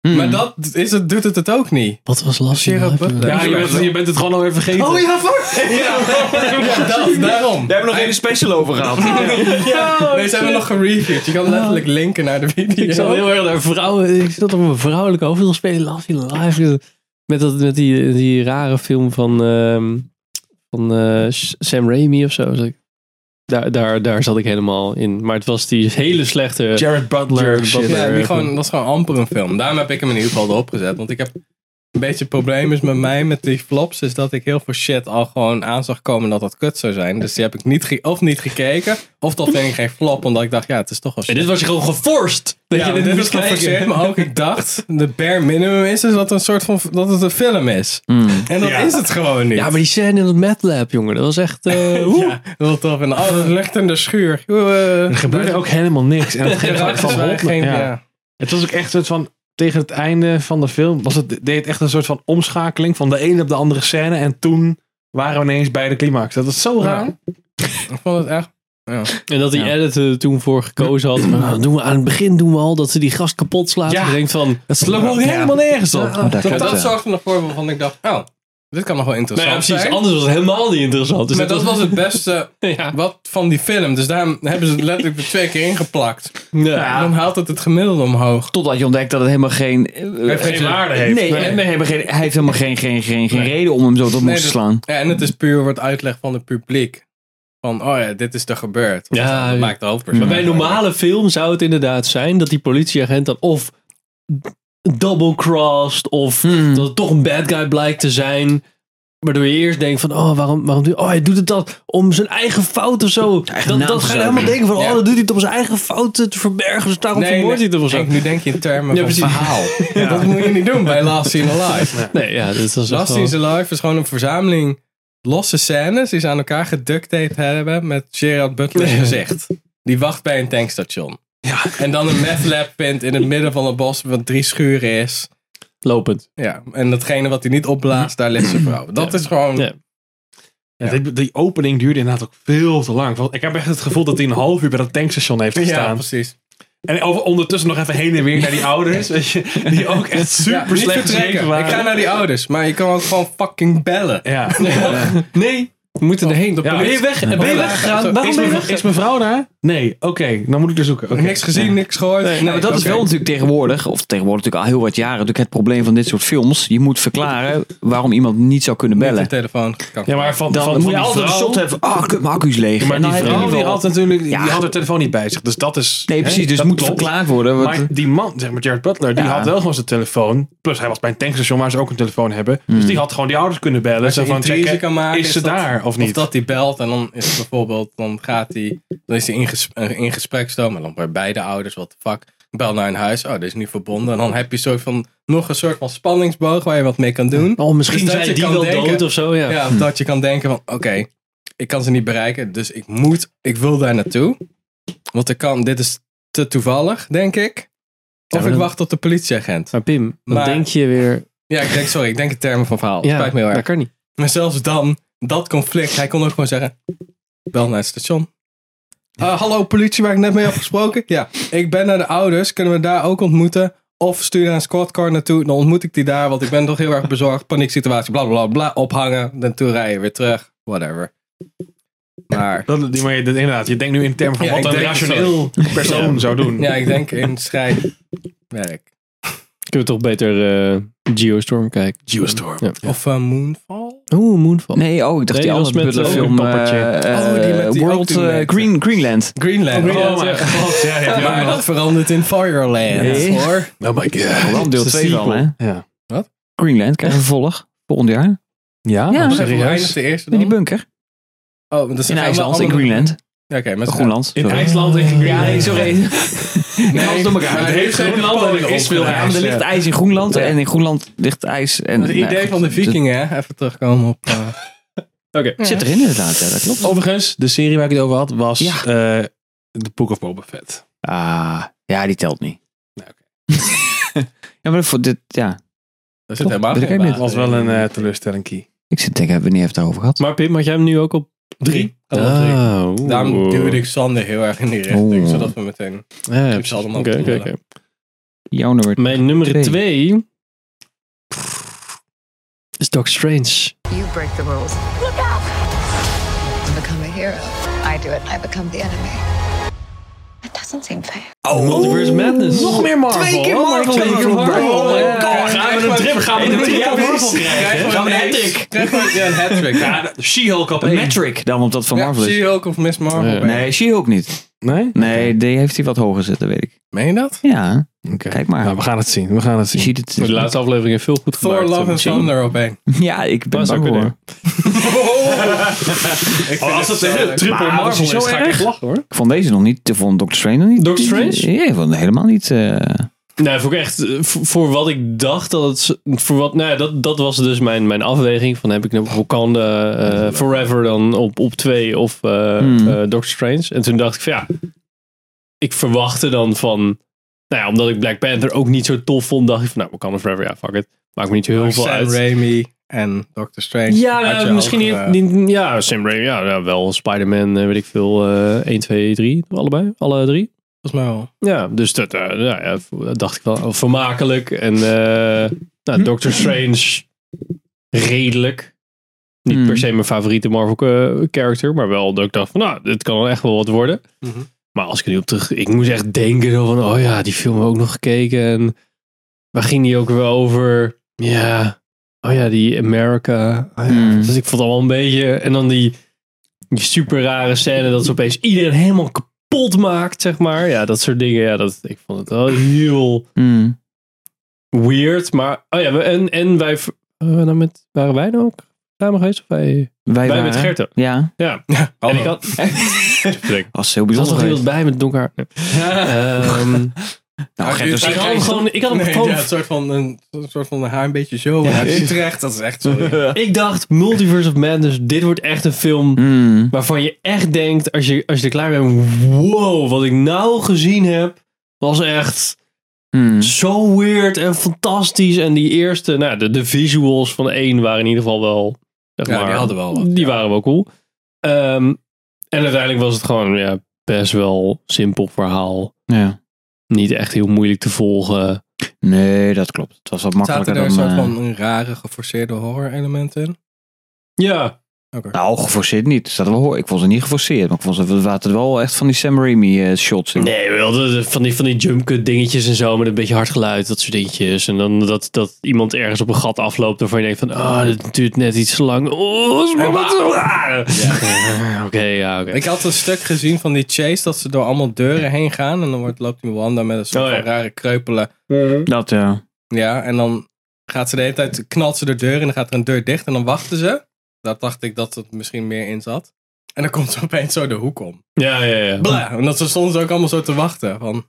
Hmm.
Maar dat is het, doet het het ook niet.
Wat was Last
Sheriff
Night?
Butler.
ja, je bent, je bent het gewoon alweer vergeten.
Oh ja, fuck! Ja, ja, dat, daarom.
hebben nog geen special over gehad.
Oh, Ja, Oh. nee, ze hebben nog gereviewd. Je kan letterlijk linken naar de video.
Ik zat heel erg naar vrouwen... Ik zat op een vrouwelijke hoofdrol spelen. Last in Life. Met, dat, met die, die rare film van, ehm, van eh, Sam Raimi of zo. Zat ik- Daar, daar, daar zat ik helemaal in. Maar het was die hele slechte...
Jared Butler
Jared
shit.
Butler
Ja, die
film.
gewoon, dat is gewoon amper een film. Daarom heb ik hem in ieder geval erop gezet. Want ik heb een beetje problemen met mij met die flops. Is dat ik heel veel shit al gewoon aan zag komen dat dat kut zou zijn. Dus die heb ik niet ge- of niet gekeken. Of dat vind ik geen flop. Omdat ik dacht, ja, het is toch wel shit.
En dit was je gewoon geforst. Dat
Ja,
je dit,
dit
moest
is geforceerd,
kijken.
maar ook ik dacht, de bare minimum is, is dat, een soort van, dat het een film is.
Hmm.
En dat
Ja.
is het gewoon niet.
Ja, maar die scène in het Mad Lab, jongen. Dat was echt... eh, woe.
Ja, dat was tof. En
Ah.
alles ligt in de schuur.
Er gebeurde ook helemaal niks. En het ging
Ja,
gewoon van
het waren
hop naar-
geen-
ja.
ja.
Het was ook echt een soort van. Tegen het einde van de film was het, deed het echt een soort van omschakeling van de ene op de andere scène. En toen waren we ineens bij de climax. Dat was zo raar.
Ik vond het echt... Ja.
En dat die editor toen voor gekozen had. van, nou, doen we aan het begin doen we al dat ze die gast kapot slaat.
Ja.
En je denkt van, dat slaat ook
Ja.
helemaal nergens op.
Oh,
Ja, dat dat zorgde er nog voor waarvan ik dacht, oh, dit kan nog wel interessant
Nou ja, precies.
zijn.
Anders was het helemaal niet interessant. Dus
maar
dat
dat
was-
was het beste wat van die film. Dus daarom hebben ze het letterlijk er twee keer ingeplakt. Ja, Dan haalt het het gemiddelde omhoog.
Totdat je ontdekt dat het helemaal geen... eh,
geen
eh,
waarde heeft.
Nee,
Nee.
en we hebben geen, hij heeft helemaal geen, geen, geen, geen reden om hem zo tot
Nee,
moest te
dat-
slaan.
Ja, en het is puur wat uitleg van het publiek. Van, oh ja, dit is er gebeurd. Want
Ja,
dat
ja.
maakt de
Maar
hoofdpersoon.
bij een normale film zou het inderdaad zijn dat die politieagent dan of double-crossed of
Hmm.
dat het toch een bad guy blijkt te zijn. Waardoor je eerst denkt van, oh, waarom, waarom doe, oh, hij doet het dat om zijn eigen fout of zo. dat
naam
dat
te
ga je
zuigen.
helemaal denken van,
Ja.
oh, dat doet hij het om zijn eigen fouten te verbergen. Dus daarom vermoordt hij het hem of zo.
Henk, nu denk je in termen
Ja,
van
precies.
verhaal. Dat moet je niet doen bij Last Seen Alive.
Nee, ja, dit was echt
Last
wel...
is Alive is gewoon een verzameling losse scènes die ze aan elkaar geductaped hebben met Gerard Butler's gezicht. Die wacht bij een tankstation. En dan een meth lab vindt in het midden van het bos wat drie schuren is.
Lopend.
Ja, en datgene wat hij niet opblaast, daar ligt zijn vrouw. Dat is gewoon...
Ja.
Ja, die- Die opening duurde inderdaad ook veel te lang. Want ik heb echt het gevoel dat hij een half uur bij dat tankstation heeft
Ja,
gestaan.
precies.
En over, ondertussen nog even heen en weer naar die ouders. weet je, die ook echt super
Ja, niet
slecht
vertrekken.
gezeten waren.
Ik ga naar die ouders, maar je kan ook gewoon fucking bellen.
Ja.
Nee, we moeten erheen.
Ja.
Ben je weg? Ben je weggegaan? Waarom
Is
ben je
mijn-
weg?
Is mijn vrouw daar? Nee, oké. dan moet ik er zoeken. Oké.
Niks gezien, niks gehoord.
Nee, Nou, maar dat is wel natuurlijk tegenwoordig, of tegenwoordig natuurlijk al heel wat jaren, natuurlijk het probleem van dit soort films. Je moet verklaren waarom iemand niet zou kunnen
De
bellen.
telefoon.
Ja, maar van,
Dan
van,
moet
van
je
die
altijd een
vrouw-
shot hebben. van, Ah, kut, mijn accu is leeg.
Ja, maar
En
die
dan heb je in
vrouw
ieder
die
geval-
had natuurlijk
Ja.
die had haar telefoon niet bij zich. Dus dat is...
Nee, precies, dus
dat
moet verklaard worden, want-
Maar die man, zeg maar Jared Butler, die
Ja.
had wel gewoon zijn telefoon. Plus hij was bij een tankstation waar ze ook een telefoon hebben. Dus
Hmm.
die had gewoon die ouders kunnen bellen.
Als
Zo
je
van,
intrige
checken,
kan maken,
is ze
dat-
daar of niet?
dat die belt en dan is het bijvoorbeeld, dan gaat die, dan is hij in, ges, eh, in gespreksstoom en dan bij beide ouders, wat de fuck. Bel naar een huis, oh, dit is niet verbonden. En dan heb je soort van, nog een soort van spanningsboog waar je wat mee kan doen.
Oh, misschien
Dus dat
zijn
je
die
kan
wel
denken-
dood of zo, ja.
Ja, of dat je kan denken van, oké, ik kan ze niet bereiken, dus ik moet, ik wil daar naartoe. Want ik kan, dit is te toevallig, denk ik.
Ja,
Of
maar
ik
dan-
wacht op de politieagent.
Maar Pim, dan
Maar-
denk je weer...
Ja, ik denk, sorry, ik denk in termen van verhaal.
Ja,
Spijt me heel erg.
dat kan niet.
Maar zelfs dan, dat conflict, hij kon ook gewoon zeggen: bel naar het station. Eh, hallo politie, waar ik net mee heb gesproken. Ja, ik ben naar de ouders. Kunnen we daar ook ontmoeten? Of stuur naar een squadcar naartoe. Dan ontmoet ik die daar, want ik ben toch heel erg bezorgd. Panieksituatie, bla bla bla. Ophangen, dan toe rijden, weer terug. Whatever. Maar.
Dat, die- maar je- dat- inderdaad, je denkt nu in termen van
Ja, ik
wat een
denk-
rationeel
sorry.
persoon
Ja.
zou doen.
Ja, ik denk in schrijfwerk.
Kunnen we toch beter eh, Geostorm kijken?
Geostorm.
Ja.
Of eh, Moonfall?
Oeh, Moonfall.
Nee, oh, ik dacht
Nee,
die
dat was
andere
met,
Butler
eh,
film.
ook een poppetje.
eh, eh,
Oh, die met die
World
auto
eh,
met-
Green, Greenland.
Greenland.
Oh my god, ja, ja, ja.
maar dat verandert in Fireland,
Nee.
hoor.
Oh my god.
Wel deel 2 wel, hè?
Ja.
Wat?
Greenland krijgt een vervolg volgend jaar.
Ja?
Ja.
Wacht even, hoe eindigt de eerste
In die
dan?
bunker.
Oh, dat is
In IJsland, in Greenland.
Ja, oké, maar
Groenland.
In
sorry.
IJsland en Greenland.
Ja, nee, sorry.
Nee,
Alles door elkaar.
maar
Het heeft Groenland en er is veel
Ja, maar er
ijs,
ligt
ja.
ijs in Groenland en in Groenland ligt ijs. En,
Het
nou,
idee
goed,
van de
dus-
vikingen, hè? Even terugkomen op... eh,
Oké.
Zit erin inderdaad, ja, dat
Oh.
klopt.
Overigens, de serie waar ik het over had was
Ja.
eh The Book of Boba Fett.
Ah, ja, die telt niet. ja, maar voor dit, ja.
Daar zit
Klopt,
helemaal
weet ik
geen
ook niet.
Dat was wel een eh, teleurstelling key.
Ik zit te denken, hebben we het niet even over gehad?
Maar Pim, had jij hem nu ook op drie? Ah,
Oh, op drie.
oeh.
Daarom duwde ik Sander heel erg in die richting,
Oeh.
zodat we meteen...
Ja,
Ik zal hem
oké,
ook
oké,
doen.
oké.
Jouw nummer
Mijn nummer
Twee.
twee is Doctor Strange.
You break the rules. Look out! I become a hero. I do it, I become the enemy. That doesn't seem fair.
Oh, Multiverse Madness.
Nog meer Marvel.
Twee keer Marvel.
Twee keer Marvel.
Oh my
Ja,
God.
Gaan we we een trip gaan we
Krijgen
een
we-
trip
ja,
op
precies.
Marvel krijgen.
Krijgen we
Gaan we een
ineens-
hat-trick.
krijgen we- ja, een hat-trick.
Ja, She-Hulk op
Een
één.
metric dan, want dat van
Ja,
Marvel is.
She-Hulk of Miss Marvel.
Eh,
ben je?
nee, She-Hulk niet.
Nee?
Nee, die heeft hij wat hoger zitten, weet ik.
Meen je dat?
Ja. Kijk maar.
Nou, we gaan het zien. We gaan het zien.
Je ziet het.
Maar de laatste aflevering heeft veel goed
Thor,
gemaakt.
Love and Thunder op één.
Ja, ik ben
Dat zou
bang
kunnen.
voor.
Oh,
het
als het
zo
een hele
leuk.
triple
Maar
Marvel
als
is,
je zo
ga ik echt lachen hoor.
Ik vond deze nog niet. Ik vond Doctor Strange nog niet.
Doctor Strange?
Ja, ik vond het helemaal niet. eh,
Nee, vond ik echt, eh, voor, voor wat ik dacht dat het, z- voor wat, nou ja, dat, dat was dus mijn, mijn afweging van heb ik nou Wakanda eh, Forever dan op, op twee of eh,
Hmm.
eh, Doctor Strange. En toen dacht ik van ja, ik verwachtte dan van, nou ja, omdat ik Black Panther ook niet zo tof vond, dacht ik van nou, Wakanda Forever, ja fuck it. Maakt me niet zo heel veel
Sam
uit.
Raimi en Doctor Strange.
Ja,
Had
nou,
je
misschien
ook,
niet,
eh,
niet- Ja, Sam Raimi. Ja, nou, wel Spider-Man, eh, weet ik veel. eh 1, 2, 3. Allebei. Alle drie.
Volgens mij wel.
Ja, dus dat, eh, nou ja, dat dacht ik wel. oh, Vermakelijk. En eh nou, Doctor Strange. Redelijk. Niet per se mijn favoriete Marvel-character. maar wel dat ik dacht van, nou, dit kan wel echt wel wat worden. Maar als ik er nu op terug... Ik moest echt denken zo van, oh ja, die film hebben we ook nog gekeken. En waar ging die ook weer over? Ja, oh ja, die America. Oh ja. Dus ik vond het allemaal een beetje... En dan die, die super rare scène dat ze opeens iedereen helemaal kapot maakt, zeg maar. Ja, dat soort dingen. Ja, dat, ik vond het wel heel
hmm.
weird. Maar, oh ja, we- en, en wij... v- waren we nou met, waren wij nou ook samen geweest? Of wij,
wij waren,
met Gert ook.
Ja.
Ja. en ik had... Vertrek.
Was heel
Er zat nog
bijzonder.
iemand
geweest.
bij met donker haar. Ehm,
Nou, Gert
dus
was-
ik had hem gewoon- ik had hem
nee,
gewoon-
ja, een soort van een, een soort van haar een beetje zo.
Ja.
Ja, Utrecht, dat is echt zo.
ik dacht, Multiverse of Madness, dit wordt echt een film
Hmm,
waarvan je echt denkt, als je, als je er klaar mee bent, wow, wat ik nou gezien heb, was echt
hmm.
Hm.
zo weird en fantastisch. En die eerste, nou, de, de visuals van één waren in ieder geval wel, zeg
Ja, die
maar,
hadden wel wat,
die waren wel cool. Ehm, en uiteindelijk was het gewoon, ja, best wel simpel verhaal.
Ja.
Niet echt heel moeilijk te volgen.
Nee, dat klopt. Het was wat makkelijker
Zaten er een
dan...
soort
eh,
van een rare geforceerde horror element in?
Ja,
Nou, geforceerd niet. Er Zat wel, hoor. Ik vond ze niet geforceerd. Maar ik vond ze, er zaten wel echt van die Sam Raimi eh, shots in.
Nee, wel, de- de- van die, van die jumpcut dingetjes en zo, met een beetje hard geluid, dat soort dingetjes. En dan dat, dat iemand ergens op een gat afloopt waarvan je denkt van, ah, dit duurt net iets te lang. Oh, is maar wat zo- ah. Oké, ja, oké.
Ik had een stuk gezien van die chase dat ze door allemaal deuren heen gaan en dan wordt, loopt die Wanda met een
Oh,
soort van rare kreupelen.
Mhm.
Dat ja.
Ja, en dan gaat ze de hele tijd, knalt ze de deur en dan gaat er een deur dicht en dan wachten ze. Daar dacht ik dat het misschien meer in zat. En dan komt ze opeens zo de hoek om.
Ja, ja, ja.
Bla, omdat ze soms ook allemaal zo te wachten. Van,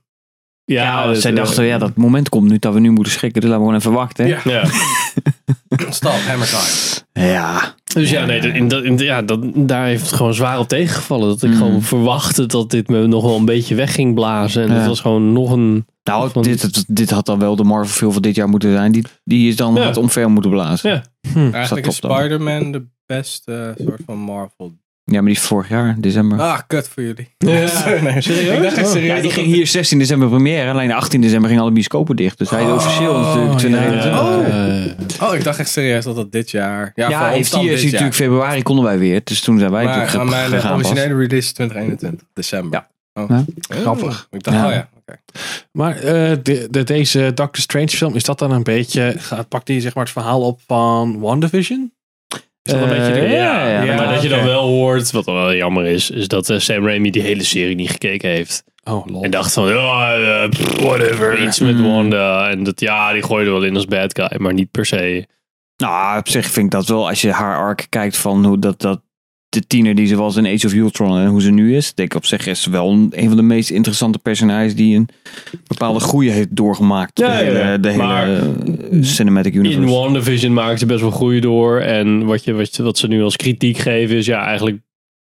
Ja,
want
dat-
zij
eh,
dachten, ja, dat moment komt nu dat we nu moeten schrikken. Dus laten we gewoon even wachten.
Ja.
Ja.
stop, hammer time.
Ja.
Dus ja, nee, in, dat- in, ja dat, daar heeft het gewoon zwaar op tegengevallen. Dat ik
Mm.
gewoon verwachtte dat dit me nog wel een beetje weg ging blazen. En
Ja.
dat was gewoon nog een...
Nou, dit, dit, dit had dan wel de Marvel film van dit jaar moeten zijn. Die, die is dan
Ja.
wat omver moeten blazen.
Ja.
Eigenlijk is
Dat klopt dan.
Spider-Man de beste eh, soort van Marvel.
Ja, maar die is vorig jaar, december.
Ah, kut voor jullie. nee, Ik dacht echt serieus. Oh.
Ja, die
dat
ging hier 16 december première. Alleen 18 december gingen alle bioscopen dicht. Dus hij is officieel natuurlijk
eh,
2021.
dat- Oh, ik dacht echt serieus dat dat dit jaar...
Ja,
voor ons
heeft
dan
hier is
dit jaar.
natuurlijk februari konden wij weer. Dus toen zijn wij
Maar,
natuurlijk
maar
ge-
mijn eh,
gegaan. pas.
originele release is 2021, december. Oh.
Ja.
Grappig. Ik dacht,
Ja.
oh ja.
Maar eh, de, de- deze Doctor Strange film, is dat dan een beetje... gaat- Pakt die zeg maar het verhaal op van WandaVision? Is dat een
Eh,
beetje... de-
ja, ja, maar dat je dan
oké.
wel hoort, wat dan wel jammer is, is dat eh, Sam Raimi die hele serie niet gekeken heeft.
Oh, lol.
En dacht van, oh, eh, pff, whatever, Mm. iets met Wanda. En dat, ja, die gooide wel in als bad guy, maar niet per se.
Nou, op zich vind ik dat wel. Als je haar arc kijkt van hoe dat, dat de tiener die ze was in Age of Ultron en hoe ze nu is. Denk ik op zich is ze wel een, een van de meest interessante personages die een bepaalde groei heeft doorgemaakt.
Ja,
de hele,
ja, ja.
De hele
Maar-
eh, cinematic universe.
In WandaVision maakt ze best wel groei door. En wat, je, wat, je- wat ze nu als kritiek geven is, ja, eigenlijk,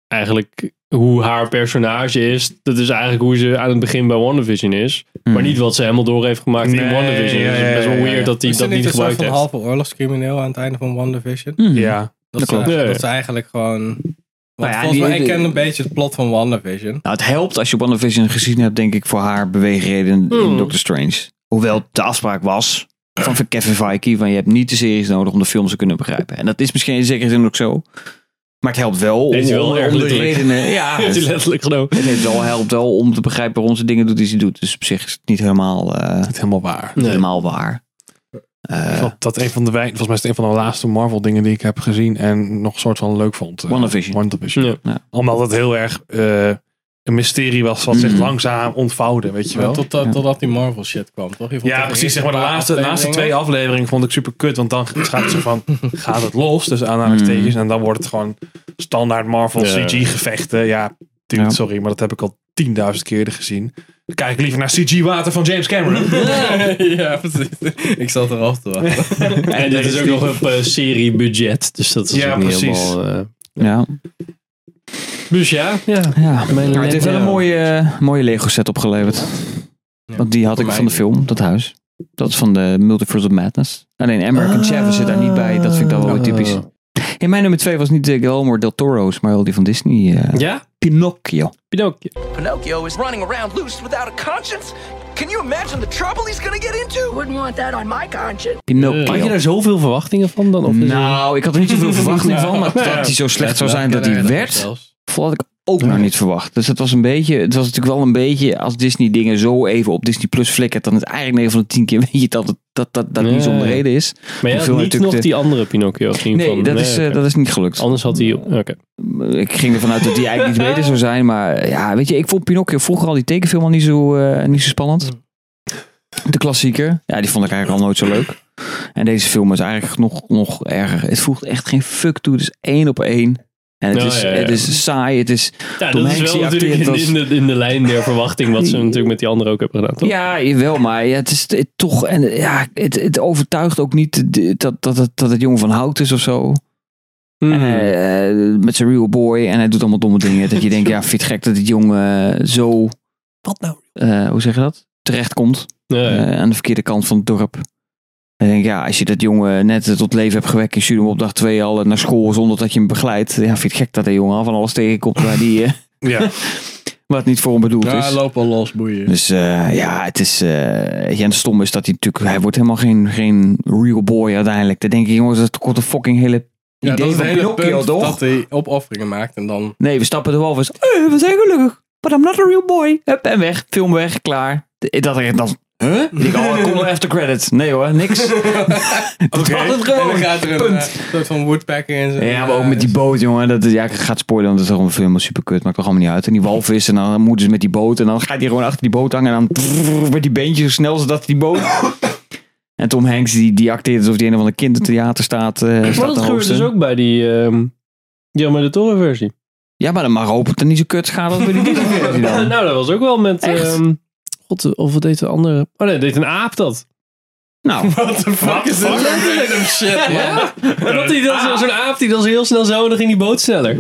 eigenlijk hoe haar personage is. Dat is eigenlijk hoe ze aan het begin bij WandaVision is.
Mm.
Maar niet wat ze helemaal door heeft gemaakt in WandaVision. Dus het is best wel weird dat hij
Is er
dat niet
een soort
gebruikt
van
heeft.
halve oorlogscrimineel aan het einde van WandaVision?
Ja.
Dat,
Dat
ze,
klopt.
Ja, ja.
dat ze eigenlijk gewoon... Want
Nou ja,
volgens
die-
mij, ik
die-
ken een beetje het plot van WandaVision.
Nou, het helpt als je WandaVision gezien hebt, denk ik, voor haar beweegreden in
Mm.
Doctor Strange. Hoewel de afspraak was van Kevin Feige, van je hebt niet de series nodig om de film te kunnen begrijpen. En dat is misschien in zekere zin ook zo. Maar het helpt wel om,
Deze is wel
om
erg
de
letterlijk.
redenen. Ja,
Heeft hij letterlijk genomen.
het heeft wel, helpt wel om te begrijpen waarom ze dingen doet die ze doet. Dus op zich is het niet helemaal, eh,
Helemaal waar.
helemaal waar. Eh,
Ik vond dat een van de wei- volgens mij is het een van de laatste Marvel dingen die ik heb gezien en nog een soort van leuk vond. Eh,
WandaVision.
WandaVision.
Ja.
Omdat het heel erg eh, een mysterie was wat zich
Mhm.
langzaam ontvouwde, weet je
Ja,
wel.
tot, tot- Totdat die Marvel shit kwam, toch? Je vond
Ja,
toch
precies.
eerst
Zeg maar de
een paar
laatste, de laatste twee
afleveringen?
afleveringen vond ik super kut. Want dan gaat het zo van, gaat het los? Dus aanhalingstekens. En dan wordt het gewoon standaard Marvel
Ja.
CG-gevechten. Ja, dude, sorry, maar dat heb ik al tienduizend keer gezien. Dan kijk ik liever naar CG-water van James Cameron.
ja, precies. Ik zat er af te wachten.
En dat is ook nog op eh, seriebudget. Dus dat is
Ja,
ook niet
precies.
helemaal... eh,
Ja.
dus ja, ja.
Ja,
Mijn
maar het heeft wel
Lego.
een mooie, mooie Lego set opgeleverd. Want die had ik van de film, dat huis. Dat is van de Multiverse of Madness. Alleen American en Chavez zit daar niet bij. Dat vind ik dan wel weer
Oh.
typisch. In mijn nummer twee was niet de Guillermo del Toro's, maar wel die van Disney. eh,
Ja?
Pinocchio.
Pinocchio.
Pinocchio is running around loose without a conscience? Can you imagine the trouble he's gonna get into? Wouldn't want that on my conscience.
Pinocchio.
Had je daar zoveel verwachtingen van dan? Of is het-
Nou, ik had er niet zoveel verwachting van, maar
Nou,
dat hij zo slecht zou zijn dat hij
Lekker
werd, had ik ook nog niet verwacht. Dus het was een beetje, het was natuurlijk wel een beetje, als Disney dingen zo even op Disney Plus flikkert, dan is eigenlijk 9 van de 10 keer weet je dat het, dat, dat, dat niet
Nee.
zonder reden is.
Maar jij had
Hoeveel
niet
natuurlijk
nog
de-
die andere Pinocchio gezien?
Nee,
van,
dat, is, eh,
oké.
dat is niet gelukt.
Anders had hij... Oké.
Ik ging ervan uit dat die eigenlijk niet beter zou zijn, maar eh, ja, weet je, ik vond Pinocchio vroeger al die tekenfilm al niet zo, eh, niet zo spannend.
Mm.
De klassieker, ja, die vond ik eigenlijk al nooit zo leuk. En deze film is eigenlijk nog, nog erger. Het voegt echt geen fuck toe, het is één op één. En het,
Ja,
is,
ja, ja.
het is saai, het is...
Ja,
Tom
dat is wel
Hanks die
natuurlijk in,
acteert als-
in de, in de lijn der verwachting wat ze natuurlijk met die andere ook hebben gedaan, toch?
Ja, jawel, maar ja, het is het, toch. En eh, ja, het, het overtuigt ook niet de- dat, dat, het, dat het jong van hout is of zo.
Hmm.
Eh, eh, met zijn real boy en hij doet allemaal domme dingen. Dat je denkt, ja, vind je het gek dat dit jong eh, zo. Wat nou? hoe zeg je dat? Terechtkomt. Eh, aan de verkeerde kant van het dorp. En ik denk, ja, als je dat jongen net tot leven hebt gewekt en stuurt hem op dag 2 al naar school zonder dat je hem begeleidt. Ja, vind je het gek dat de jongen al van alles tegenkomt waar die. eh,
Ja.
wat niet voor hem bedoeld
Ja,
is.
hij loopt al los, boeien.
Dus eh, ja, het is. eh ja, en stom is dat hij natuurlijk. Hij wordt helemaal geen, geen real boy uiteindelijk. Dan denk ik, jongens, dat komt een fucking hele
Ja, dat
idee
is het
van
hele
Pinocchio,
punt
toch?
dat hij opofferingen maakt en dan...
Nee, we stappen er wel van. eh, we zijn gelukkig. But I'm not a real boy. Hup, en weg. Film weg, klaar. D- Dat ik dan. Huh? Ik denk, oh, kom nog after credits. Nee hoor, niks.
Oh,
Dat
Oké,
was het
en
gewoon.
dan gaat er een
Punt.
eh, soort van woodpecker in zijn... eh,
Ja, maar ook met die boot, jongen. Dat, ja, ik ga het spoilen, want het is gewoon helemaal super kut. Maakt toch allemaal niet uit. En die walvis, en dan moeten ze met die boot. En dan gaat hij gewoon achter die boot hangen. En dan trrrr, met die beentjes zo snel zodat die boot... en Tom Hanks, die, die acteert alsof hij in een van de kindertheater staat. eh,
Maar
staat
dat
te
gebeurt
hosten.
dus ook bij die ehm Jammer de Toren versie.
Ja, maar dan mag hopen dat het niet zo kut gaat als bij die Disney-versie dan.
nou, dat was ook wel met...
Echt?
ehm, God, of wat deed de andere... Oh nee, deed een aap dat.
Nou.
What the fuck is dit? Random shit, man.
Ja. Maar dat die dan zo-
Ah.
zo'n aap die dan zo heel snel zo en dan ging die boot sneller.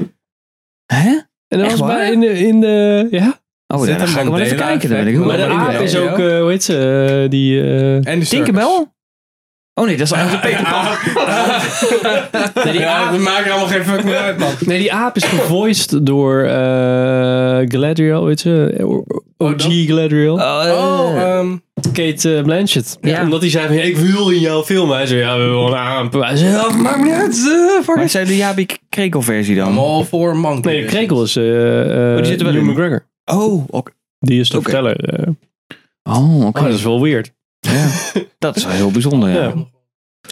Hè?
En dat
Echt
was
waar?
bij in de, in de ja.
Oh,
Zit
dan,
een
dan ga ik wel even
Mandela
kijken. Dan ben ik
effect
heel
Maar de
erg
aap
benieuwd.
is ook eh, hoe heet ze eh, die eh,
En de
Tinkerbell? Oh nee, dat is eigenlijk een
nee, die
Ja,
aap,
we maken allemaal geen fuck meer uit, man.
nee, die aap is gevoiced door eh Galadriel, weet je? eh, O- OG Galadriel.
Oh,
eh,
ehm,
Kate eh, Blanchett.
Ja.
Ah. Omdat hij zei van, ik wil in jouw film. Hij zei, ja, we willen een aap. Hij zei, ja, maakt me niet uit. eh, fuck
Maar
it.
zijn de Jabi Krekel-versie dan?
I'm all for monkey.
Nee, Krekel is eh eh
die zit er wel
Hugh
in.
McGregor.
Oh, oké.
Die is de
Oké.
verteller. eh.
Oh, oké.
Oh, dat is wel weird.
Dat is wel heel bijzonder, ja.
Ja.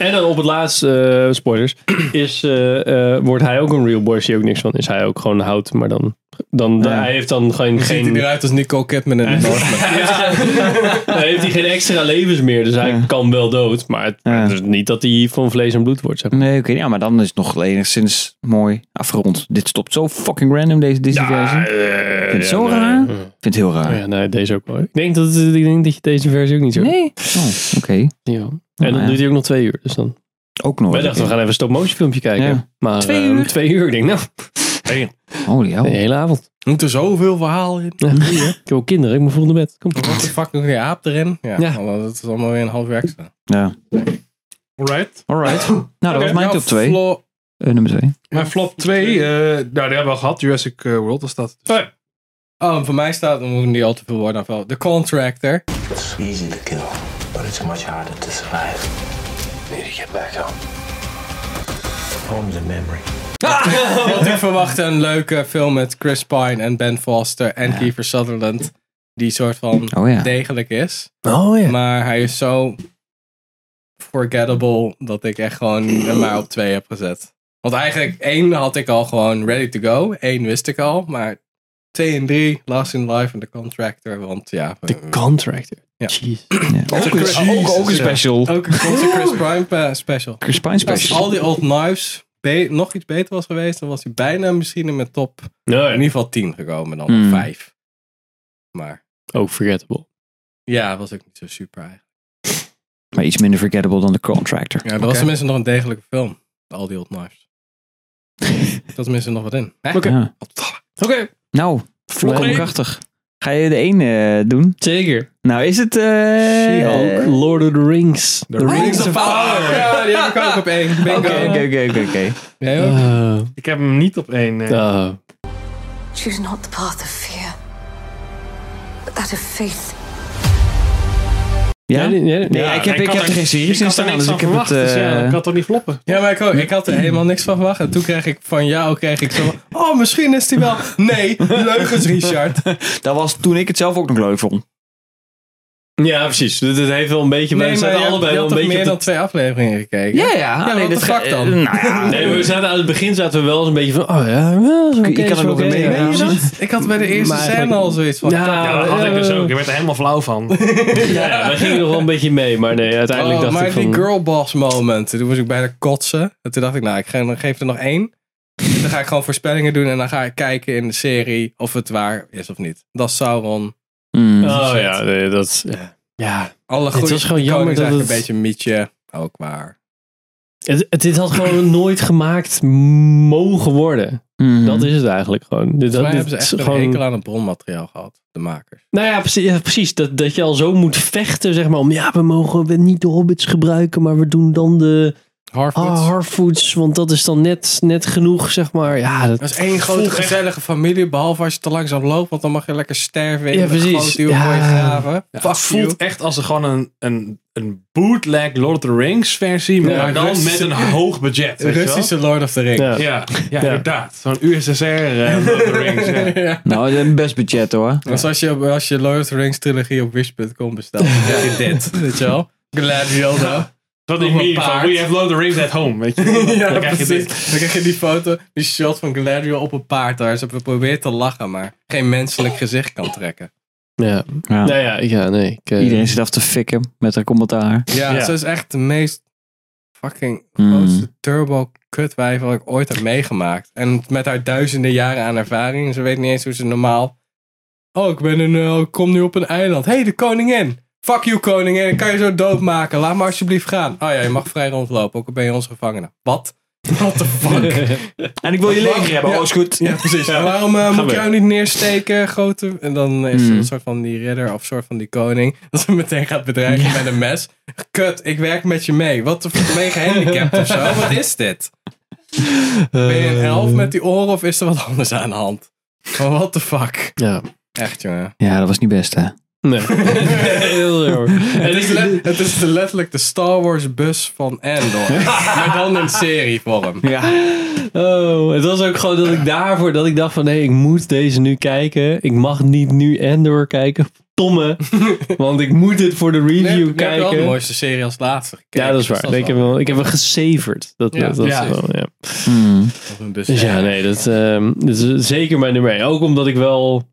En dan op het laatst, eh, spoilers, is, eh, eh, wordt hij ook een real boy, is hij ook niks van. Is hij ook gewoon hout, maar dan... dan
Ja.
Hij heeft dan geen...
Hoe ziet hij
geen
eruit als Nicole Kidman in de Northman?
ja, dan heeft hij geen extra levens meer, dus hij kan wel dood. Maar het,
Ja.
het is niet dat hij van vlees en bloed wordt, zeg maar.
Nee, oké. ja, maar dan is het nog enigszins mooi afgerond. Dit stopt zo fucking random, deze Disney-versie.
Ja, eh,
vind het
ja,
zo
nee.
raar. Ik vind het heel raar.
Oh Ja, nee, deze ook wel. Ik denk dat, ik denk dat je deze versie ook niet zo...
Nee? Oh, oké.
Ja. En dan
Oh, ja.
duurt hij ook nog twee uur, dus dan...
Ook nog.
Wij dachten, we gaan even een stop-motion filmpje kijken.
Ja. Oh.
Maar,
Twee
eh,
uur?
Twee uur, ik denk nou.
Holy
De
hell.
hele avond.
Moet er zoveel verhaal in?
Ja. Ik heb ook kinderen, ik moet vroeg naar bed. Kom.
Wat de fuck, nog die aap erin? Ja,
Ja.
want dat is allemaal weer een half uur extra.
Ja.
Alright.
Alright. Nou, dat was mijn
Jouw
top 2.
flo-
nummer 2.
Mijn flop 2,
eh,
nou die hebben we al gehad. Jurassic eh, World was dat.
Oh, voor mij staat, dan moeten niet al te veel woorden afvallen. The Contractor.
It's easy to kill, but it's much harder to survive. Need to get back home. Home's a memory.
Wat ik verwachtte, een leuke film met Chris Pine en Ben Foster en Kiefer Sutherland. Die soort van
Oh ja.
degelijk is.
Oh ja.
Maar hij is zo forgettable dat ik echt gewoon hem maar op twee heb gezet. Want eigenlijk één had ik al gewoon ready to go. Eén wist ik al, maar twee en drie, Last in Life en The Contractor. Want ja... De
Contractor?
Ja.
Ook een- ook- ook een special.
Ja, Ook een Chris Chris Prime eh, special.
Chris Pine special.
Als al die old knives be- nog iets beter was geweest, dan was hij bijna misschien in mijn top. In ieder geval 10 gekomen dan
Hmm.
5. Maar
Ook forgettable.
ja, was ook niet zo super eigenlijk.
Maar iets minder forgettable dan de contractor.
Ja, dat was tenminste nog een degelijke film. Al die old knives. dat was tenminste nog wat in. Hè?
Oké. Ja.
Oké.
Nou,
Vlog
vlog
één.
krachtig. Ga je de één eh, doen?
Zeker.
Nou, is het... eh
She-Hulk, Lord of the Rings.
The Rings of Power. Ja, die heb ik ook op één. Bingo.
Oké, oké, oké, oké.
Jij ook?
Ah.
Ik heb hem niet op één. eh. nee.
Choose not the path of fear, but that of faith.
Ja?
Nee, nee,
Nee,
ja,
ik heb,
nee,
ik
kan
heb er
er-
geen
ik
series
kan
in
er
staan,
niks
dus
van
ik heb het...
verwachten, dus ja,
eh,
dat kan toch niet floppen?
Ja, maar ik, ook, ik had er helemaal niks van verwacht. En toen kreeg ik van jou kreeg ik zo van, oh, misschien is die wel. Nee, leugens, Richard.
dat was toen ik het zelf ook nog leuk vond.
Ja, precies. Het het heeft wel een beetje...
Nee,
we
maar
zaten
je, had-
allebei
je
wel een
had toch
beetje...
meer
op
dan twee afleveringen gekeken?
Ja, ja. alleen
wat de
het ge-
fuck dan?
eh, nou ja.
Nee, we zaten aan het begin zaten we wel eens een beetje van... Oh ja, wel, is
Ik- ik
oké,
kan
is
er nog
oké.
een mee-
Ja,
mee-
is het?
Ik had bij de eerste
Maar
scène
eigenlijk-
al zoiets van...
Ja,
Ja, dat had ik dus
eh,
ook. Ik werd er helemaal flauw van.
Ja, we gingen nog wel een beetje mee, maar nee, uiteindelijk
Oh,
dacht
maar
ik van...
die girl boss moment. Toen was ik bijna kotsen. En toen dacht ik, nou, ik ge- geef er nog één. En dan ga ik gewoon voorspellingen doen. En dan ga ik kijken in de serie of het waar is of niet. Dat is Sauron.
Mm.
oh ja, nee, dat... Ja. ja.
Alle
Het
goede
was gewoon jammer
konings
dat
eigenlijk
het-
een beetje mietje. Ook waar.
Het, het- dit had gewoon nooit gemaakt mogen worden.
Mm.
Dat is het eigenlijk gewoon. Dit,
Volgens mij
dat,
hebben
dit
ze
is
echt een
gewoon...
hekel aan het bronmateriaal gehad. De makers.
Nou ja, precies. ja, precies. dat, dat je al zo moet vechten, zeg maar. Om, ja, we mogen niet de hobbits gebruiken, maar we doen dan de...
Harfoots.
Ah, Harfoots, want dat is dan net, net genoeg, zeg maar. Ja, dat,
Dat is één grote gezellige familie. Behalve als je te langzaam loopt. Want dan mag je lekker sterven in
Ja,
ja, de
precies.
grote
Ja.
ja. mooie graven.
Ja,
Fuck
het voelt
you.
echt als er gewoon een, een, een bootleg Lord of the Rings versie, maar
Ja,
dan
Russische-
met een hoog budget.
De
Weet
Russische Lord of the Rings.
je wel? Ja, ja, inderdaad. Zo'n USSR eh, Lord of the Rings. ja.
Nou, een best budget hoor.
Dus als je, als je Lord of the Rings trilogie op wish.com bestelt, dan krijg je dit. Weet je wel? Gladioldo.
Dat
Nog
ik
een
meme van,
paard.
we have Lord of the Rings at home, weet je wel.
ja,
Dan krijg je
precies.
dit.
Dan krijg je die foto, die shot van Galadriel op een paard. Daar ze probeert te lachen, maar geen menselijk gezicht kan trekken.
Ja.
Ja.
Nou ja, ja, nee. Ik, eh,
Iedereen zit af te fikken met haar commentaar.
Ja,
Ja.
ze is echt de meest fucking
Mm.
grootste turbo kutwijf wat ik ooit heb meegemaakt. En met haar duizenden jaren aan ervaring, ze weet niet eens hoe ze normaal... Oh, ik ben een, eh, ik kom nu op een eiland. Hé, hey, de koningin! Fuck you, koningin. Ik kan je zo doodmaken. Laat me alsjeblieft gaan. Oh ja, je mag vrij rondlopen, ook al ben je onze gevangene. Wat? What the fuck?
En ik wil je leger hebben.
Ja.
Oh, is goed.
Ja, precies.
Ja.
Waarom eh,
Ga
moet ik jou niet neersteken, grote... En dan is er
Hmm.
een soort van die ridder of soort van die koning. Dat ze meteen gaat bedreigen met een mes. Kut, ik werk met je mee. Wat de fuck, ben je gehandicapt of zo? Wat is dit? Ben je
Eh.
een elf met die oren of is er wat anders aan de hand? Maar what the fuck?
Ja.
Echt, jongen.
Ja, dat was niet best, hè?
Nee. Heel erg.
Het is, le- het is de- letterlijk de Star Wars bus van Endor. maar dan in serievorm.
Ja.
Oh, het was ook gewoon dat ik daarvoor dat ik dacht van nee, ik moet deze nu kijken. Ik mag niet nu Endor kijken. Tomme. Want ik moet dit voor de
Nee,
review
ik heb wel
kijken.
de mooiste serie als laatste gekeken.
ja, dat is
dus
waar. Nee, ik, heb
wel-
wel, ik heb hem gesaverd. Dat,
Ja,
dat, dat is
ja.
wel, ja.
Mm.
dat is een bus.
Dus ja, nee, dat, ehm, dat is zeker mijn nummer één. Ook omdat ik wel...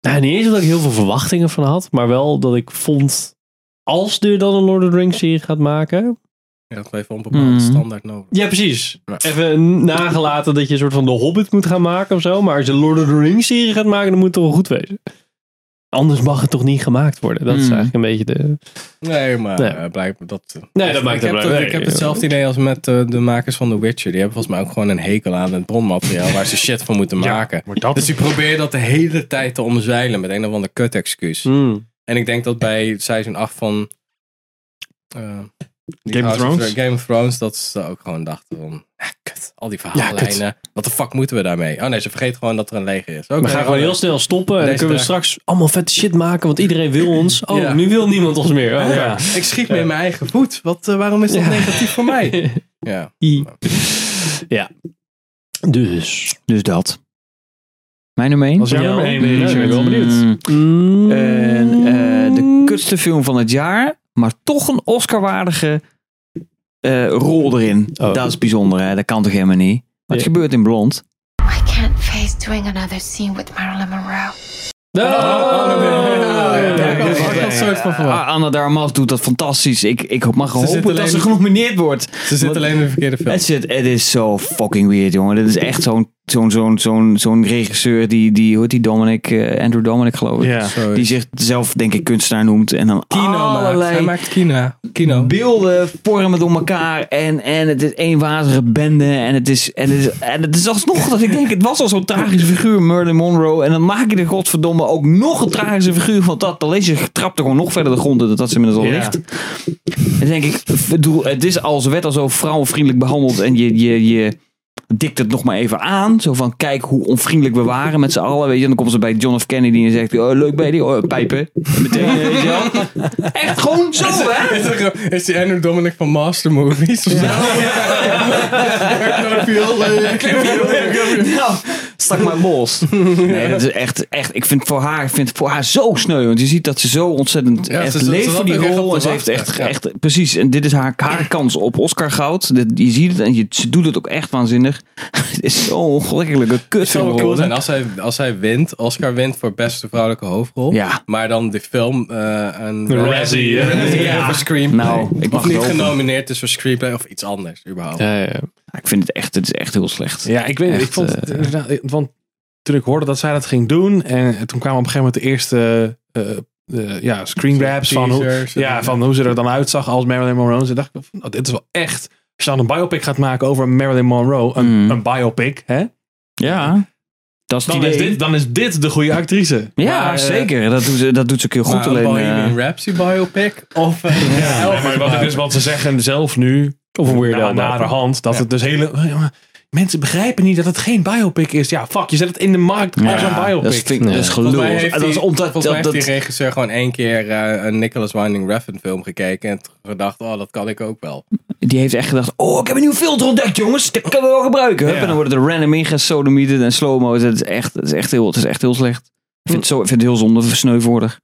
Nou, niet eens omdat ik heel veel verwachtingen van had. Maar wel dat ik vond... Als er dan een Lord of the Rings serie gaat maken...
Ja, dat heeft een bepaalde
Mhm.
standaard nodig.
Ja, precies. Even nagelaten dat je een soort van de Hobbit moet gaan maken of zo. Maar als je een Lord of the Rings serie gaat maken, dan moet het toch wel goed wezen. Anders mag het toch niet gemaakt worden. Dat is
Mm.
eigenlijk een beetje de...
Nee, maar
Nee.
eh, blijkbaar dat...
Nee, dat maakt
ik
het
heb,
wel-
het-
nee,
ik heb
ja.
hetzelfde idee als met eh, de makers van The Witcher. Die hebben volgens mij ook gewoon een hekel aan het bronmateriaal waar ze shit van moeten maken. Dus die proberen dat de hele tijd te omzeilen met een of ander kut-excuus.
Mhm. Hmm.
En ik denk dat bij seizoen 8 van... eh, die
Game of
House
Thrones?
Game of Thrones, dat ze ook gewoon dachten van... Ah, kut, al die verhaallijnen. Wat de fuck moeten we daarmee? Oh nee, ze vergeet gewoon dat er een leger is. Oké,
We gaan gewoon
oh,
heel snel stoppen en dan
Deze
kunnen we
dag.
straks allemaal vette shit maken, want iedereen wil ons. Oh,
Ja.
nu wil niemand ons meer. Oh, ja.
Ja. Ik schiet me in mijn eigen voet. Wat, eh, waarom is dat negatief voor mij? Ja.
Ja. Dus.
Dus dat. Mijn nummer één?
Was jouw
Ja.
nummer één,
Mm,
Richard? Ik ben wel benieuwd.
Mm. eh, En, eh, de kutste film van het jaar, maar toch een Oscar-waardige eh, rol erin. Dat is bijzonder, hè? dat kan toch helemaal niet? Maar het gebeurt in Blond.
I can't face doing another scene with Marilyn Monroe.
Ah, Anna Darmas doet dat fantastisch. Ik, ik mag hopen
zit
dat
alleen-
ze genomineerd wordt.
Ze zit alleen in de verkeerde film.
Het, zit, het is zo fucking weird, jongen. Dit is echt zo'n zo'n zo'n zo'n zo'n regisseur die, die, hoe heet die Dominic, eh, Andrew Dominic geloof ik.
Ja. Zoiets.
Die zichzelf, denk ik, kunstenaar noemt. En dan
Kino maakt. Hij
allerlei
maakt kino. kino.
beelden vormen door elkaar. En, en het is één wazige bende. En het is, en het is, en het is alsnog dat ik denk, het was al zo'n tragische figuur, Merlin Monroe. En dan maak je de godverdomme ook nog een tragische figuur van dat. Dan is je getrapt gewoon nog verder de grond in dat dat ze inmiddels al
Ja.
ligt. En dan denk ik, ik bedoel, het is als werd al zo vrouwenvriendelijk behandeld. En je, je, je dikt het nog maar even aan. Zo van, kijk hoe onvriendelijk we waren met z'n allen. Weet je, en dan komt ze bij John F. Kennedy en zegt, oh, leuk bij die oh, pijpen. En meteen, eh, weet je wel. Echt gewoon zo, hè?
Is, er gewoon- is die Andrew Dominic van Master Movies? of zo?
Nou, stak maar los. Nee, dat is echt, echt. Ik vind voor haar, ik vind het voor haar zo sneu. Want je ziet dat ze zo ontzettend
Ja,
echt
ze- ze-
leeft
ze
voor die
zat er echt op
rol.
te
En ze heeft echt,
wachten, ja.
echt, precies. En dit is haar, haar kans op Oscar goud. Dit- je ziet het en je, ze doet het ook echt waanzinnig. het is zo ongelukkelijke
Het
kut.
zou wel cool zijn als hij, als hij wint, Oscar wint voor beste vrouwelijke hoofdrol.
Ja.
Maar dan de film eh een
Een Razzie, hè?
Razzie
Ja.
voor Scream.
Nou, ik mag
of niet
het hopen.
genomineerd is voor Screenplay of iets anders überhaupt.
Ja, Ik vind het echt, het is echt heel slecht.
Ja, ik weet
Echt,
Ik vond
eh,
het inderdaad- want toen ik hoorde dat zij dat ging doen. En toen kwamen op een gegeven moment de eerste eh, eh, ja, screen grabs van hoe,
Teasers en-
ja, van hoe ze er dan uitzag als Marilyn Monroe. Ze dacht, ik van, nou, dit is wel echt. Als je dan een biopic gaat maken over Marilyn Monroe, een, een biopic, hè?
Ja. Dat is het
dan,
idee.
is dit, dan is dit de goede actrice.
Ja,
Maar, eh,
zeker. Dat doet, ze- dat doet ze ook heel goed.
Maar een
Alleen, eh,
Bohemian Rhapsody biopic of eh,
Ja,
Elvis
maar wat, het is wat ze zeggen zelf nu,
Of een Weird
na,
Al
naar de
biopic.
hand, dat
Ja.
het dus hele... ja, maar Mensen begrijpen niet dat het geen biopic is. Ja, fuck, je zet het in de markt als een biopic.
dat is- vind ik- dat is
Volgens
gelul.
mij heeft,
En Ah, dat is
die,
omdat
volgens mij
dat,
heeft die
dat-
regisseur gewoon één keer eh, een Nicholas Winding Refn film gekeken en gedacht, oh dat kan ik ook wel.
die heeft echt gedacht: Oh, ik heb een nieuw filter ontdekt, jongens. Dit kunnen we wel gebruiken. Hup,
Ja.
En dan worden er random ingesodemieten en slow-mo's. Het is, echt, het, is echt heel, het is echt heel slecht. Ik vind het, zo, ik vind het heel zonde, sneuvordig.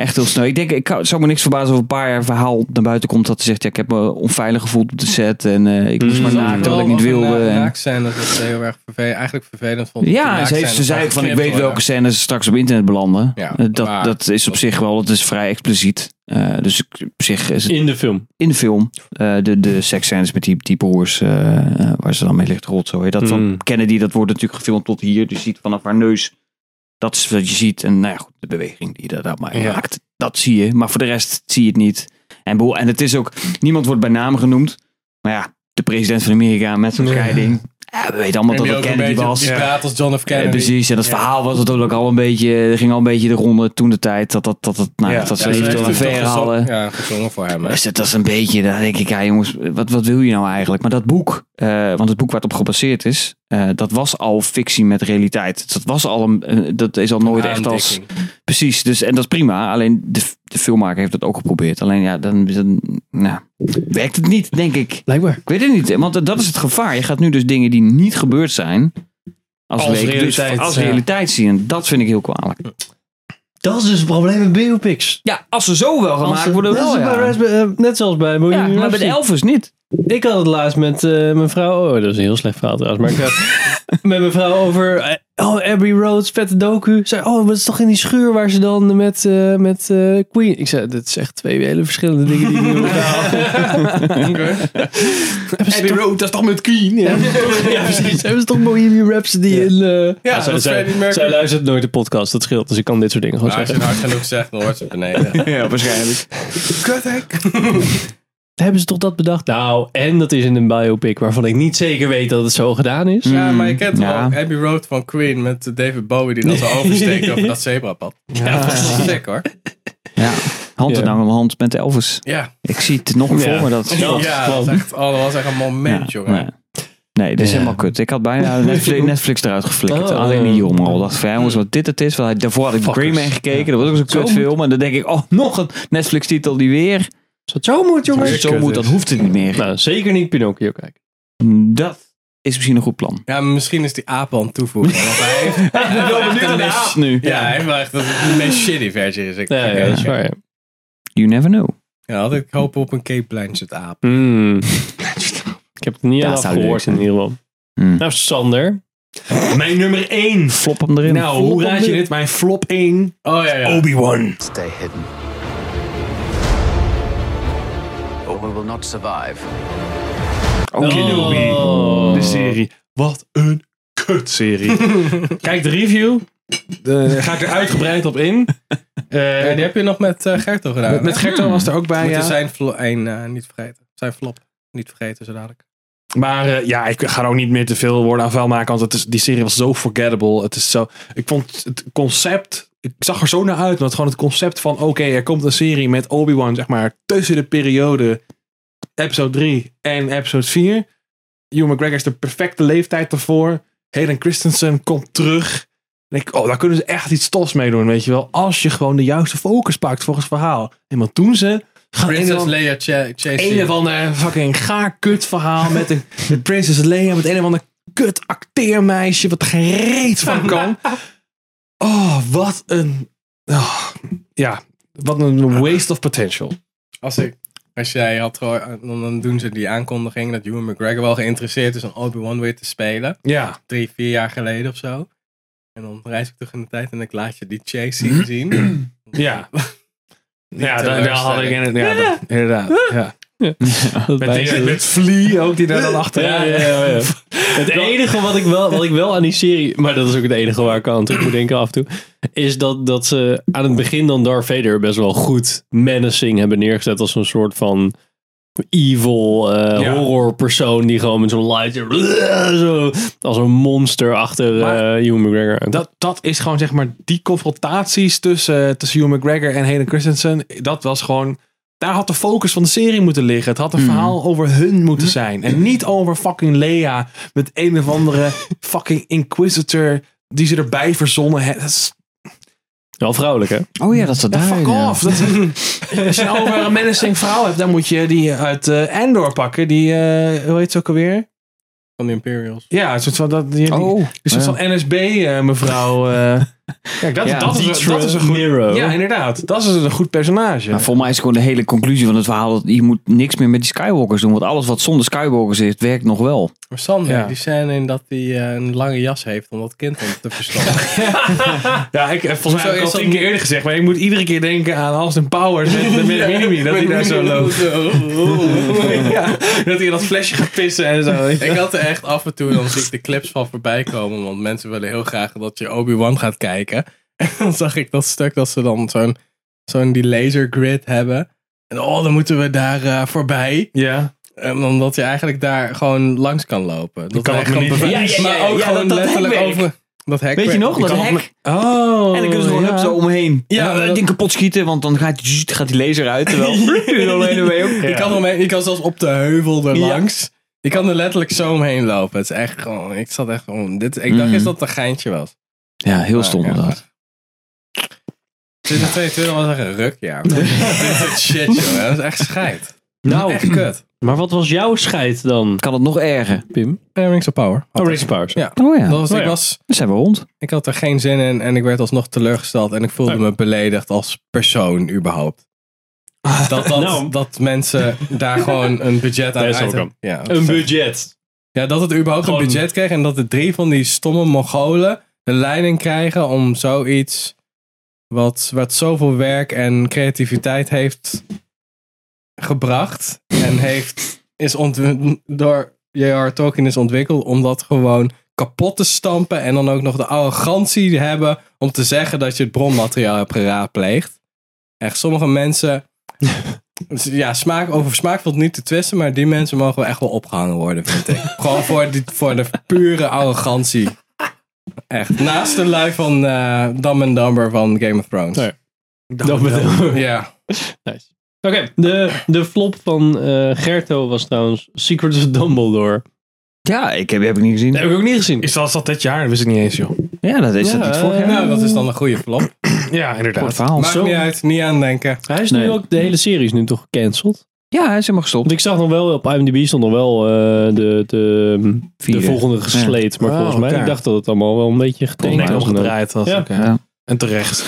Echt heel sneu. Ik denk, ik zou zou me niks verbazen of een paar jaar verhaal naar buiten komt dat ze zegt: ja, Ik heb me onveilig gevoeld op de set en eh, ik
Mm.
moest maar naakt terwijl ik niet wilde. en-
zijn eh, dat is heel erg vervelend, eigenlijk vervelend vond.
Ja, en ze, heeft, ze zei ook van ik weet welke scènes straks op internet belanden.
Ja,
Eh, dat,
maar-
dat is op zich wel, dat is vrij expliciet. Eh, dus ik- op zich is het
In de film.
in de film. eh, de, de seksscènes met die, die broers eh, eh, waar ze dan mee ligt rotzooi. Dat van
Mm.
Kennedy, dat wordt natuurlijk gefilmd tot hier. Dus je ziet vanaf haar neus, dat is wat je ziet. En nou ja, goed, de beweging die je daar maar
Ja.
maakt, dat zie je. Maar voor de rest zie je het niet. En, bedoel, en het is ook, niemand wordt bij naam genoemd. Maar ja, de president van Amerika met zo'n
Ja.
scheiding. Ja, we weten allemaal dat het Kennedy was.
Ja. praat als John F. Kennedy.
Ja, precies, en dat verhaal was natuurlijk al een beetje, ging al een beetje de ronde toen de tijd dat dat, dat, dat, nou,
Ja.
dat ze
Ja, ze
eventueel
heeft
een
toen
ver
toch gezongen-
hadden.
Ja, gezongen voor hem. hè.
Dus dat is een beetje, dan denk ik, ja jongens, wat, wat wil je nou eigenlijk? Maar dat boek, eh, want het boek waar het op gebaseerd is, eh, dat was al fictie met realiteit. Dus dat was al een, een- dat is al nooit echt als... Precies, dus, en dat is prima. Alleen de, de filmmaker heeft dat ook geprobeerd. Alleen ja, dan, dan nou, werkt het niet, denk ik.
Blijkbaar.
Ik weet het niet, want dat is het gevaar. Je gaat nu dus dingen die niet gebeurd zijn, als,
Als
leek,
realiteit,
dus als
ja.
realiteit zien. Dat vind ik heel kwalijk.
Dat is dus het probleem met biopics.
Ja, als ze zo wel
Als
gemaakt
ze-
worden,
net
wel
als bij
ja.
Raspberry- eh, Net zoals bij Bohemian
Ja, maar bij
Rhapsody.
de Elvis niet.
Ik had het laatst met eh, mijn vrouw. Oh, dat is een heel slecht verhaal trouwens. Maar ik had met mijn vrouw over. eh, oh, Abbey Road, vette docu. Zei, oh, maar dat is toch in die schuur waar ze dan met, eh, met eh, Queen. Ik zei, dat is echt twee hele verschillende dingen die ik nu
Abbey Road, dat is toch met Queen? Ja,
Ja, precies. Hebben ze toch Bohemian Rhapsody in. eh,
Ja,
Ah, zij,
dat is
zij-
Freddie Mercury.
zij luistert nooit de podcast, dat scheelt. Dus ik kan dit soort dingen gewoon
Nou, als je het
zeggen.
hard genoeg zegt, dan hoort ze het beneden.
Ja, waarschijnlijk.
Kut, hè?
Hebben ze toch dat bedacht? Nou, en dat is in een biopic waarvan ik niet zeker weet dat het zo gedaan is.
Ja, maar je kent
Ja.
wel Abbey Road van Queen met David Bowie die dat zo oversteekt over dat zebrapad. Ja, dat is sick hoor.
Ja, hand in hand om hand met Elvis.
Ja.
Ik zie het nog voor me dat.
Ja, dat, was echt, oh, dat was echt een moment,
Ja,
jongen.
nee. Nee, dit is helemaal kut. Ik had bijna Netflix, Netflix eruit geflikkerd.
Oh.
Alleen die jongen al. dacht van, ja, jongens, wat dit het is. Want hij- daarvoor had ik Greyman gekeken. Dat was ook zo'n kutfilm. En dan denk ik, oh, nog een Netflix-titel die weer...
Als het zo moet,
Als het zo moet, dan hoeft het niet meer.
Nou, zeker niet Pinocchio kijken.
Dat is misschien een goed plan.
Ja, maar misschien is die apen aan het toevoegen. Want hij heeft, hij heeft echt de meest-
nu.
Ja, hij heeft wel echt de meest shitty versie. Is ik,
Ja, ja, dat is waar, ja.
You never know.
Ja, had ik hoop op een Cape Blanchett aap.
Hmm. Ik heb het niet
Dat
al
zou leuk
gehoord in
zijn.
ieder geval. Nou, Sander.
Mijn nummer 1.
Flop hem erin.
Nou, hoe raad je dit? Mijn flop 1.
Oh ja, ja.
Obi-Wan.
Stay hidden. Or we will not survive.
Oh.
Oh.
Oh.
De serie. Wat een kutserie. Kijk de review. Daar ga ik er uitgebreid op in. Eh,
die heb je nog met eh, Gerto gedaan.
Met- met
hè?
Gerto was er ook bij,
Moeten
ja.
zijn, flo- een, eh, niet vergeten. zijn flop niet vergeten zo dadelijk.
Maar eh, ja, ik ga er ook niet meer te veel woorden aan vuil maken. Want het is, die serie was zo forgettable. Het is zo, ik vond het concept. Ik zag er zo naar uit. Want gewoon het concept van: oké, er komt een serie met Obi-Wan, zeg maar. Tussen de periode episode 3 en episode 4. Hugh McGregor is de perfecte leeftijd ervoor. Hayden Christensen komt terug. En ik, oh, daar kunnen ze echt iets tofs mee doen, weet je wel. Als je gewoon de juiste focus pakt volgens het verhaal. En wat doen ze? Gaan een of
Princess
ander-
Leia Ch- Chase.
een of ander fucking gaar kut verhaal met, een, met Princess Leia. Met een of ander kut acteermeisje wat er geen reet van kan. Oh, wat een... oh, ja, wat een waste of potential.
Als ik... Als jij had gehoord, dan dan doen ze die aankondiging dat Ewan McGregor wel geïnteresseerd is om Obi-Wan weer te spelen.
Ja.
Drie, vier jaar geleden of zo. En dan reis ik terug in de tijd en ik laat je die chase scene zien.
Hmm? Ja. Ja,
te
daar daar had ik in, ja, dat- inderdaad. Ja. Met, die,
bijzonder.
met Flea ook, die daar dan achteraan.
Ja, ja, ja. Het enige wat ik, wel, wat ik wel aan die serie, maar dat is ook het enige waar ik aan terug moet denken af en toe, is dat, dat ze aan het begin dan Darth Vader best wel goed menacing hebben neergezet als een soort van evil eh,
Ja.
horror persoon die gewoon met zo'n lighter zo, als een monster achter eh Hugh McGregor. aankomt.
Dat, dat is gewoon zeg maar die confrontaties tussen, eh, tussen Hugh McGregor en Hayden Christensen. Dat was gewoon. Daar had de focus van de serie moeten liggen. Het had
Hmm.
een verhaal over hun moeten zijn. En niet over fucking Lea met een of andere fucking Inquisitor die ze erbij verzonnen heeft. Dat is-
Wel vrouwelijk hè?
Oh ja, dat zat
Ja,
daar.
fuck
ja.
off. Dat, als je nou over een menacing verhaal hebt, dan moet je die uit eh Endor pakken. Die, eh, hoe heet ze ook alweer?
Van de Imperials.
Ja, een soort van, dat, die, die-
Oh,
een soort
ja.
van NSB eh, mevrouw. eh. Kijk, dat,
Ja,
dat, is, een-
Deetra
dat is een goed...
Miro.
Ja, inderdaad. Dat is een goed personage.
Maar volgens mij is gewoon de hele conclusie van het verhaal dat je moet niks meer met die Skywalkers doen. Want alles wat zonder Skywalkers is, werkt nog wel.
Maar Sander,
Ja.
die scène in dat hij eh, een lange jas heeft om dat kind om te verstoppen.
Ja, ik, eh, volgens
Zo
mij heb ik
is
al
dat
tien keer eerder gezegd, maar ik moet iedere keer denken aan Austin Powers met de
Ja,
Minimi, dat hij
met
daar zo
Minimi.
loopt. Ja, dat hij in dat flesje gaat pissen en zo.
ik had er echt af en toe, dan zie ik de clips van voorbij komen, want mensen willen heel graag dat je Obi-Wan gaat kijken. En dan zag ik dat stuk dat ze dan zo'n zo'n die laser grid hebben. En oh, dan moeten we daar eh, voorbij.
Ja.
omdat je eigenlijk daar gewoon langs kan lopen. Dat
kan
is
het me
gewoon
niet
bevel-
verdienen.
Maar
Ja, ja, ja,
ook
ja,
gewoon
dat- dat
letterlijk
hekwerk.
over dat hek.
Weet je nog, dat hek?
Oh,
en dan kunnen ze gewoon
ja.
hup, zo omheen.
Ja,
Ja,
dat-
ding kapot schieten, want dan gaat, zzzt, gaat die laser uit. Terwijl je alleen er mee op.
Je, kan omheen, je kan zelfs op de heuvel er langs. Je kan er letterlijk zo omheen lopen. Het is echt gewoon. Ik zat echt gewoon. Dit, ik dacht
Mhm.
eerst dat het een geintje was.
Ja, heel
Maar,
stom
ja.
inderdaad.
2022 was echt een rukjaar. Dit is shit, joh. Dat is echt scheid.
Nou,
Echt kut.
maar wat was jouw scheid dan?
Kan het nog erger?
Pim?
Eh, Rings of Power.
Oh, Rings of Powers.
Ja.
Oh ja.
Dat was,
Oh
ik,
ja.
was,
Dan zijn we rond.
ik had er geen zin in en ik werd alsnog teleurgesteld. En ik voelde me beledigd als persoon, überhaupt. Dat, dat,
Nou.
dat mensen daar gewoon een budget aan
Dat is ook
uit-
hem.
Ja,
Een budget.
Ja, dat het überhaupt een budget kreeg en dat de drie van die stomme Mongolen de leiding krijgen om zoiets wat, wat zoveel werk en creativiteit heeft gebracht en heeft, is ont- door J.R. Tolkien is ontwikkeld om dat gewoon kapot te stampen en dan ook nog de arrogantie te hebben om te zeggen dat je het bronmateriaal hebt geraadpleegd. Echt, sommige mensen... Dus, Ja, smaak, over smaak valt niet te twisten, maar die mensen mogen wel echt wel opgehangen worden, vind ik. Gewoon voor, die, voor de pure arrogantie. Echt. Naast de lui van eh Dumb and Dumber van Game of Thrones.
Nee.
Dat bedoel
Ja.
Nice. Oké, de, de flop van eh, Gerto was trouwens Secret of Dumbledore.
Ja, ik heb, heb ik niet gezien.
Dat heb ik ook niet gezien.
Is dat, is dat dit jaar? Dat wist ik niet eens, joh.
Ja, dat is
Ja,
dat niet vorig jaar.
Nou, dat is dan een goede flop.
Ja, inderdaad.
verhaal.
Maakt niet uit, niet aan denken.
Hij is nu
Nee.
ook, de hele serie is nu toch gecanceld?
Ja, hij is helemaal gestopt.
Want ik zag nog wel, op IMDb stond nog wel eh, de, de, de
Vierde.
volgende
Ja.
gesleed. Maar
Oh,
volgens mij,
elkaar.
ik dacht dat het allemaal wel een beetje getekend
Nee,
was.
omgedraaid was.
Ja.
oké.
Ja. Ah,
En terecht.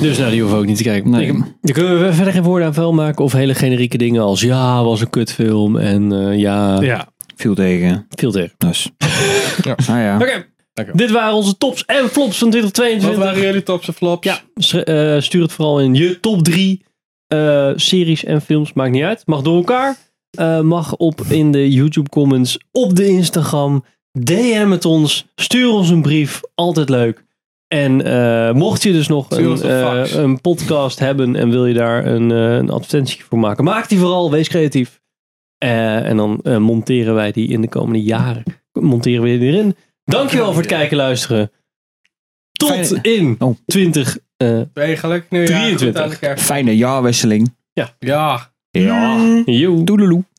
Dus nou, die hoeven we ook niet te kijken.
Nee.
Ik- Daar kunnen we verder geen woorden aan vuil maken. Of hele generieke dingen als ja, was een kutfilm. En eh, ja,
Ja.
Viel tegen.
Viel tegen.
Dus.
ja.
Ah ja.
Oké. Dit waren onze tops en flops van 2022.
Wat waren jullie tops en flops?
Ja, s- eh, stuur het vooral in je top 3 series en films. Maakt niet uit. Mag door elkaar. Eh, mag op in de YouTube comments, op de Instagram. DM het ons. Stuur ons een brief. Altijd leuk. En eh, mocht je dus nog
Stuur
een,
ons een fax.
eh, een podcast hebben en wil je daar een, eh, een advertentie voor maken, maak die vooral. Wees creatief. Eh, en dan eh, monteren wij die in de komende jaren. Monteren we die erin. Dankjewel voor het kijken en luisteren. Tot in 20. eh,
Ben je gelukkig nu? Ja, goed aan de kerst.
Fijne jaarwisseling.
Ja.
Ja.
Ja. Doedeloe.